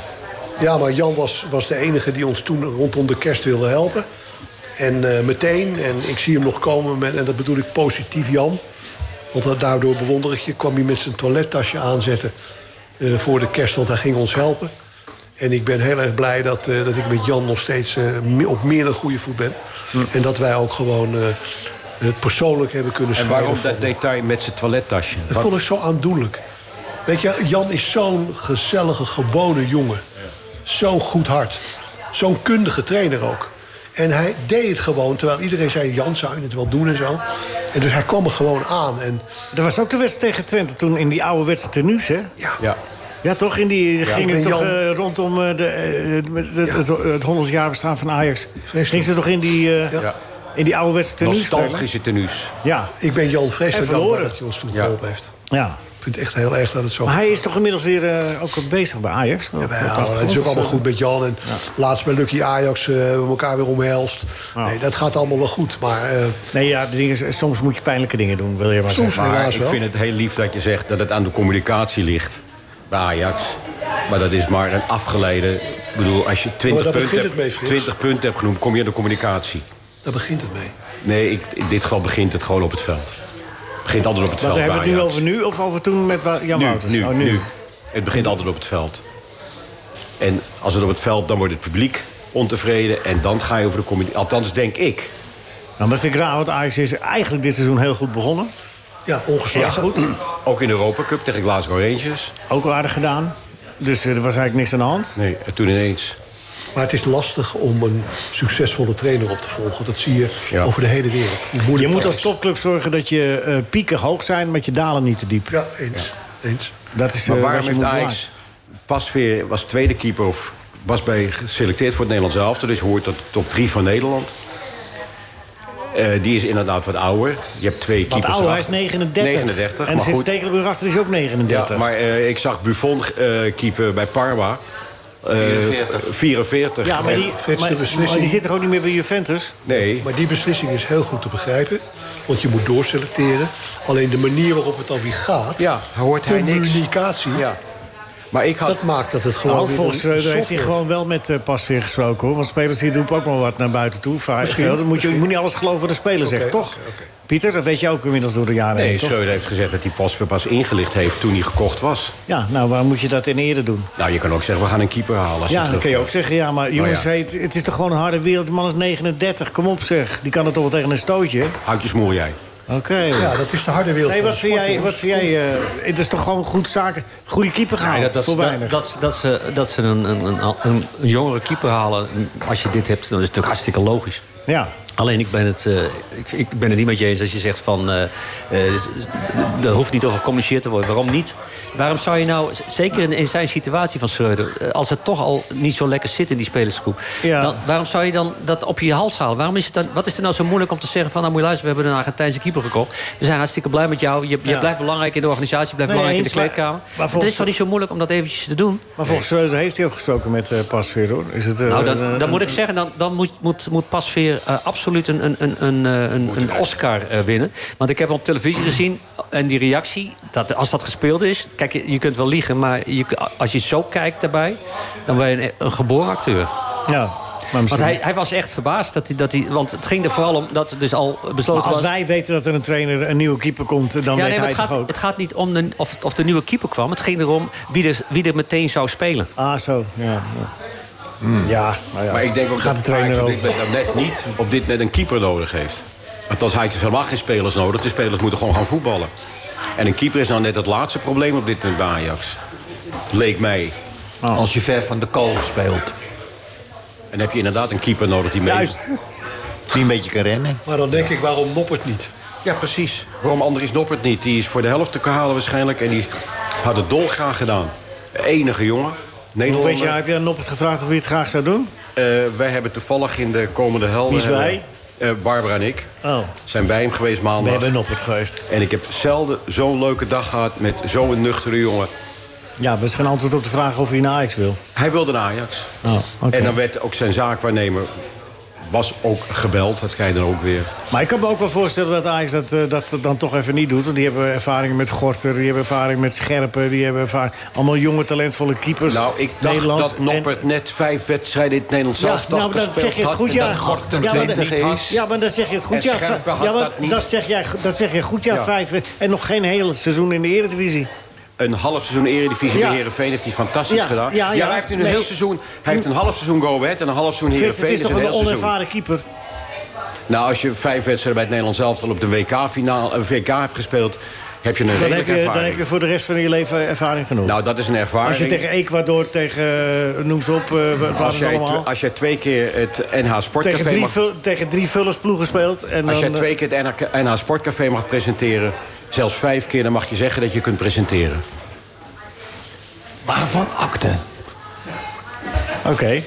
S5: Ja, maar Jan was, was de enige die ons toen rondom de kerst wilde helpen. En eh, meteen, en ik zie hem nog komen, met, en dat bedoel ik positief Jan. Want dat- daardoor bewonder ik je, kwam hij met zijn toilettasje aanzetten eh, voor de kerst, want hij ging ons helpen. En ik ben heel erg blij dat, eh, dat ik met Jan nog steeds eh, me- op meer dan goede voet ben.
S6: Hm.
S5: En dat wij ook gewoon eh, het persoonlijk hebben kunnen
S6: En
S5: scheiden.
S6: waarom
S5: van-
S6: dat detail met zijn toilettasje?
S5: dat vond ik zo aandoenlijk. Weet je, Jan is zo'n gezellige, gewone jongen. Zo'n goed hart. Zo'n kundige trainer ook. En hij deed het gewoon, terwijl iedereen zei... Jan, zou je het wel doen en zo. En dus hij kwam er gewoon aan. En
S3: Er was ook de wedstrijd tegen Twente toen in die oude wedstrijd tenues, hè?
S5: ja,
S6: Ja.
S3: Ja, toch? In die ging het
S5: en
S3: toch
S5: Jan-
S3: eh, rondom eh, de, eh, de- de- het, het 100 jaar bestaan van Ajax.
S5: Vreselijk.
S3: Ging ze toch in die, eh,
S5: Ja.
S3: In die ouderwetse tenue.
S6: Nostalgische tenues.
S3: Ja.
S5: Ik ben Jan
S3: En
S5: vreselijk
S3: verloren.
S5: dankbaar dat hij ons toen geholpen heeft.
S3: ja.
S5: Ik vind het echt heel erg dat het zo
S3: Maar hij is toch inmiddels weer eh, ook bezig bij Ajax? Ja,
S5: Wel, het is ook
S3: eh?
S5: allemaal goed met Jan. En laatst bij Lucky Ajax eh, hebben we elkaar weer omhelst. Nee, dat gaat allemaal wel goed. Maar eh,
S3: Nee, ja, de ding is, soms moet je pijnlijke dingen doen, wil je maar
S5: soms
S3: zeggen.
S5: helaas
S6: Ik
S5: wel.
S6: vind het heel lief dat je zegt dat het aan de communicatie ligt bij Ajax. Maar dat is maar een afgeleide... Ik bedoel, als je 20
S5: daar
S6: punten,
S5: begint het mee,
S6: hebt,
S5: Frits.
S6: 20 punten hebt genoemd, kom je aan de communicatie.
S5: Daar begint het mee.
S6: Nee, ik, in dit geval begint het gewoon op het veld. Het begint altijd op het
S3: Wat
S6: veld
S3: hebben we het
S6: bij
S3: nu
S6: Ajax.
S3: over nu of over toen met Wa- Jan Wouters?
S6: nu,
S3: Oh,
S6: nu, nu. Het begint altijd op het veld. En als het op het veld, dan wordt het publiek ontevreden. En dan ga je over de communicatie. Althans, denk ik.
S3: Nou, dat vind ik raar, want Ajax is eigenlijk dit seizoen heel goed begonnen.
S5: Ja, ongeslagen.
S6: Ook in de Europa Cup tegen Glasgow Rangers.
S3: Ook wel aardig gedaan. Dus eh, er was eigenlijk niks aan de hand.
S6: Nee, en toen ineens.
S5: Maar het is lastig om een succesvolle trainer op te volgen. Dat zie je
S6: Ja.
S5: over de hele wereld. Hoe moeilijk
S3: Je moet
S5: dat
S3: als
S5: is.
S3: topclub zorgen dat je eh, pieken hoog zijn, maar je dalen niet te diep.
S5: Ja, eens. eens.
S3: Dat is,
S6: Maar
S3: eh,
S6: waarom
S3: wat je
S6: heeft
S3: moet
S6: Ajax... Pasveer was tweede keeper of was bij geselecteerd voor het Nederlands elftal. Dus hoort tot de top drie van Nederland. Eh, die is inderdaad wat ouder. Je hebt twee
S3: Wat
S6: keepers
S3: ouder, hij is
S6: erachter.
S3: 39.
S6: 39,
S3: en
S6: maar
S3: zit
S6: goed.
S3: Stekelenburg achter die is ook 39.
S6: Ja, maar eh, ik zag Buffon eh keeper bij Parma. Eh,
S9: 44.
S6: 44.
S3: Ja, maar die,
S5: Frits, de
S3: maar, maar die
S5: beslissing-
S3: zit toch ook niet meer bij Juventus?
S6: Nee,
S5: Maar die beslissing is heel goed te begrijpen. Want je moet doorselecteren. Alleen de manier waarop het dan weer gaat.
S6: Ja, hoort hij niks.
S5: Communicatie.
S6: ja. Maar ik had...
S5: Dat maakt dat het gewoon
S3: Nou,
S5: weer
S3: volgens
S5: een
S3: Schreuder heeft hij
S5: soft
S3: gewoon wel met eh Pasveer gesproken, hoor. Want spelers die doen ook wel wat naar buiten toe. Vaak veel. Dan moet je, je moet niet alles geloven wat de speler zegt, toch?
S5: oké, oké.
S3: Pieter, dat weet je ook inmiddels door de jaren heen,
S6: Nee,
S3: toch?
S6: Schreuder heeft gezegd dat hij pas weer pas ingelicht heeft toen hij gekocht was.
S3: Ja, nou, waarom moet je dat in eerder doen?
S6: Nou, je kan ook zeggen, we gaan een keeper halen. Als hij
S3: Ja, dat
S6: terug
S3: kun je ook
S6: is.
S3: zeggen. Ja,
S7: Nou
S3: maar jongens,
S6: ja.
S3: Het, het is toch gewoon een harde wereld. De man is 39. Kom op, zeg. Die kan het toch wel tegen een stootje?
S6: Houd je smoel jij.
S3: Oké.
S5: Ja, dat is de harde wereld.
S3: Nee,
S5: van de
S3: wat vind
S5: sport,
S3: jij? Wat
S5: jongens.
S3: vind jij eh, het is toch gewoon goed zaken. Goede keeper gehaald.
S7: Nee, dat, dat,
S3: Nou, voor weinig.
S7: dat, dat, dat ze, dat ze een, een, een, een jongere keeper halen, als je dit hebt, dan is het natuurlijk hartstikke logisch.
S3: ja.
S7: Alleen ik ben, het, eh, ik, ik ben het niet met je eens als je zegt van... eh eh, s- s- daar hoeft niet over gecommuniceerd te worden. Waarom niet? Waarom zou je nou, z- zeker in, in zijn situatie van Schreuder... eh, als het toch al niet zo lekker zit in die spelersgroep...
S3: Ja.
S7: Dan, waarom zou je dan dat op je hals halen? Waarom is het dan, wat is er nou zo moeilijk om te zeggen van... nou moet je luisteren, we hebben een Argentijnse keeper gekocht. We zijn hartstikke blij met jou. Je, je
S3: Ja.
S7: blijft belangrijk in de organisatie, je blijft
S3: Nee,
S7: belangrijk in de
S3: eens, maar-
S7: kleedkamer.
S3: maar
S7: het
S3: volgens-
S7: is toch niet zo moeilijk om dat eventjes te doen?
S3: Maar volgens Schreuder heeft hij ook gesproken met eh Pasveer, hoor. Is het, eh,
S7: Nou,
S3: een-
S7: dan, dan
S3: een-
S7: moet ik zeggen, dan, dan moet, moet, moet Pasveer eh, absoluut een, een, een, een, eh, een, een Oscar eh, winnen. Want ik heb hem op televisie gezien en die reactie, dat, als dat gespeeld is... Kijk, je, je kunt wel liegen, maar je, als je zo kijkt daarbij... dan ben je een, een geboren acteur.
S3: Ja, maar misschien...
S7: Want hij, hij was echt verbaasd, dat hij, dat hij, want het ging er vooral om dat het dus al
S3: Maar
S7: besloten
S3: als
S7: was...
S3: wij weten dat er een trainer, een nieuwe keeper komt, dan
S7: ja,
S3: weet
S7: nee, maar
S3: hij
S7: het, gaat,
S3: toch ook.
S7: het gaat niet om de, of, of de nieuwe keeper kwam. Het ging erom wie er, wie er meteen zou spelen.
S3: Ah, zo. Ja, ja.
S7: Hmm.
S3: ja maar ja.
S6: Maar ik denk ook
S3: Gaat
S6: dat
S3: de trainer
S6: Ajax op dit moment nou net niet op dit net een keeper nodig heeft. Althans, hij heeft helemaal geen spelers nodig. De spelers moeten gewoon gaan voetballen. En een keeper is nou net het laatste probleem op dit moment bij Ajax. Leek mij.
S4: Als je ver van de kool speelt.
S6: En dan heb je inderdaad een keeper nodig die mee...
S3: Juist.
S4: Die een beetje kan rennen.
S5: Maar dan denk ik, waarom Noppert niet?
S6: Ja, precies. Waarom Andries Noppert niet? Die is voor de helft te halen waarschijnlijk. En die had het dolgraag gedaan. Enige jongen. Nederlander.
S7: eh,
S3: Weet je, heb je aan Noppert gevraagd of hij het graag zou doen?
S6: Eh, wij hebben toevallig in de komende helden...
S3: Wie is wij?
S6: Eh, Barbara en ik.
S3: Oh.
S6: Zijn bij hem geweest
S3: We
S6: maandag.
S3: hebben Noppert geweest.
S6: En ik heb zelden zo'n leuke dag gehad met zo'n nuchtere jongen.
S3: Ja, dat is geen antwoord op de vraag of hij naar Ajax wil.
S6: Hij wilde naar Ajax.
S3: Oh, oké.
S6: En dan werd ook zijn zaakwaarnemer was ook gebeld. Dat krijg je dan ook weer.
S3: Maar ik kan me ook wel voorstellen dat Ajax dat, eh, dat dan toch even niet doet. Want die hebben ervaringen met Gorter, die hebben ervaring met Scherpen... die hebben ervaring... Allemaal jonge, talentvolle keepers.
S6: Nou, ik dacht
S3: Nederlands.
S6: dat
S3: En-
S6: Noppert net vijf wedstrijden in het Nederlands
S3: Ja,
S6: zelf
S3: nou, maar dan zeg je het goed, ja.
S4: Gorter
S3: ja, maar dat-
S4: 20 is.
S3: Ja, maar dan zeg je het goed,
S6: En
S3: ja.
S6: Scherpen had
S3: ja, maar
S6: dat niet.
S3: zeg jij, dat zeg je goed, ja,
S6: Ja.
S3: vijf. eh, En nog geen hele seizoen in de Eredivisie.
S6: Een half seizoen Eredivisie
S3: Ja.
S6: bij Heerenveen heeft hij fantastisch
S3: Ja,
S6: gedaan.
S3: ja,
S6: Ja,
S3: ja.
S6: hij heeft in een
S3: Nee.
S6: heel seizoen... Hij heeft een half seizoen Go Ahead en een half seizoen
S3: Frits, het
S6: Heerenveen.
S3: is
S6: Dus
S3: toch
S6: een
S3: een
S6: heel seizoen.
S3: onervaren keeper?
S6: Nou, als je vijf wedstrijden bij het Nederlands elftal op de WK-finaal... eh, WK hebt gespeeld, heb je een
S3: Dan heb,
S6: redelijke
S3: je, dan
S6: ervaring.
S3: heb je voor de rest van je leven ervaring genoeg.
S6: Nou, dat is een ervaring.
S3: Als je tegen Ecuador, tegen, eh, noem ze op, eh wat
S6: Als
S3: was het
S6: jij,
S3: allemaal?
S6: tw- als jij twee keer het NH
S3: tegen,
S6: Sportcafé
S3: drie
S6: mag,
S3: vul- tegen drie vullersploegen speelt. En
S6: als jij
S3: dan, eh,
S6: twee keer het NH Sportcafé mag presenteren, zelfs vijf keer, dan mag je zeggen dat je kunt presenteren.
S4: Waarvan akte?
S3: Oké.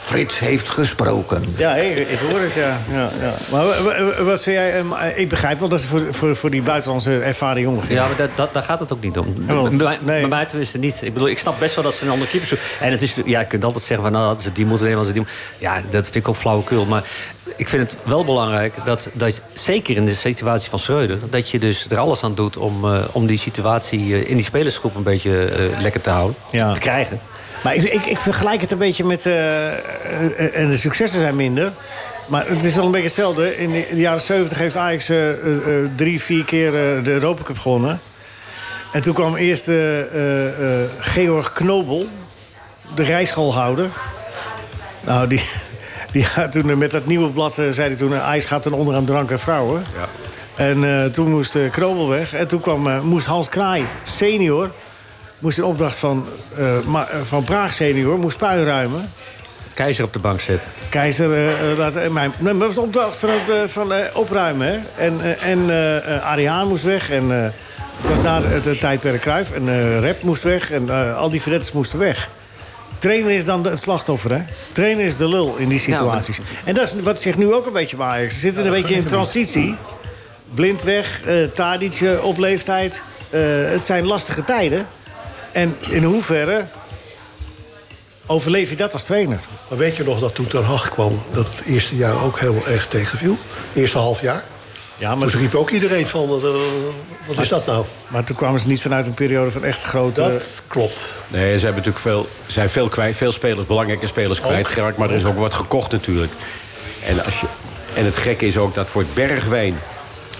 S4: Frits heeft gesproken.
S3: Ja, hé, ik hoor het, ja. ja, ja. Maar wa- wa- wat zei jij... ehm, eh, ik begrijp wel dat ze voor, voor, voor die buitenlandse ervaring jongen
S7: Ja, maar dat, dat, daar gaat het ook niet om.
S3: Jawel,
S7: Bij mij- bij mij tenminste niet. Ik bedoel, ik snap best wel dat ze een andere keeper zoeken. En het is, ja, je kunt altijd zeggen, van, nou, hadden ze die moeten nemen, hadden ze die moeten- Ja, dat vind ik ook flauwekul. Maar ik vind het wel belangrijk dat, dat zeker in de situatie van Schreuder... dat je dus er alles aan doet om, eh, om die situatie eh, in die spelersgroep een beetje eh, lekker te houden.
S3: Ja.
S7: Te krijgen.
S3: Maar ik, ik, ik vergelijk het een beetje met... eh, eh, en de successen zijn minder. Maar het is wel een beetje hetzelfde. In de, in de jaren 70 heeft Ajax eh, eh, eh, drie, vier keer eh, de Europa Cup gewonnen. En toen kwam eerst eh, eh, eh, Georg Knobel, de rijschoolhouder. Nou, die, die had toen eh, met dat nieuwe blad eh, zei hij toen... eh, IJs gaat ten onder aan drank en vrouwen. En eh, toen moest eh, Knobel weg. En toen kwam, eh, moest Hans Kraai, senior... moest een opdracht van, eh, Ma- eh, van Praag senior, moest puin ruimen.
S7: Keizer op de bank zetten.
S3: Keizer eh, eh, laten... eh, Mijn, nee, maar dat was de opdracht van, het, eh, van eh, opruimen, hè. En, eh, en eh, eh, Ariaan moest weg. En eh, het was na het eh, tijdperk Kruif. En eh Rep moest weg. En eh, al die verdetters moesten weg. Trainer is dan de- het slachtoffer, hè? Trainer is de lul in die situaties. En dat is wat zich nu ook een beetje bij Ajax. Ze zitten een beetje in transitie. Blind weg, eh Tadic eh, op leeftijd. Eh, het zijn lastige tijden. En in hoeverre overleef je dat als trainer?
S5: Maar weet je nog dat toen Ten Hag kwam, dat het eerste jaar ook heel erg tegenviel? Eerste half jaar.
S3: Ja,
S5: Maar toen riep ook iedereen van, wat, eh, wat is dat nou?
S3: Maar toen kwamen ze niet vanuit een periode van echt grote...
S5: Dat eh, klopt.
S6: Nee, ze hebben natuurlijk veel, zijn veel kwijt. Veel spelers, belangrijke spelers kwijtgeraakt. Maar er is ook wat gekocht natuurlijk. En, als je, en het gekke is ook dat voor het Bergwijn...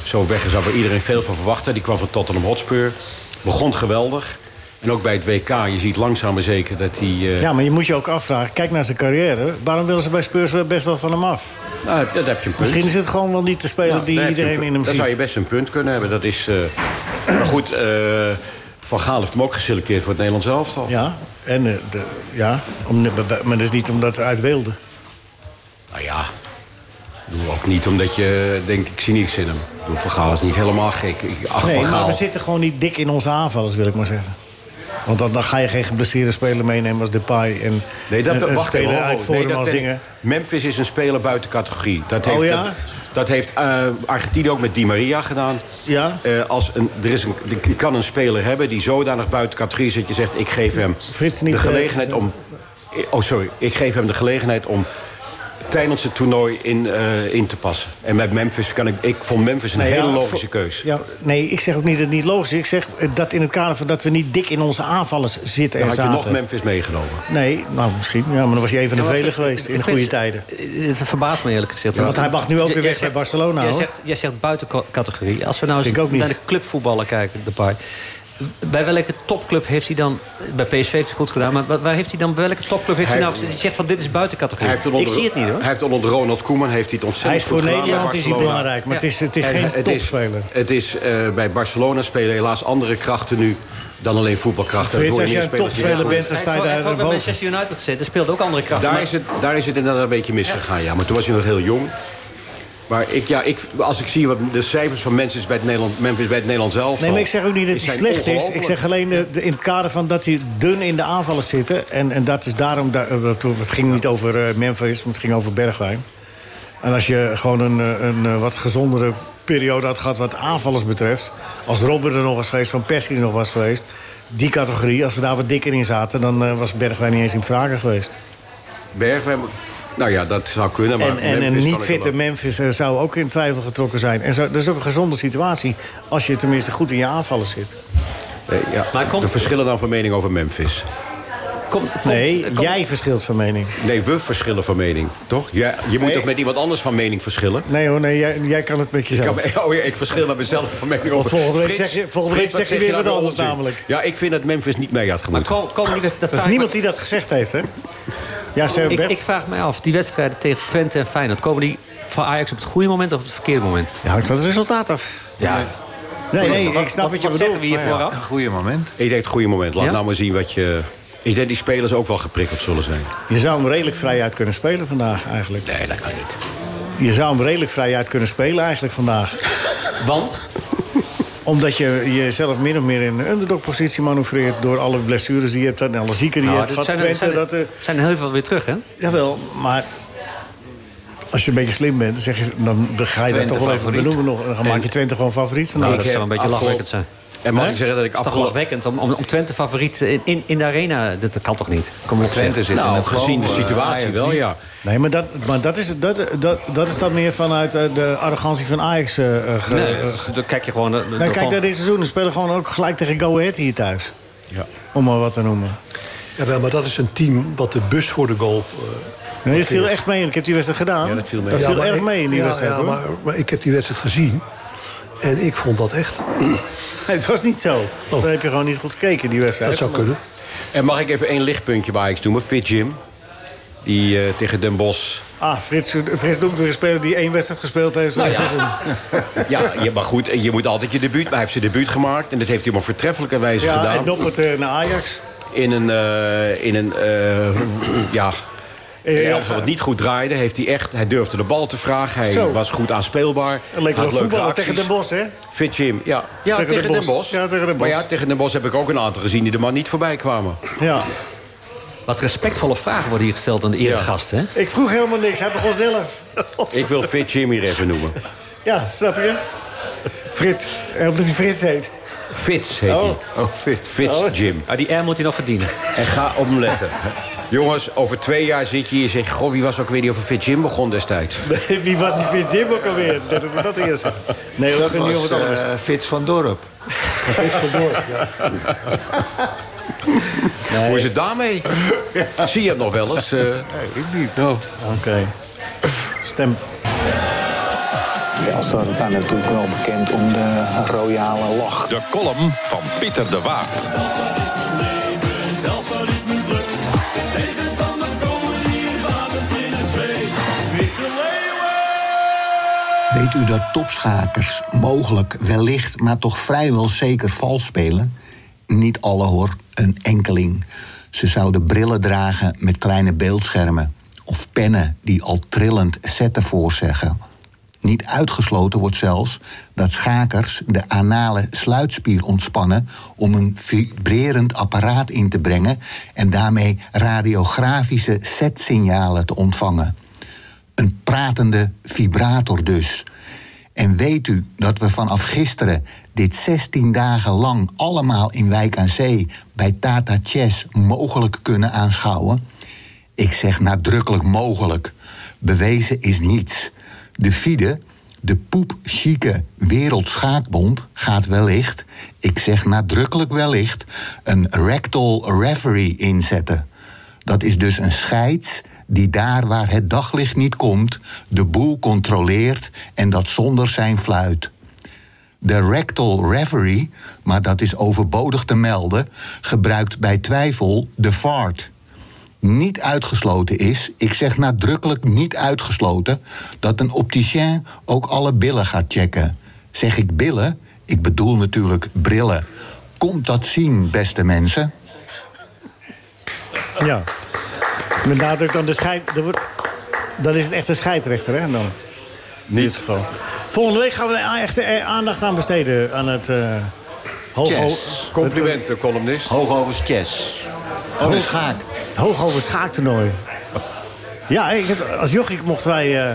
S6: zo weg is daar waar iedereen veel van verwachten. Die kwam van Tottenham Hotspur. Begon geweldig. En ook bij het WK, je ziet langzaam maar zeker dat hij... eh,
S3: Ja, maar je moet je ook afvragen, kijk naar zijn carrière. Waarom willen ze bij Spurs wel best wel van hem af?
S6: nou, dat heb je een punt.
S3: Misschien is het gewoon wel niet de speler
S6: Ja,
S3: die
S6: daar heb je
S3: iedereen
S6: een-
S3: in hem
S6: Daar zou je
S3: ziet.
S6: best een punt kunnen hebben. Dat is, eh, maar goed, eh, Van Gaal heeft hem ook geselecteerd voor het Nederlands elftal.
S3: Ja, en, eh, de, ja om, maar dat is niet omdat hij uit wilde.
S6: Nou ja, ik bedoel ook niet omdat je denkt, ik zie niks in hem. Ik bedoel, Van Gaal is niet helemaal gek. Ik acht
S3: Nee,
S6: Van
S3: maar
S6: Gaal.
S3: we zitten gewoon niet dik in onze aanvallers, wil ik maar zeggen. Want dan, dan ga je geen geblesseerde speler meenemen als Depay. En,
S6: Nee, dat,
S3: en, en
S6: wacht
S3: spelen
S6: even.
S3: uit
S6: oh,
S3: voor
S6: nee,
S3: hem
S6: dat
S3: als
S6: ben ik-
S3: dingen.
S6: Memphis is een speler buiten categorie. Dat
S3: Oh
S6: heeft,
S3: ja?
S6: dat, dat heeft eh, Argentinië ook met Di Maria gedaan.
S3: Ja.
S6: Eh, als een, er is een, je kan een speler hebben die zodanig buiten categorie is... dat je zegt, ik geef hem
S3: Frits niet
S6: de gelegenheid
S3: gezet.
S6: om... Oh, sorry. Ik geef hem de gelegenheid om tijdens het toernooi in, eh, in te passen. En met Memphis kan ik... Ik vond Memphis een
S3: Nee,
S6: hele
S3: ja,
S6: logische
S3: voor-
S6: keus.
S3: Ja, nee, ik zeg ook niet dat het niet logisch is. Ik zeg eh, dat in het kader van dat we niet dik in onze aanvallers zitten
S6: Dan
S3: en
S6: had je nog
S3: zaten.
S6: Memphis meegenomen.
S3: nee, nou misschien. Ja, maar dan was je een van de
S7: Ja, maar
S3: velen
S7: ik-
S3: geweest
S7: ik
S3: in de
S7: vind-
S3: goede tijden.
S7: Het verbaast me eerlijk gezegd.
S3: Ja, want hij mag nu ook
S7: J-
S3: weer
S7: jij
S3: weg bij Barcelona,
S7: Jij
S3: hoor.
S7: zegt, jij zegt buiten ca- categorie. Als we nou eens
S3: Vind ik ook
S7: naar de
S3: niet.
S7: clubvoetballer kijken, de paar. Bij welke topclub heeft hij dan... Bij PSV heeft hij het goed gedaan, maar wa- waar heeft hij dan... Bij welke topclub heeft hij,
S6: Hij
S7: nou...
S6: heeft-
S7: Je zegt van dit is buiten
S6: Hij
S7: categorie.
S6: heeft het onder,
S7: Ik zie het niet hoor.
S6: Hij heeft het onder Ronald Koeman heeft hij het
S3: Hij
S6: ontzettend
S3: is voor
S6: goed gedaan bij
S3: Nederland is hij
S6: Barcelona.
S3: belangrijk, maar
S7: Ja.
S3: het is, het is
S6: En
S3: geen
S6: het is,
S3: topspeler.
S6: het is eh, bij Barcelona spelen helaas andere krachten nu dan alleen voetbalkrachten.
S3: Frits,
S6: Dat hoor
S3: als je
S6: meer
S3: een
S6: spelers die
S3: topspeler
S6: dat doen.
S3: bent, dan sta je
S7: hij
S3: daar
S7: heeft ook bij
S3: boven.
S7: Manchester United gezeten. Er speelt ook andere krachten.
S6: Daar
S7: maar-
S6: is, het, daar is het inderdaad een beetje misgegaan, ja. Maar toen was hij nog heel jong. Maar ik, ja, ik, als ik zie wat de cijfers van Memphis bij het Nederland, Memphis bij het Nederlands zelf...
S3: Nee, maar ik zeg ook niet dat hij slecht is. Ik zeg alleen eh, de- in het kader van dat hij dun in de aanvallen zit. En, en dat is daarom... da- eh, dat- het ging niet over eh, Memphis, maar het ging over Bergwijn. En als je gewoon een, eh, een eh, wat gezondere periode had gehad wat aanvallers betreft... als Robben er nog was geweest, Van Persie er nog was geweest... die categorie, als we daar wat dikker in zaten... dan eh, was Bergwijn niet eens in vragen geweest.
S6: Bergwijn... Nou ja, dat zou kunnen,
S3: En,
S6: maar
S3: en
S6: Memphis
S3: een
S6: kan
S3: niet
S6: ik
S3: fitte
S6: wel-
S3: Memphis eh, zou ook in twijfel getrokken zijn. En zo, dat is ook een gezonde situatie... als je tenminste goed in je aanvallen zit.
S6: Nee, Eh, ja.
S7: Maar komt-
S6: Er verschillen dan van mening over Memphis.
S7: Kom- komt-
S3: Nee,
S7: komt-
S3: jij verschilt van mening.
S6: Nee, we verschillen van mening, toch? Ja, je moet
S3: Nee.
S6: toch met iemand anders van mening verschillen?
S3: Nee hoor, nee, jij, jij kan het met
S6: Ik kan
S3: jezelf.
S6: me- oh ja, ik verschil met mezelf van mening over.
S3: volgende week zeg je- volgende week zeg je weer wat
S6: nou
S3: anders
S6: onzin?
S3: namelijk.
S6: Ja, ik vind dat Memphis niet mee had
S7: Maar
S6: gemoeten.
S7: ko- komen die wedstrijden...
S3: Er is niemand die dat gezegd heeft, hè? Ja, Sam
S7: Ik, ik
S3: Bert.
S7: vraag mij af, die wedstrijden tegen Twente en Feyenoord... komen die van Ajax op het goede moment of op het verkeerde moment?
S3: Ja, hangt van het resultaat af.
S7: Ja,
S3: Nee, nee, ik snap
S7: wat,
S3: wat je
S7: wat zeggen we
S3: bedoelt.
S7: hier
S3: maar ja.
S7: vooraf?
S4: Een goede moment.
S6: Ik denk het goede moment. Laat
S7: Ja?
S6: nou maar zien wat je... Ik denk die spelers ook wel geprikkeld zullen zijn.
S3: Je zou hem redelijk vrij uit kunnen spelen vandaag, eigenlijk.
S6: Nee, dat kan niet.
S3: Je zou hem redelijk vrij uit kunnen spelen, eigenlijk, vandaag.
S7: Want?
S3: Omdat je jezelf min of meer in een underdog-positie manoeuvreert... door alle blessures die je hebt en alle zieken die
S7: Nou,
S3: je hebt
S7: dat Nou,
S3: gehad.
S7: zijn, er-
S3: Twente,
S7: zijn, er-
S3: dat, eh,
S7: zijn er heel veel weer terug, hè?
S3: Jawel, maar als je een beetje slim bent, dan, zeg je, dan dan ga je dat
S8: Twente
S3: toch wel even
S8: favoriet.
S3: benoemen. Nog. Dan maak je Twente gewoon favoriet. Van
S7: Nou,
S3: nou,
S7: dat
S3: dat-
S7: zou een beetje
S6: afgelopen-
S7: lachwekkend zijn.
S6: En mag ik zeggen dat ik
S7: Het is toch
S6: afgelopen...
S7: lachwekkend om, om, om Twente favoriet in, in, in de arena... Dat, dat kan toch niet? Kom op,
S4: Twente
S7: zeg.
S4: zit in
S6: Nou,
S4: het
S6: gezien de
S4: flow, eh,
S6: situatie
S4: Ajax
S6: wel,
S4: niet.
S6: ja.
S3: Nee, maar dat, maar dat is dat, dat, dat is dan meer vanuit eh, de arrogantie van Ajax. eh, eh, ge-
S7: Nee,
S3: eh, ge-
S7: dan kijk je gewoon... eh,
S3: nou,
S7: gewoon-
S3: kijk naar dit seizoen. Ze spelen gewoon ook gelijk tegen Go Ahead hier thuis.
S6: Ja.
S3: Om maar wat te noemen.
S5: Ja, maar dat is een team wat de bus voor de goal... eh,
S3: Nee, dit viel echt mee. Ik heb die wedstrijd gedaan.
S6: Ja, dat viel mee.
S3: Dat
S5: Ja,
S3: viel
S5: maar
S3: erg
S5: ik-
S3: mee in die
S5: ja,
S3: wedstrijd.
S5: ja,
S3: hoor.
S5: maar, maar ik heb die wedstrijd gezien. En ik vond dat echt...
S3: Nee, het was niet zo. Dan heb je gewoon niet goed gekeken, die wedstrijd.
S5: Dat zou kunnen.
S6: En mag ik even één lichtpuntje bij Ajax noemen? Fit Jim. Die eh, tegen Den Bosch...
S3: Ah, Frits, Frits Doek, de speler die één wedstrijd gespeeld heeft.
S6: ja. Ja, je- maar goed, je moet altijd je debuut... Maar hij heeft zijn debuut gemaakt. En dat heeft hij op een vertreffelijke wijze
S3: Ja,
S6: gedaan.
S3: en doppelt eh, naar Ajax.
S6: in een, eh, in een eh, ja,
S3: Eh, ja.
S6: elftal wat niet goed draaide, heeft hij echt, hij durfde de bal te vragen, hij
S3: Zo.
S6: was goed aanspeelbaar,
S3: Het leek wel
S6: had leuke
S3: voetballen
S6: acties.
S3: tegen Den Bosch, hè?
S6: Fit Jim, ja. Ja,
S3: Tegen
S6: tegen,
S3: Den Bosch.
S6: Den Bosch.
S3: Ja, tegen Den
S6: Maar ja,
S3: Bosch.
S6: tegen Den Bosch heb ik ook een aantal gezien die de man niet voorbij kwamen.
S3: Ja.
S7: Wat respectvolle vragen worden hier gesteld aan de eregast, hè?
S3: Ik vroeg helemaal niks. Hij begon zelf.
S6: Ik wil Fit Jim hier even noemen.
S3: Ja, snap je? Frits. Eh, Omdat hij Frits heet.
S6: Fits heet hij.
S3: Oh.
S6: Oh, Fits. Jim.
S7: Ah, die R moet hij nog verdienen.
S6: En ga omletten. Jongens, over twee jaar zit je hier en zeg je... Goh, wie was ook weer die over Fit Jim begon destijds?
S3: Nee, Wie was die Frits Jim ook alweer? Dat we dat eerst zeggen. Nee, dat
S4: Dat
S3: ging niet om
S4: was
S3: het anders.
S4: eh, Frits van Dorp.
S6: Hoe is het daarmee? Zie je het nog wel eens? eh?
S3: Oké. Stem.
S4: Telstar zijn natuurlijk wel bekend om de royale lach.
S2: De column van Pieter de Waard.
S4: Weet u dat topschakers mogelijk, wellicht, maar toch vrijwel zeker vals spelen? Niet alle hoor, een enkeling. Ze zouden brillen dragen met kleine beeldschermen. Of pennen die al trillend zetten voorzeggen. Niet uitgesloten wordt zelfs dat schakers de anale sluitspier ontspannen om een vibrerend apparaat in te brengen en daarmee radiografische zetsignalen te ontvangen. Een pratende vibrator dus. En weet u dat we vanaf gisteren dit 16 dagen lang allemaal in Wijk aan Zee bij Tata Chess mogelijk kunnen aanschouwen? Ik zeg nadrukkelijk mogelijk. Bewezen is niets. De FIDE, de poepchique Wereldschaakbond, gaat wellicht, ik zeg nadrukkelijk wellicht, een rectal referee inzetten. Dat is dus een scheids die daar waar het daglicht niet komt, de boel controleert en dat zonder zijn fluit. De rectal referee, maar dat is overbodig te melden, gebruikt bij twijfel de VART. Niet uitgesloten is, ik zeg nadrukkelijk niet uitgesloten, dat een opticien ook alle billen gaat checken. Zeg ik billen, ik bedoel natuurlijk brillen. Komt dat zien, beste mensen?
S3: Ja. Met nadruk dan de scheid... er wordt- Dan is het echt een scheidrechter, hè? Dan. In dit geval. Volgende week gaan we er echt eh, aandacht aan besteden. Aan het... eh hoog-
S4: Chess.
S6: Complimenten, columnist.
S4: Hoogovers chess. Oh, dat is schaak.
S3: Het Hoogover schaaktoernooi. Ja, ik heb- als jochie mochten wij... eh,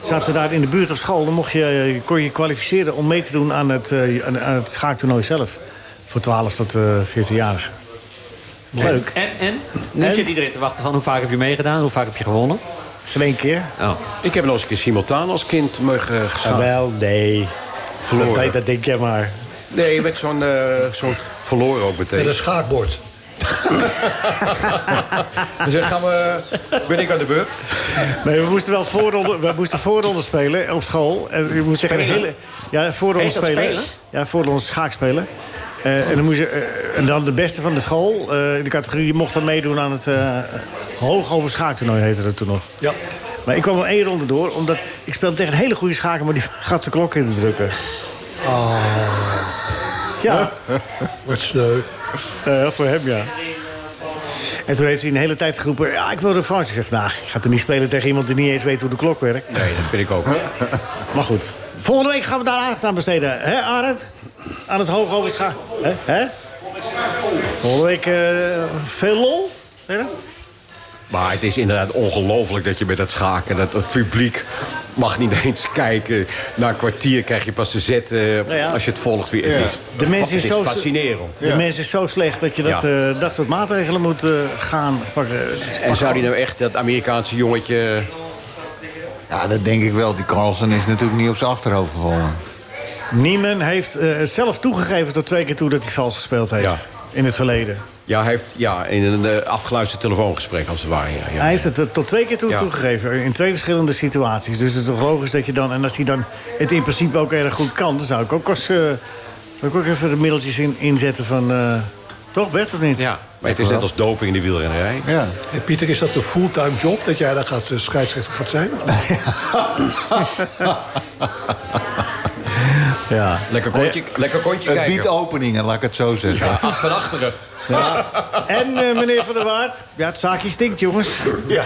S3: zaten we daar in de buurt op school. Dan mocht je, eh, kon je kwalificeren om mee te doen aan het, eh, aan aan het schaaktoernooi zelf. Voor 12 tot eh 14-jarigen. Leuk.
S7: En, en? Nu
S3: En?
S7: zit iedereen te wachten van hoe vaak heb je meegedaan, hoe vaak heb je gewonnen.
S3: In één keer?
S7: Oh.
S6: Ik heb nog eens een keer simultaan als kind mogen
S3: Ah,
S6: gestaan.
S3: wel, nee.
S6: Verloren.
S3: Dat, dat denk jij maar.
S6: Nee, met zo'n eh, zo'n verloren ook
S5: En
S6: meteen.
S5: een schaakbord.
S6: Dus dan gaan we, ben ik aan de beurt.
S3: Nee, we moesten wel voorronde, we moesten voorronde spelen op school. En je moest tegen een hele. Ja, voorronde
S7: Heet dat
S3: spelen.
S7: spelen?
S3: Ja, voorronde schaak spelen. Eh, en, dan moest je, eh, en dan de beste van de school, eh, in de categorie, die mocht dan meedoen aan het eh hoogover schaaktoernooi, heette dat toen nog.
S5: Ja.
S3: Maar ik kwam er één ronde door, omdat ik speelde tegen een hele goede schaker, maar die gaat zijn klok in te drukken. Ja,
S5: Wat sneu.
S3: eh, voor hem ja. En toen heeft hij een hele tijd geroepen, ja, ik wil de Frans. Ik zeg, nou, ik ga toch niet spelen tegen iemand die niet eens weet hoe de klok werkt.
S6: Nee, dat vind ik ook.
S3: Maar goed, volgende week gaan we daar aandacht aan besteden, hè Arend? aan het Hooghogescha... Hè? Hè? Volgende week eh, veel lol? Weet je dat?
S6: Maar het is inderdaad ongelooflijk dat je met dat schaken... dat het publiek mag niet eens kijken. Na een kwartier krijg je pas te zetten
S3: ja.
S6: als je het volgt weer. Het is,
S3: De mens is,
S6: het
S3: zo,
S6: is fascinerend.
S3: De mens is zo slecht dat je dat,
S6: Ja.
S3: eh, dat soort maatregelen moet eh, gaan pakken.
S6: En zou die nou echt dat Amerikaanse jongetje...
S4: Ja, dat denk ik wel. Die Carlsen is natuurlijk niet op zijn achterhoofd gevallen.
S3: Niemen heeft eh, zelf toegegeven tot twee keer toe dat hij vals gespeeld heeft. In het verleden.
S6: Ja, hij heeft ja, in een eh, afgeluisterd telefoongesprek als het ware. Ja, ja.
S3: Hij heeft het eh, tot twee keer toe
S6: Ja.
S3: toegegeven. In twee verschillende situaties. Dus het is toch logisch dat je dan... En als hij dan het in principe ook erg goed kan... dan zou ik ook, als, eh, zou ik ook even de middeltjes in, inzetten van... eh, toch Bert, of niet?
S7: Ja.
S6: Maar het is net als doping in de wielrennerij.
S4: Ja.
S5: En Pieter, is dat een fulltime job dat jij daar gaat, eh, scheidsrechter gaat zijn?
S3: Ja.
S6: Lekker kontje, lekker kontje
S4: Het
S6: kijken.
S4: biedt openingen, laat ik het zo zeggen.
S6: Ja, achter achteren.
S3: En eh, meneer Van der Waard? Ja, het zaakje stinkt, jongens.
S5: Ja.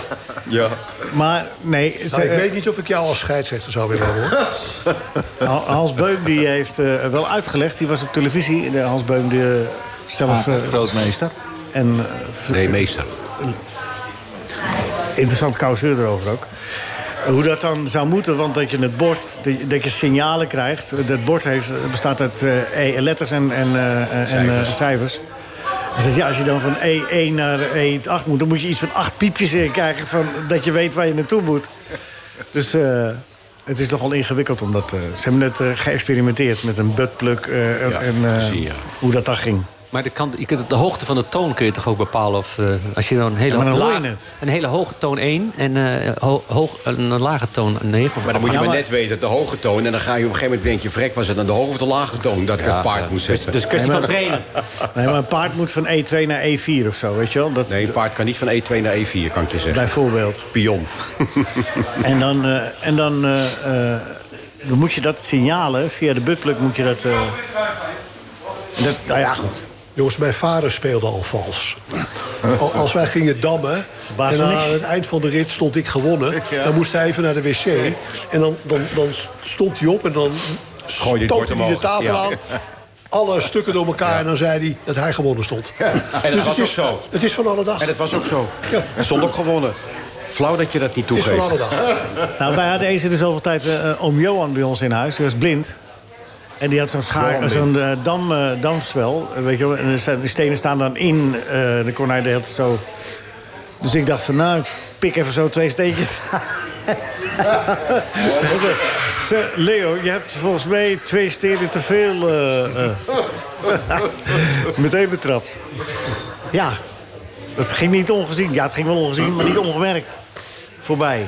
S6: Ja.
S3: Maar nee,
S5: Nou,
S3: ze-
S5: ik weet niet of ik jou als scheidsrechter zou willen hebben, hoor.
S3: eh, Ha- Hans Beum die heeft eh, wel uitgelegd. Die was op televisie. De Hans Beum die, eh, zelf...
S5: Ah.
S3: eh,
S4: Grootmeester.
S3: en eh,
S6: Nee, meester.
S3: interessant causeur erover ook. Hoe dat dan zou moeten, want dat je het bord, dat je- dat je signalen krijgt. Dat bord heeft, bestaat uit eh, E letters en, en, eh, en cijfers. cijfers. Hij zegt, ja, als je dan van E1 naar E8 moet, dan moet je iets van acht piepjes in krijgen... Van, dat je weet waar je naartoe moet. Dus eh, het is nogal ingewikkeld, omdat eh, ze hebben net eh, geëxperimenteerd met een buttplug... eh, en- en eh,
S6: gezien, ja.
S3: hoe dat dan ging.
S7: Maar de, kant, je kunt, de hoogte van de toon kun je toch ook bepalen? Of, eh, als je dan een hele,
S3: Ja, maar dan hoor je
S7: laag-
S3: het.
S7: een hele hoge toon 1 en eh, ho- hoog, een lage toon 9.
S6: Maar dan moet je
S3: Ja,
S6: maar
S3: maar-
S6: net weten, de hoge toon. En dan ga je op een gegeven moment denk je... vrek, was het dan de hoge of de lage toon dat ik het paard moest zetten?
S7: Dus kwestie van trainen.
S3: Nee, maar een paard moet van E2 naar E4 of zo, weet je wel? Dat,
S6: nee, een paard kan niet van E2 naar E4, kan ik je zeggen.
S3: Bijvoorbeeld.
S6: Pion.
S3: En dan, eh, en dan, eh, eh, dan moet je dat signalen, via de buttplug moet je dat... eh, dat nou ja, goed.
S5: Jongens, mijn vader speelde al vals. Al- Als wij gingen dammen
S3: Verbaast
S5: en
S3: me
S5: aan
S3: niks.
S5: het eind van de rit stond ik gewonnen... dan moest hij even naar de wc en dan, dan, dan stond hij op en dan
S6: Gooide het
S5: stootte
S6: bord
S5: hij de
S6: omhoog.
S5: tafel
S6: Ja.
S5: aan... alle stukken door elkaar en dan zei hij dat hij gewonnen stond. Dus
S6: En dat was
S5: het
S6: ook
S5: is,
S6: zo.
S5: Het is van alle dag.
S6: En dat
S5: Het
S6: was ook zo.
S5: Ja.
S6: Er stond ook gewonnen. Flauw dat je dat niet
S5: is van alle
S6: toegeeft.
S5: dag.
S3: Nou, wij hadden eens in de zoveel tijd eh, eh, oom Johan bij ons in huis. Hij was blind. En die had zo'n schaar, zo'n eh, dam, eh, damspel. eh, Weet je wel, en er staan- de stenen staan dan in. eh dan kon hij de hele tijd zo... Dus ik dacht van, nou, ik pik even zo twee steentjes. Zo, Leo, je hebt volgens mij twee stenen te veel. eh, eh. Meteen betrapt. Ja, dat ging niet ongezien. Ja, het ging wel ongezien, maar niet ongemerkt. Voorbij.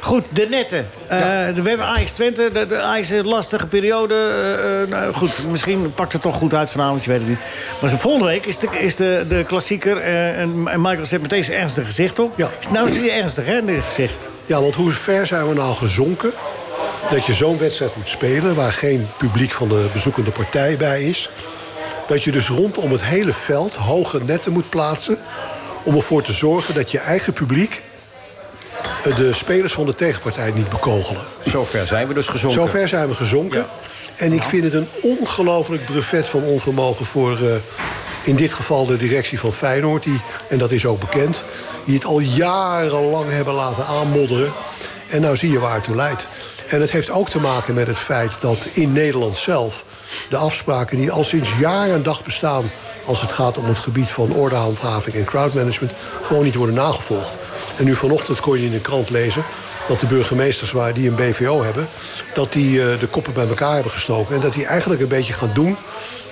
S3: Goed, de netten. Eh, We hebben Ajax Twente. De, de Ajax heeft een lastige periode. Eh, eh, nou, goed, misschien pakt het toch goed uit vanavond. Je weet het niet. Maar zo volgende week is de, is de, de klassieker. eh, en, en Michael zet meteen zijn ernstig gezicht op.
S5: Ja.
S3: Nou is hij ernstig, hè, in dit gezicht.
S5: Ja, want hoe ver zijn we nou gezonken dat je zo'n wedstrijd moet spelen... waar geen publiek van de bezoekende partij bij is... dat je dus rondom het hele veld hoge netten moet plaatsen... om ervoor te zorgen dat je eigen publiek eh, de spelers van de tegenpartij niet bekogelen.
S6: Zover zijn we dus gezonken.
S5: Zover zijn we gezonken. En ik vind het een ongelooflijk brevet van onvermogen voor eh, in dit geval de directie van Feyenoord. Die, en dat is ook bekend. Die het al jarenlang hebben laten aanmodderen. En nou zie je waar het toe leidt. En het heeft ook te maken met het feit dat in Nederland zelf de afspraken die al sinds jaar en dag bestaan als het gaat om het gebied van ordehandhaving en crowdmanagement... gewoon niet worden nagevolgd. En nu vanochtend kon je in de krant lezen dat de burgemeesters waar die een BVO hebben... dat die eh, de koppen bij elkaar hebben gestoken. En dat die eigenlijk een beetje gaan doen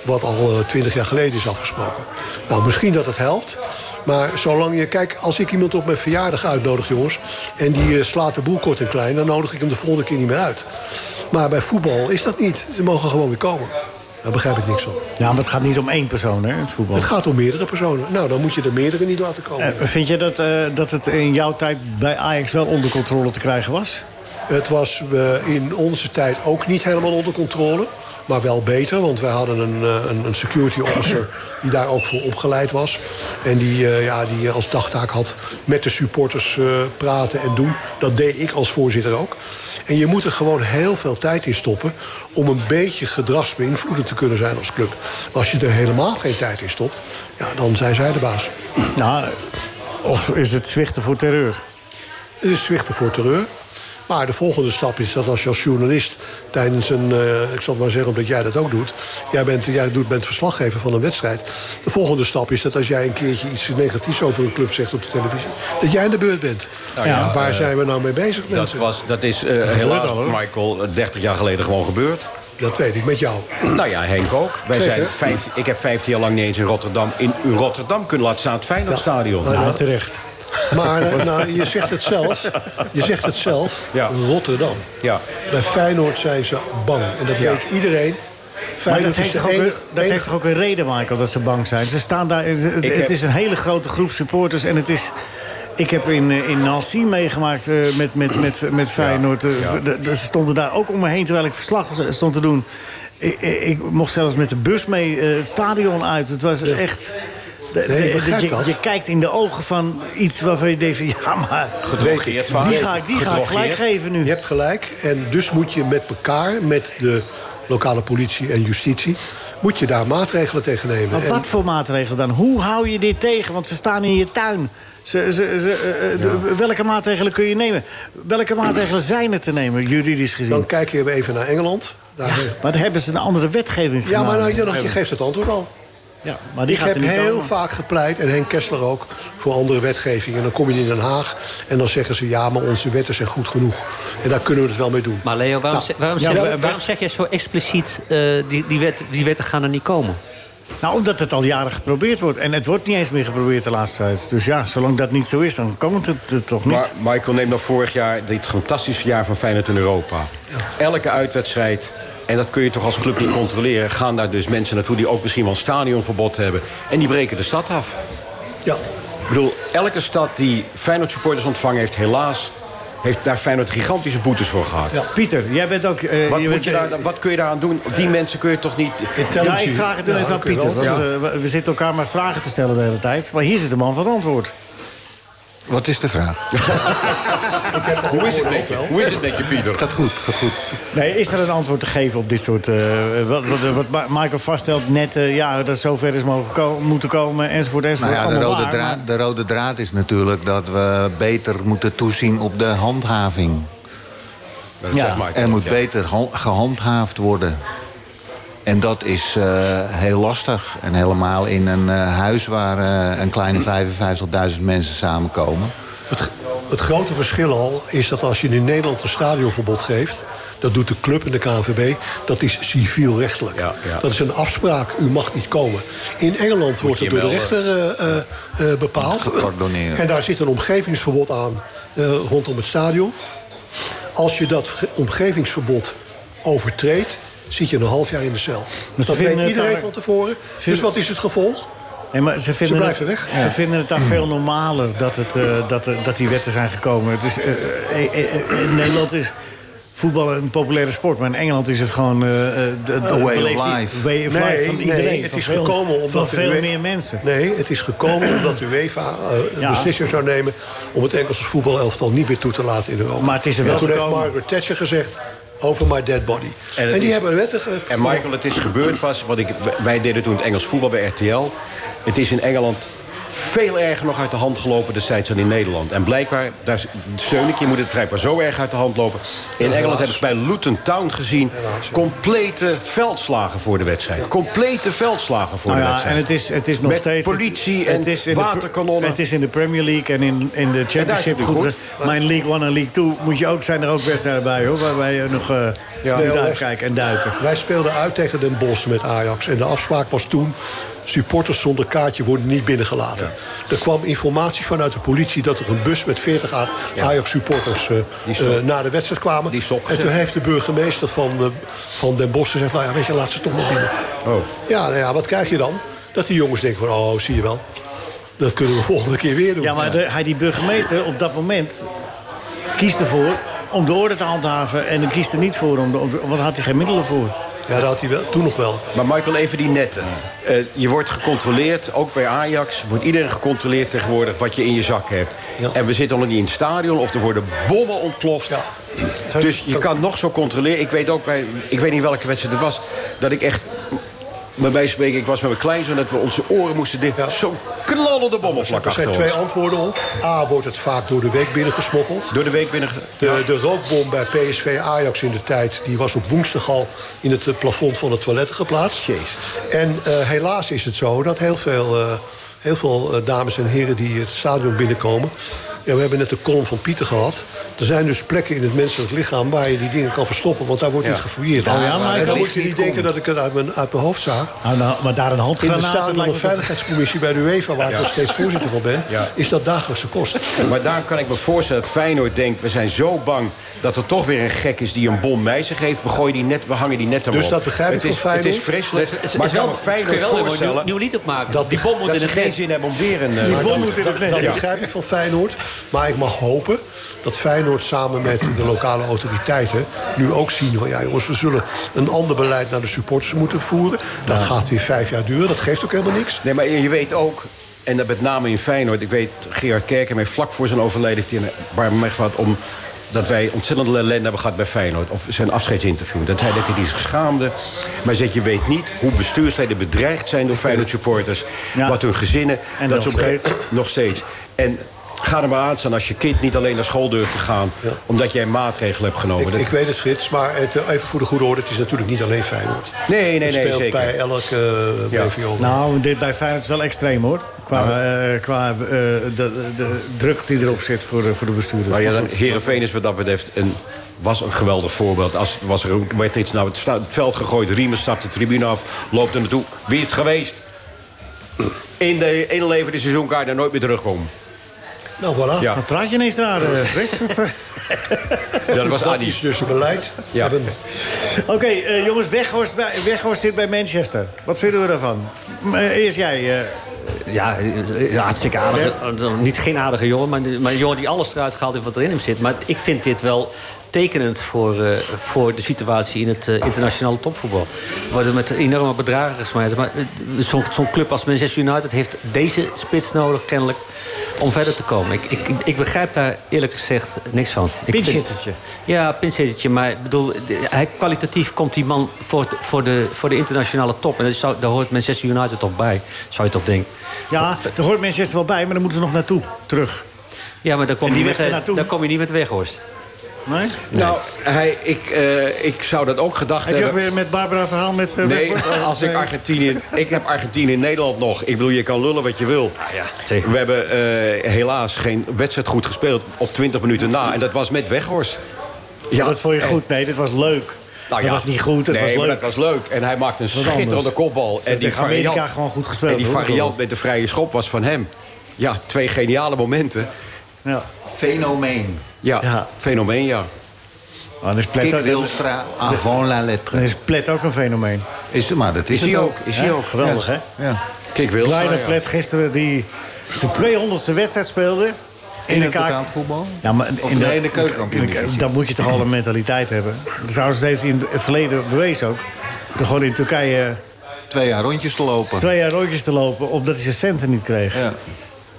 S5: wat al eh, twintig jaar geleden is afgesproken. Nou, misschien dat het helpt. Maar zolang je... Kijk, als ik iemand op mijn verjaardag uitnodig, jongens... en die eh, slaat de boel kort en klein... dan nodig ik hem de volgende keer niet meer uit. Maar bij voetbal is dat niet. Ze mogen gewoon weer komen. Daar begrijp ik niks van.
S3: Ja, maar het gaat niet om één persoon, hè, het voetbal.
S5: Het gaat om meerdere personen. Nou, dan moet je er meerdere niet laten komen.
S3: Eh, vind je dat, eh, dat het in jouw tijd bij Ajax wel onder controle te krijgen was?
S5: Het was eh, in onze tijd ook niet helemaal onder controle. maar wel beter. Want wij hadden een, eh, een, een security officer die daar ook voor opgeleid was. En die, eh, ja, die als dagtaak had met de supporters eh, praten en doen. Dat deed ik als voorzitter ook. En je moet er gewoon heel veel tijd in stoppen... om een beetje gedragsbeïnvloedend te kunnen zijn als club. Maar als je er helemaal geen tijd in stopt, ja, dan zijn zij de baas.
S3: Nou, of is het zwichten voor terreur?
S5: Het is Eh, zwichten voor terreur. Maar de volgende stap is dat als je als journalist tijdens een... eh, ik zal het maar zeggen omdat jij dat ook doet. Jij bent, jij doet, bent verslaggever van een wedstrijd. De volgende stap is dat als jij een keertje iets negatiefs over een club zegt op de televisie... dat jij in de beurt bent.
S6: Nou
S5: ja,
S6: ja,
S5: waar
S6: eh,
S5: zijn we nou mee bezig,
S6: Dat,
S5: mensen?
S6: was, dat is eh, helaas, Michael, eh, 30 jaar geleden gewoon gebeurd.
S5: Dat weet ik, met jou.
S6: Nou ja, Henk ook. Wij
S5: Zeker.
S6: zijn vijf, ik heb 15 jaar lang niet eens in Rotterdam, in Rotterdam kunnen laten staan. Het Feyenoordstadion.
S5: Nou, nou,
S3: terecht.
S5: Maar eh, nou, je zegt het zelf. Je zegt het zelf.
S6: Ja.
S5: Rotterdam.
S6: Ja.
S5: Bij Feyenoord zijn ze bang. En dat weet iedereen.
S3: Maar dat
S5: Feyenoord is
S3: heeft,
S5: de
S3: toch ook,
S5: enige...
S3: een- dat heeft toch ook een reden, Michael, dat ze bang zijn. Ze staan daar. Het, het-
S6: Ik
S3: het
S6: heb-
S3: is een hele grote groep supporters en het is. Ik heb in, eh, in Nancy meegemaakt eh, met, met, met, met Feyenoord. Eh,
S6: ja.
S3: de- de- Ze stonden daar ook om me heen terwijl ik verslag was- stond te doen. Ik, ik, ik mocht zelfs met de bus mee eh, het stadion uit. Het was echt. de-
S5: Nee, ik
S3: de-
S5: begrijp
S3: je,
S5: dat.
S3: je kijkt in de ogen van iets waarvan je denkt van ja, maar
S6: Gedrogeerd vaak.
S3: die ga ik, die ga ik gelijk
S6: Gedrogeerd.
S3: geven nu.
S5: Je hebt gelijk. En dus moet je met elkaar, met de lokale politie en justitie... moet je daar maatregelen tegen nemen.
S3: Maar
S5: En-
S3: wat voor maatregelen dan? Hoe hou je dit tegen? Want ze staan in je tuin. Ze, ze, ze, eh, eh, de- Welke maatregelen kun je nemen? Welke maatregelen zijn er te nemen, juridisch gezien?
S5: Dan kijk je even naar Engeland. Daar- ja,
S3: Maar daar hebben ze een andere wetgeving gedaan.
S5: maar nou, je, je geeft het antwoord al.
S3: Ja, maar die
S5: ik
S3: gaat
S5: heb
S3: er niet
S5: heel
S3: komen.
S5: vaak gepleit, en Henk Kessler ook, voor andere wetgeving. En dan kom je in Den Haag en dan zeggen ze... ja, maar onze wetten zijn goed genoeg. En daar kunnen we het wel mee doen.
S7: Maar Leo, waarom,
S5: Nou,
S7: ze- waarom,
S5: ja,
S7: zeg,
S5: maar-
S7: waarom zeg jij zo expliciet... eh, die, die, wet, die wetten gaan er niet komen?
S3: Nou, omdat het al jaren geprobeerd wordt. En het wordt niet eens meer geprobeerd de laatste tijd. Dus ja, zolang dat niet zo is, dan komt het er toch niet.
S6: Maar Michael neemt nog vorig jaar dit fantastische jaar van Feyenoord in Europa. Elke uitwedstrijd, en dat kun je toch als club niet controleren... gaan daar dus mensen naartoe die ook misschien wel een stadionverbod hebben. En die breken de stad af.
S5: Ja,
S6: Ik bedoel, elke stad die Feyenoord supporters ontvangen heeft... helaas heeft daar Feyenoord gigantische boetes voor gehad.
S5: Ja.
S3: Pieter, jij bent ook... eh,
S6: Wat,
S3: je
S6: moet
S3: bent, eh,
S6: je daar, wat kun je daaraan doen? Die mensen kun je toch niet...
S3: ja, ik vraag het nu
S5: Ja,
S3: even aan
S5: oké, wel,
S3: Pieter. Want,
S5: dat-
S3: eh, we- we zitten elkaar maar vragen te stellen de hele tijd. Maar hier zit de man van het antwoord.
S4: Wat is de vraag?
S6: Hoe is, het met je? Hoe is het met je, Pieter?
S4: Gaat goed, gaat goed.
S3: Nee, is er een antwoord te geven op dit soort... eh, wat, wat, wat Ma- Michael vaststelt net, eh, ja, dat zover is mogen ko- moeten komen, enzovoort, enzovoort.
S4: Nou ja, de
S3: Allemaal
S4: rode,
S3: waar,
S4: draad, de rode draad is natuurlijk dat we beter moeten toezien op de handhaving.
S6: Dat
S3: Ja.
S6: zegt Michael
S4: Er
S6: ook,
S4: moet
S6: ja.
S4: beter han- gehandhaafd worden. En dat is eh, heel lastig. En helemaal in een eh, huis waar eh, een kleine 55.000 mensen samenkomen.
S5: Het, het grote verschil al is dat als je in Nederland een stadionverbod geeft... dat doet de club en de KNVB, dat is civielrechtelijk.
S6: Ja, ja.
S5: Dat is een afspraak, u mag niet komen. In Engeland wordt
S6: je
S5: het door de
S6: melden.
S5: rechter eh, eh, eh, bepaald.
S4: Gepardonneerd.
S5: En daar zit een omgevingsverbod aan eh, rondom het stadion. Als je dat ge- omgevingsverbod overtreedt, zit je een half jaar in de cel.
S3: ze
S5: Dat
S3: vinden
S5: weet
S3: het
S5: iedereen
S3: daar-
S5: van tevoren. Dus
S3: vinden-
S5: wat is het gevolg?
S3: hè? Nee, maar ze, vinden
S5: blijven
S3: het,
S5: weg.
S3: Ze vinden het daar veel normaler dat, het, eh, dat, er- dat die wetten zijn gekomen. Het is, eh, eh, eh, eh, in Nederland is voetbal een populaire sport, maar in Engeland is het gewoon... eh de,
S4: A way of life.
S3: Way of life van iedereen.
S5: het
S3: van
S5: is
S3: veel-
S5: gekomen omdat
S3: Van
S5: de
S3: veel
S5: UE
S3: meer mensen.
S5: Nee, het is gekomen omdat de UEFA eh, een
S3: Ja.
S5: beslissing zou nemen om het Engelse voetbalelftal niet meer toe te laten in Europa.
S3: Maar het is er wel
S5: en toen
S3: gekomen.
S5: heeft Margaret Thatcher gezegd over my dead body.
S6: En
S5: En,
S6: het
S5: die
S6: is-
S5: hebben wetten. ge-
S6: En Michael, het is gebeurd pas, want ik, wij deden toen het Engels voetbal bij RTL. Het is in Engeland veel erger nog uit de hand gelopen destijds dan in Nederland. En blijkbaar, daar steun ik je, moet het blijkbaar zo erg uit de hand lopen. In Engeland hebben ze bij Luton Town gezien complete veldslagen voor de wedstrijd. Complete veldslagen voor
S3: Nou
S6: de
S3: ja,
S6: wedstrijd.
S3: en het is, het is nog
S6: Met
S3: steeds...
S6: politie en
S3: in de-
S6: waterkanonnen.
S3: het is in de Premier League en in, in de
S6: daar is het
S3: Championship
S6: nu
S3: goed.
S6: goed.
S3: ge- Maar in League One en League Two moet je ook, zijn er ook wedstrijden bij, hoor. Waarbij je nog eh moet uitkijken en duiken.
S5: Wij speelden uit tegen Den Bosch met Ajax. En de afspraak was toen... supporters zonder kaartje worden niet binnengelaten. Er kwam informatie vanuit de politie dat er een bus met 40 A- Ajax-supporters... eh,
S6: Die stop-
S5: eh, naar de wedstrijd kwamen.
S6: Die stop
S5: en
S6: gezet.
S5: toen heeft de burgemeester van, eh, van Den Bosch gezegd... nou ja, weet je, laat ze toch maar binnen.
S6: Oh.
S5: Ja, nou ja, wat krijg je dan? Dat die jongens denken van, oh, zie je wel. Dat kunnen we volgende keer weer doen.
S3: Ja, maar de- hij, die burgemeester op dat moment kiest ervoor om de orde te handhaven. En hij kiest er niet voor, om de, om de- want daar had hij geen middelen voor.
S5: Ja, dat had hij wel, toen nog wel.
S6: Maar Michael, even die netten. Eh, je wordt gecontroleerd, ook bij Ajax wordt iedereen gecontroleerd tegenwoordig wat je in je zak hebt. En we zitten nog niet in het stadion of er worden bommen ontploft. Dus je kan nog zo controleren. Ik weet ook bij, ik weet niet welke wedstrijd het was, dat ik echt. Bij wijze van spreken, ik was met mijn kleinzoon dat we onze oren moesten dicht. Zo'n knallende bommen vlak
S5: Er
S6: achter
S5: zijn
S6: ons.
S5: twee antwoorden op. A, wordt het vaak door de week binnengesmokkeld.
S6: Door de week binnen.
S5: De, de rookbom bij PSV Ajax in de tijd... die was op woensdag al in het eh, plafond van het toilet geplaatst. En eh, helaas is het zo dat heel veel, eh, heel veel eh, dames en heren... die het stadion binnenkomen... Ja, we hebben net de column van Pieter gehad. Er zijn dus plekken in het menselijk lichaam... waar je die dingen kan verstoppen, want daar wordt
S3: Ja.
S5: niet gefouilleerd.
S3: Oh ja, maar
S5: en
S3: het
S5: dan
S3: licht
S5: moet je niet
S3: niet
S5: denken
S3: komt.
S5: dat ik het uit mijn, uit mijn hoofd zag.
S3: Ah, nou, maar daar een
S5: In de
S3: handgranaat... dat
S5: staat
S3: lijkt
S5: de
S3: me
S5: veiligheidscommissie bij de UEFA... waar ik
S6: Ja.
S5: nog steeds voorzitter van ben,
S6: Ja.
S5: is dat dagelijkse kost.
S6: Maar daar kan ik me voorstellen dat Feyenoord denkt... we zijn zo bang dat er toch weer een gek is die een bom bij zich heeft. We, gooien die net, we hangen die net erop.
S5: Dus dat begrijp ik
S6: het is,
S5: van Feyenoord.
S6: Het is vreselijk.
S7: Het is-
S6: maar
S7: is
S6: ik kan
S7: wel-
S6: me
S7: kun je
S6: Feyenoord
S7: wel weer
S6: voorstellen...
S7: een nieuw- nieuw lied opmaken.
S5: Dat-
S7: Die bom moet
S6: dat
S7: in
S6: ze
S7: het
S6: geen
S7: net.
S6: zin hebben om weer een... eh,
S3: Die bom
S6: doel
S3: moet
S6: te-
S3: in het net.
S5: Dat
S3: Ja.
S5: begrijp ik van Feyenoord. Maar ik mag hopen dat Feyenoord samen met de lokale autoriteiten... nu ook zien van, ja jongens, we zullen een ander beleid naar de supporters moeten voeren. Dat gaat weer vijf jaar duren, dat geeft ook helemaal niks.
S6: Nee, maar je weet ook... En dat met name in Feyenoord. Ik weet, Gerard Kerken, vlak voor zijn overlijden... heeft hij een barmweg gehad om dat wij ontzettend ellende hebben gehad bij Feyenoord. Of zijn afscheidsinterview. Dat hij dat hij zich schaamde. Maar zegt, je weet niet hoe bestuursleden bedreigd zijn door Feyenoord supporters.
S3: Ja.
S6: Wat hun gezinnen...
S3: En nog
S6: dat ze op een gegeven- Nog steeds. En ga er maar aan staan als je kind niet alleen naar school durft te gaan... omdat jij maatregelen hebt genomen.
S5: Ik,
S6: Dat-
S5: ik weet het, Frits, maar het, eh, even voor de goede orde... het is natuurlijk niet alleen Feyenoord.
S6: Nee, nee, nee,
S5: Het speelt
S6: zeker.
S5: bij elke eh,
S6: Ja.
S5: BVO.
S3: Nou, dit bij Feyenoord is wel extreem, hoor. Qua, eh, qua eh, de, de- de druk die erop zit voor, eh, voor de bestuurders.
S6: Maar ja,
S3: Maar
S6: dan,
S3: goed.
S6: Heerenveen is wat dat betreft een, was een geweldig voorbeeld. Als, was er, ook- werd er iets naar het, sta- het veld gegooid, Riemen stapt de tribune af, loopt er naartoe. Wie is het geweest? In de ene leven de seizoenkaart en nooit meer terugkomen.
S5: Nou, voilà.
S6: Ja.
S3: Dan praat je ineens daar, eh, Frits.
S6: Ja, dat was
S5: Dat
S6: Adi.
S5: is dus een beleid.
S6: Ja.
S5: Hebben-
S3: Oké, eh, jongens, Weghorst, bij, Weghorst zit bij Manchester. Wat vinden we daarvan? M- eh, eerst jij. eh,
S7: Ja, eh, hartstikke aardig. Eh, Niet geen aardige jongen, maar, maar een jongen die alles eruit gehaald heeft wat er in hem zit. Maar ik vind dit wel tekenend voor, eh, voor de situatie in het eh, internationale topvoetbal. Er worden met enorme bedragen gesmeten. Maar eh, zo'n zo'n club als Manchester United heeft deze spits nodig, kennelijk, om verder te komen. Ik, ik, ik begrijp daar eerlijk gezegd niks van. Ik vind-
S3: Pinchittertje.
S7: ja, pincetje. Maar ik bedoel, de- hij, kwalitatief komt die man voor, het- voor, de, voor de internationale top. En dat zou, daar hoort Manchester United toch bij, zou je toch denken.
S3: ja, daar hoort Manchester wel bij, maar dan moeten ze nog naartoe. Terug.
S7: Ja, maar daar kom,
S3: En
S7: je
S3: die
S7: niet,
S3: weg
S7: met,
S3: ernaartoe.
S7: daar kom je niet met Weghorst.
S3: Nee?
S6: Nou, hij, ik, eh, ik zou dat ook gedacht
S3: Heb je ook
S6: hebben.
S3: weer met Barbara verhaal met eh,
S6: Nee,
S3: Weghorst? Oh,
S6: als ik
S3: nee.
S6: Argentinië... Ik heb Argentinië in Nederland nog. Ik bedoel, je kan lullen wat je wil.
S3: Ah,
S7: ja, zeker.
S6: We hebben eh, helaas geen wedstrijd goed gespeeld op 20 minuten na. En dat was met Weghorst.
S3: Ja, dat vond je goed. Nee, dit was leuk. Dat
S6: Nou ja,
S3: was niet goed, het
S6: nee,
S3: was
S6: maar
S3: leuk.
S6: dat was leuk. En hij maakte een
S3: was anders.
S6: schitterende kopbal.
S3: Ze
S6: En die
S3: tegen Amerika
S6: variant,
S3: gewoon goed gespeeld,
S6: En die
S3: hoor,
S6: variant
S3: bijvoorbeeld.
S6: met de vrije schop was van hem. Ja, twee geniale momenten.
S3: Ja.
S4: Fenomeen.
S6: Ja,
S3: Ja.
S6: fenomeen, ja.
S3: Ah, dan is Plet
S4: Ik
S3: ook- Dus
S4: Wilstra, avant la
S3: dan
S4: lettre.
S3: is Plet ook een fenomeen.
S4: Is, maar dat is,
S6: hij
S4: het
S6: ook, is hij
S4: Ja,
S6: ook.
S3: Geweldig,
S4: ja,
S3: hè?
S4: Ja.
S6: Kijk, wil
S3: Kleine Plet gisteren die zijn 200ste wedstrijd speelde.
S4: In, het
S3: kaak-
S4: betaald voetbal?
S3: Ja, maar in
S4: Of nee, in de keukenkampioen.
S3: Dan moet je toch al een mentaliteit hebben. Trouwens, deze in het verleden bewezen ook. Door gewoon in Turkije
S4: Twee jaar rondjes te lopen.
S3: twee jaar rondjes te lopen... omdat hij zijn centen niet kreeg.
S4: Ja,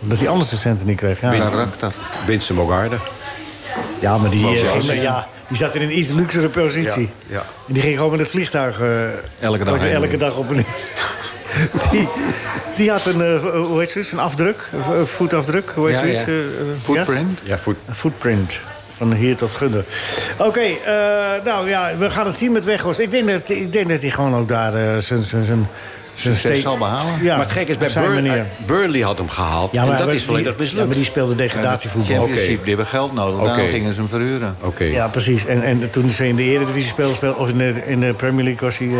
S3: Omdat hij anders zijn centen niet kreeg. Ja,
S4: karakter.
S6: Winst hem ook harder.
S3: ja maar die, eh,
S6: Ja.
S3: ging- ja, die zat in een iets luxere positie.
S6: Ja, ja.
S3: En die ging gewoon met het vliegtuig... eh,
S4: Elke dag heen.
S3: elke dag op en Die, die had een, eh, hoe heet zoiets, een afdruk, een vo- voetafdruk. Hoe heet
S7: Ja,
S3: zoiets?
S7: ja.
S3: eh, eh, ja?
S4: Footprint.
S6: Ja, voet.
S3: Een footprint. Van hier tot Gunde. Oké, eh, nou ja, we gaan het zien met Weghorst. Ik denk dat, ik denk dat hij gewoon ook daar eh, zijn... zijn, zijn zijn
S4: Succes
S3: steek-
S4: zal behalen.
S3: Ja,
S6: maar het gek is, bij
S3: op zijn
S6: Burn-
S3: manier.
S6: Burnley had hem gehaald.
S3: Ja, maar
S6: en dat
S3: we-
S6: is volledig
S3: die-
S6: mislukt.
S3: Ja, maar die speelde
S4: Ja,
S3: degradatievoetbal.
S4: de
S6: Oké.
S4: Championship, die hebben geld nodig. Daarom
S6: Oké.
S4: gingen ze hem verhuren.
S6: Oké.
S3: Ja, precies. En, en toen ze in de Eredivisie speelde, speelde- of in de, in de Premier League was hij... eh,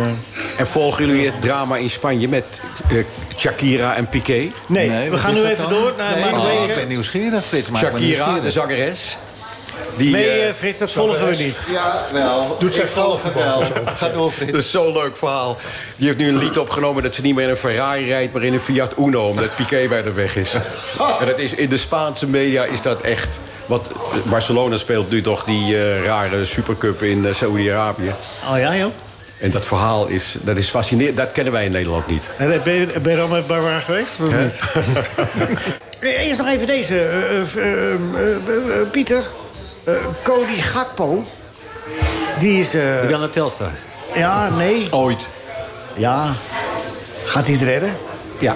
S6: En volgen jullie het drama in Spanje met eh, Shakira en Piqué?
S3: Nee, we
S4: wat
S3: gaan
S4: is
S3: nu
S4: dat
S3: even
S4: dan?
S3: door naar
S4: nee,
S3: Mark
S4: oh,
S3: Leger.
S4: ik ben nieuwsgierig, Frits. Maak me
S6: Shakira, de
S4: nieuwsgierig.
S6: zangeres. Die,
S3: Nee,
S6: eh,
S3: eh, Frits, dat volgen we niet.
S4: Ja, wel.
S5: Doet zij
S4: Ik volg het wel.
S5: voetbal?
S4: Ga door,
S6: Dat
S4: Frits.
S6: is zo'n leuk verhaal. Die heeft nu een lied opgenomen dat ze niet meer in een Ferrari rijdt... maar in een Fiat Uno, omdat Piqué bij de weg is. En dat is, in de Spaanse media is dat echt... Want Barcelona speelt nu toch die eh, rare supercup in eh, Saoedi-Arabië.
S3: Oh ja, joh.
S6: En dat verhaal is, dat is fascinerend. Dat kennen wij in Nederland niet.
S3: En ben je, ben je dan met Barbara geweest? Of
S6: Hè?
S3: niet? Eerst nog even deze. eh, eh, eh, eh, eh, eh, Pieter. Eh, Cody Gakpo. Die is... eh,
S7: Ik ben naar Telstar.
S3: ja, nee.
S4: Ooit.
S3: Ja. Gaat hij het redden?
S4: Ja.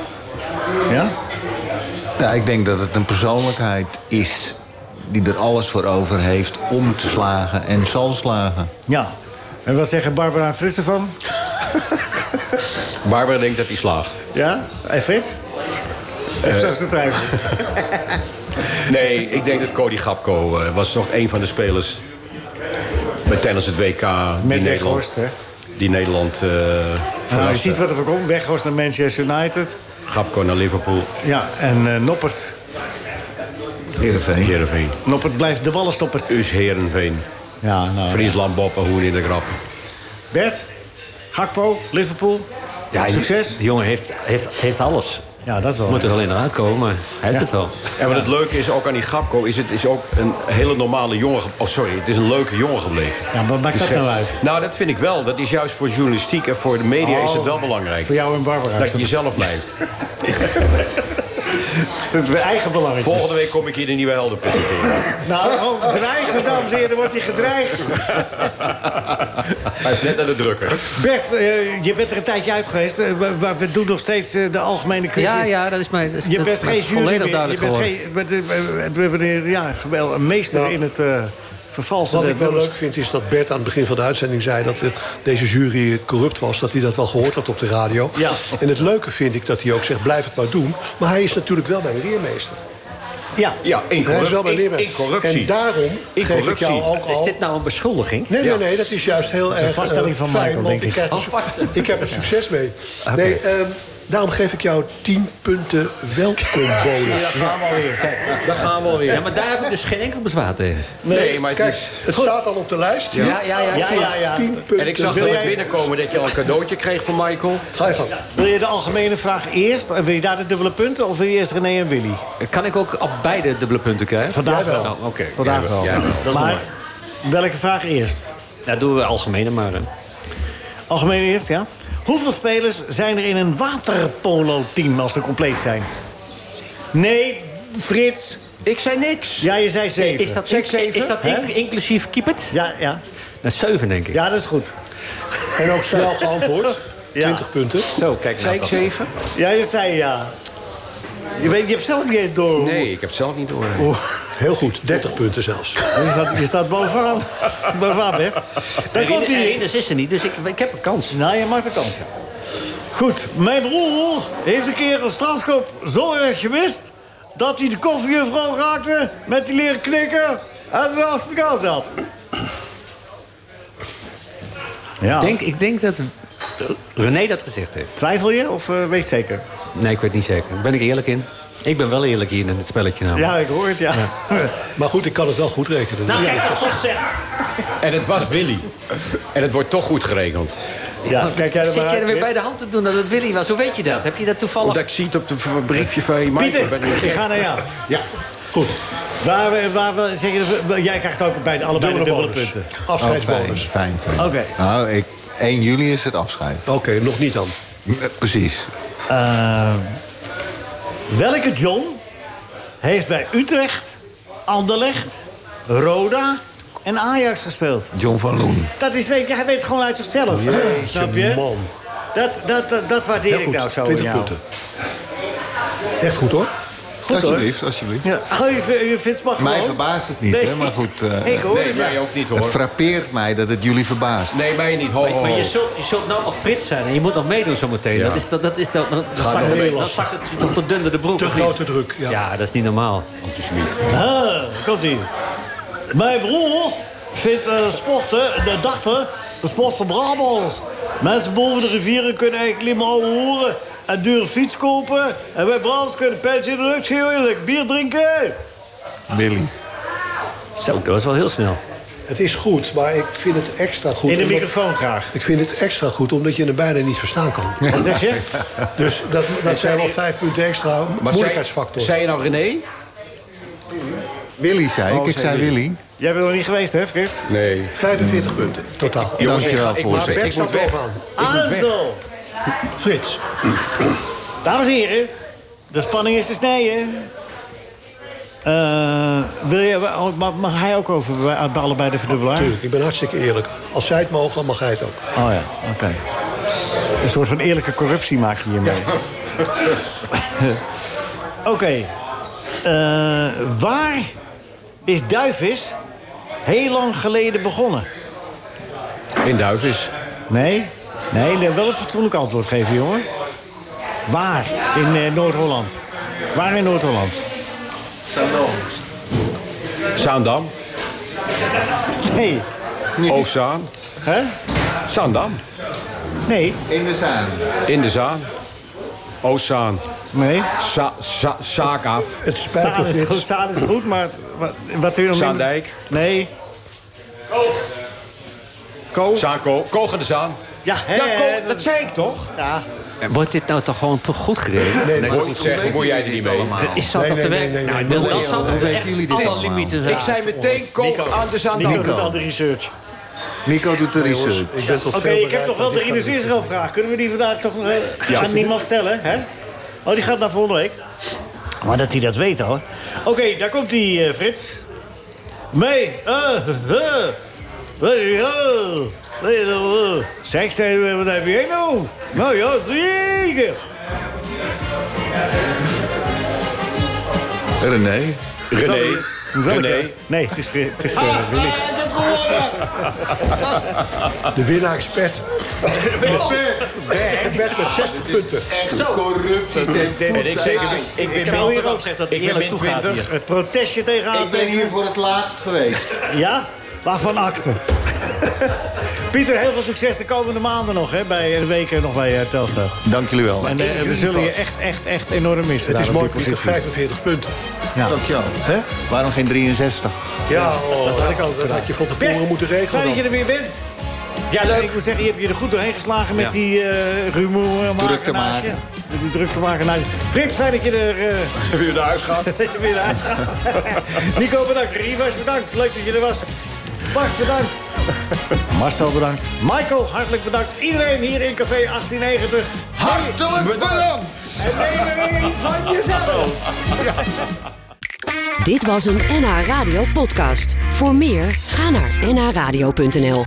S3: Ja?
S4: Ja, ik denk dat het een persoonlijkheid is die er alles voor over heeft om te slagen en zal slagen.
S3: Ja. En wat zeggen Barbara en Frits ervan?
S6: Barbara denkt dat hij slaagt.
S3: Ja? En Frits? Even zo zijn twijfels.
S6: Nee, ik denk dat Cody Gapko eh, was nog een van de spelers... bij tijdens het WK die
S3: Met
S6: Nederland...
S3: Weghorst, hè?
S6: Die Nederland eh
S3: Nou, je
S6: verraste.
S3: ziet wat er voor komt. Weghorst naar Manchester United.
S6: Gapko naar Liverpool,
S3: Ja, en eh Noppert.
S4: Heerenveen.
S6: Heerenveen.
S3: Noppert blijft de ballen stoppert.
S6: Us Heerenveen.
S3: Ja, nou.
S6: Friesland, Bob en Hoen in de grap.
S3: Bert? Gakpo? Liverpool?
S7: Ja,
S3: Succes?
S7: Die, die jongen heeft, heeft, heeft alles.
S3: Ja, dat wel.
S7: Moet er alleen eruit komen, maar hij heeft het wel.
S6: En wat het leuke is ook aan die Gapko, is het is ook een hele normale jongen... ge- Oh, sorry, het is een leuke jongen gebleven.
S3: Ja, maar wat maakt dat nou uit?
S6: Nou, dat vind ik wel. Dat is juist voor journalistiek en voor de media is het wel belangrijk.
S3: Voor jou en Barbara.
S6: Dat
S3: Dat
S6: je jezelf blijft.
S3: is het eigen belangrijk.
S6: Volgende week kom ik hier de nieuwe helden presenteren.
S3: Nou, oh, dreigen, dames en heren, wordt hij gedreigd.
S6: Hij is net naar de drukker.
S3: Bert, eh, je bent er een tijdje uit geweest. eh, maar- maar we doen nog steeds eh, de algemene quiz.
S7: Ja, ja, dat is mij, dat, is-
S3: Je
S7: dat
S3: bent
S7: is mij
S3: geen jury
S7: volledig
S3: meer.
S7: duidelijk
S3: je bent
S7: geworden.
S3: geen, met, eh, we hebben een, ja, gewel- een meester
S5: Nou,
S3: in het eh
S5: Wat
S3: vervalsen
S5: ik
S3: der
S5: wel
S3: nummers.
S5: leuk vind is dat Bert aan het begin van de uitzending zei... dat eh, deze jury corrupt was, dat hij dat wel gehoord had op de radio.
S3: Ja.
S5: En het leuke vind ik dat hij ook zegt, blijf het maar doen. Maar hij is natuurlijk wel mijn leermeester.
S3: Ja.
S6: Ja, in,
S5: Hij is wel mijn
S6: corrupt, in,
S5: leermeester.
S6: in corruptie.
S5: En daarom
S6: In
S5: geef ik
S6: corruptie.
S5: jou ook al...
S3: Oh.
S7: Is dit nou een beschuldiging?
S5: Nee, nee, nee, dat is juist heel
S3: een
S5: erg
S3: vaststelling
S5: eh,
S3: van
S5: fijn,
S3: Michael,
S5: want
S3: denk ik.
S5: krijg
S7: Oh,
S5: een su-
S7: vast.
S5: ik heb er succes mee. Nee, ehm, daarom geef ik jou 10 punten welkombonus.
S6: Daar gaan we alweer.
S7: Ja, maar daar heb ik dus geen enkel bezwaar tegen.
S6: Nee, maar het
S5: Kijk,
S6: is...
S5: het staat al op de lijst.
S7: Ja, ja, ja.
S3: Ja,
S7: zie je.
S3: ja, ja.
S5: 10 punten.
S6: En ik zag
S5: Wil
S6: dat
S5: jij-
S6: het binnenkomen dat je al een cadeautje kreeg van Michael.
S5: Ga je gang.
S3: Wil je de algemene vraag eerst? En wil je daar de dubbele punten? Of wil je eerst René en Willy?
S7: Kan ik ook op beide dubbele punten krijgen?
S3: Vandaag wel.
S7: Nou, Oké.
S3: Vandaag
S6: Jij wel,
S3: wel.
S6: jij wel.
S7: Dat is
S3: maar
S7: mooi.
S3: welke vraag eerst?
S7: Dat doen we algemene maar. eh.
S3: Algemeen eerst, ja. Hoeveel spelers zijn er in een waterpolo-team als ze compleet zijn? Nee, Frits.
S6: Ik zei niks.
S3: Ja, je zei zeven.
S7: Is dat, is dat
S3: Hè?
S7: in- inclusief keep it?
S3: Ja, ja.
S7: Dat is zeven, denk ik.
S3: ja, dat is goed.
S5: En ook snel geantwoord.
S3: Ja.
S5: 20 punten.
S7: Zo, kijk.
S6: Zei ik
S7: nou, dat-
S6: zeven?
S3: Ja, je zei ja. Je, weet, je hebt zelf niet eens door.
S6: Nee, ik heb het zelf niet door.
S5: Heel goed, 30 punten zelfs.
S3: Je staat, je staat bovenaan. bovenaan, Bert. Daar komt
S7: Rinus-
S3: hij.
S7: Rinus is er niet, dus ik, ik heb een kans.
S3: Nou, je maakt de kans, ja. Goed, mijn broer heeft een keer een strafschop zo erg gemist... dat hij de koffiejuffrouw raakte met die leren knikken... en ze achter elkaar zat. Ja, Ah.
S7: Ik Denk, ik denk dat René dat gezegd heeft.
S3: twijfel je of eh, weet zeker?
S7: Nee, ik weet niet zeker. Daar Ben ik eerlijk in? Ik ben wel eerlijk hier in dit spelletje nou.
S3: Ja, ik hoor het, ja.
S5: Maar goed, ik kan het wel goed rekenen.
S7: Nou,
S5: Ja.
S7: gek dat toch zeggen.
S6: En het was Willy. En het wordt toch goed gerekend.
S3: ja kijk jij er maar
S7: Zit jij
S3: uit,
S7: er weer bij
S3: Frits?
S7: de hand te doen dat het Willy was? Hoe weet je dat? Heb je dat toevallig...
S6: Omdat ik zie het op het briefje van je Michael. Ik ben niet
S3: Pieter, ik
S6: gek.
S3: ga naar jou.
S5: Ja, goed.
S3: Waar, we- waar, we- zeg je, de- jij krijgt ook bij de allebei de
S5: Dubbele
S3: dubbele
S5: bonus.
S3: punten.
S4: Oh, fijn,
S5: Afscheidsbonus.
S4: fijn. fijn.
S3: Oké.
S4: Nou, ik, 1 juli is het afscheid.
S5: Oké, nog niet dan.
S4: Eh, Precies.
S3: Eh, welke John heeft bij Utrecht, Anderlecht, Roda en Ajax gespeeld?
S4: John van Loen.
S3: Dat is, weet, je, hij weet het gewoon uit zichzelf.
S5: Jeetje,
S3: snap je?
S5: man.
S3: Dat, dat, dat, dat waardeer
S5: Heel
S3: ik
S5: goed,
S3: nou zo.
S5: 20
S3: in jou.
S5: punten. Echt goed hoor.
S3: Goed hoor.
S4: alsjeblieft, alsjeblieft.
S3: Ja. Oh, je, vindt- je vindt het mag
S4: Mij
S3: gewoon?
S4: verbaast het niet, hè, maar goed, eh,
S3: ik hoor
S6: Nee,
S3: het, ja.
S6: mij ook niet
S4: Het
S6: hoor.
S4: frappeert mij dat het jullie verbaast.
S6: Nee, mij niet. Ho, ho,
S7: Maar
S6: ho.
S7: je zult, je zult nou nog Frits zijn en je moet nog meedoen zometeen.
S6: Oh. Ja.
S7: Dat is, dat, dat is, dat, dan, zakt
S5: heel
S7: het, dan
S5: lastig.
S7: zakt het toch tot dunde de broek.
S5: Te
S7: of niet?
S5: grote druk, ja.
S7: dat is niet normaal.
S3: Ah, komt ie. Mijn broer vindt eh, sporten, de dachten, de sport van Brabants. Mensen boven de rivieren kunnen eigenlijk alleen maar ouwe hoeren en dure fiets kopen. En wij Brabants kunnen pijltje in de lucht geven, bier drinken.
S4: Willy.
S7: Zo, dat was wel heel snel.
S5: Het is goed, maar ik vind het extra goed.
S3: In de
S5: omdat-
S3: microfoon graag.
S5: Ik vind het extra goed, omdat je er bijna niet verstaan kan.
S3: Wat zeg je?
S5: Dus dat, dat zijn wel vijf punten extra.
S6: Maar zei,
S5: Moeilijkheidsfactor.
S6: zei je nou René?
S4: Willy zei ik,
S3: Oh,
S4: ik zei Willy.
S3: Jij bent nog niet geweest, hè, Frits?
S6: Nee.
S5: 45 punten totaal.
S6: Jongens, ik
S4: Dankjewel,
S6: ga- ik maak
S4: voorzitter.
S5: Bek
S6: Ik moet
S5: staat
S6: weg.
S5: bovenaan.
S3: Ah. Aanzo!
S5: Frits.
S3: Dames en heren, de spanning is te snijden. Eh, wil je, oh, mag, mag hij ook over bij, bij allebei de verdubbelaar?
S5: Tuurlijk, ik ben hartstikke eerlijk. Als zij het mogen, mag hij het ook.
S3: Oh ja, oké. Een soort van eerlijke corruptie maak je hiermee. oké. Eh, waar is Duivis heel lang geleden begonnen?
S6: In Duivis.
S3: Nee? Nee, nee, wel een fatsoenlijk antwoord geven, jongen. Waar in eh, Noord-Holland? Waar in Noord-Holland?
S6: Zaandam.
S3: Nee.
S6: Oostzaan.
S3: Hè?
S6: Zaandam.
S3: Nee.
S4: In de zaan.
S6: In de Zaan. Oostzaan.
S3: Nee.
S6: Sa sa zaak af.
S5: Het spijt me,
S3: Saan is, goed,
S5: Frits.
S3: Saan is goed, maar wat, wat wil je nog meer-
S6: Zaandijk.
S3: Nee. Koop.
S6: Zaanko. Koog aan de Zaan.
S3: Ja, hè,
S6: Ja, Koog,
S3: dat
S6: dat
S3: is-
S6: zei ik toch?
S3: Ja.
S7: Wordt dit nou toch gewoon toch goed gereden?
S6: Nee, hoor je het zeggen, hoor jij er niet mee.
S7: Is dat
S5: Nee,
S7: dat te
S5: nee, nee,
S7: werk?
S5: nee,
S7: Nou,
S5: nee,
S7: dat-
S4: nee,
S7: dat zou
S4: nee,
S7: toch
S4: nee,
S7: echt
S4: jullie dit
S7: alle
S4: allemaal.
S7: limieten zijn.
S6: Ik zei meteen Koog aan de Zaan.
S3: Nico
S6: Oké,
S3: doet al de research.
S4: Nico doet de research.
S5: Ik ben tot
S3: Oké,
S5: veel
S3: ik heb
S5: bereid
S3: nog wel
S5: om
S3: de
S5: dit
S3: Rinus
S5: te doen.
S3: Israël vraag. Kunnen we die vandaag toch nog even aan niemand stellen? Hè? Oh, die gaat naar volgende week. Maar dat hij dat weet hoor. Oké, daar komt die eh, Frits. Mee. eh, eh. Hey, oh. Hey, oh. Zeg, zei we, wat heb jij nou? Nou ja, zeker.
S4: René.
S6: René. René.
S3: Nee, het is Frits. Het is,
S7: Ah,
S3: eh, Willy.
S5: De winnaar is Bert. Bert met 60 punten.
S4: Echt corruptie ten voet
S6: En ik,
S4: en
S6: zeker,
S4: huis.
S6: ik ben
S7: Ik zal
S6: min
S7: hier ook zeggen dat hij
S6: ik ben
S7: eerlijk
S6: min
S7: toegaat
S6: 20.
S7: hier.
S3: het protestje tegen
S4: Ik ben
S3: AT.
S4: hier voor het laatst geweest.
S3: Ja? Waarvan akte? Pieter, heel veel succes de komende maanden nog, hè? Bij en de weken nog bij eh, Telstar.
S4: Dank jullie wel.
S3: En eh, we zullen je echt, echt, echt enorm missen.
S5: Het is
S3: daar op die
S5: mooi, Pieter,
S3: positie.
S5: 45 punten.
S4: Dankjewel. Waarom geen 63?
S5: Ja, oh, dat had ik al. Dat had je van tevoren
S3: Bert,
S5: moeten regelen.
S3: Fijn dat
S5: dan.
S3: je er weer bent.
S7: Ja,
S3: En
S7: leuk.
S3: Ik moet zeggen, je hebt je er goed doorheen geslagen met
S7: Ja.
S3: die eh rumoer.
S4: Drukte maken.
S3: De drukte maken. naast je. Frits, fijn dat je er eh,
S6: Heb je naar huis gehad?
S3: dat je weer naar huis gaat. Nico, bedankt. Rivas, bedankt. Leuk dat je er was. Bart, bedankt. Marcel, bedankt. Michael, hartelijk bedankt. Iedereen hier in Café 1890.
S4: Hartelijk bedankt!
S3: En neem er een van jezelf.
S1: Dit was een NH Radio podcast. Voor meer, ga naar nhradio.nl.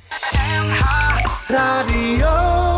S2: NH Radio.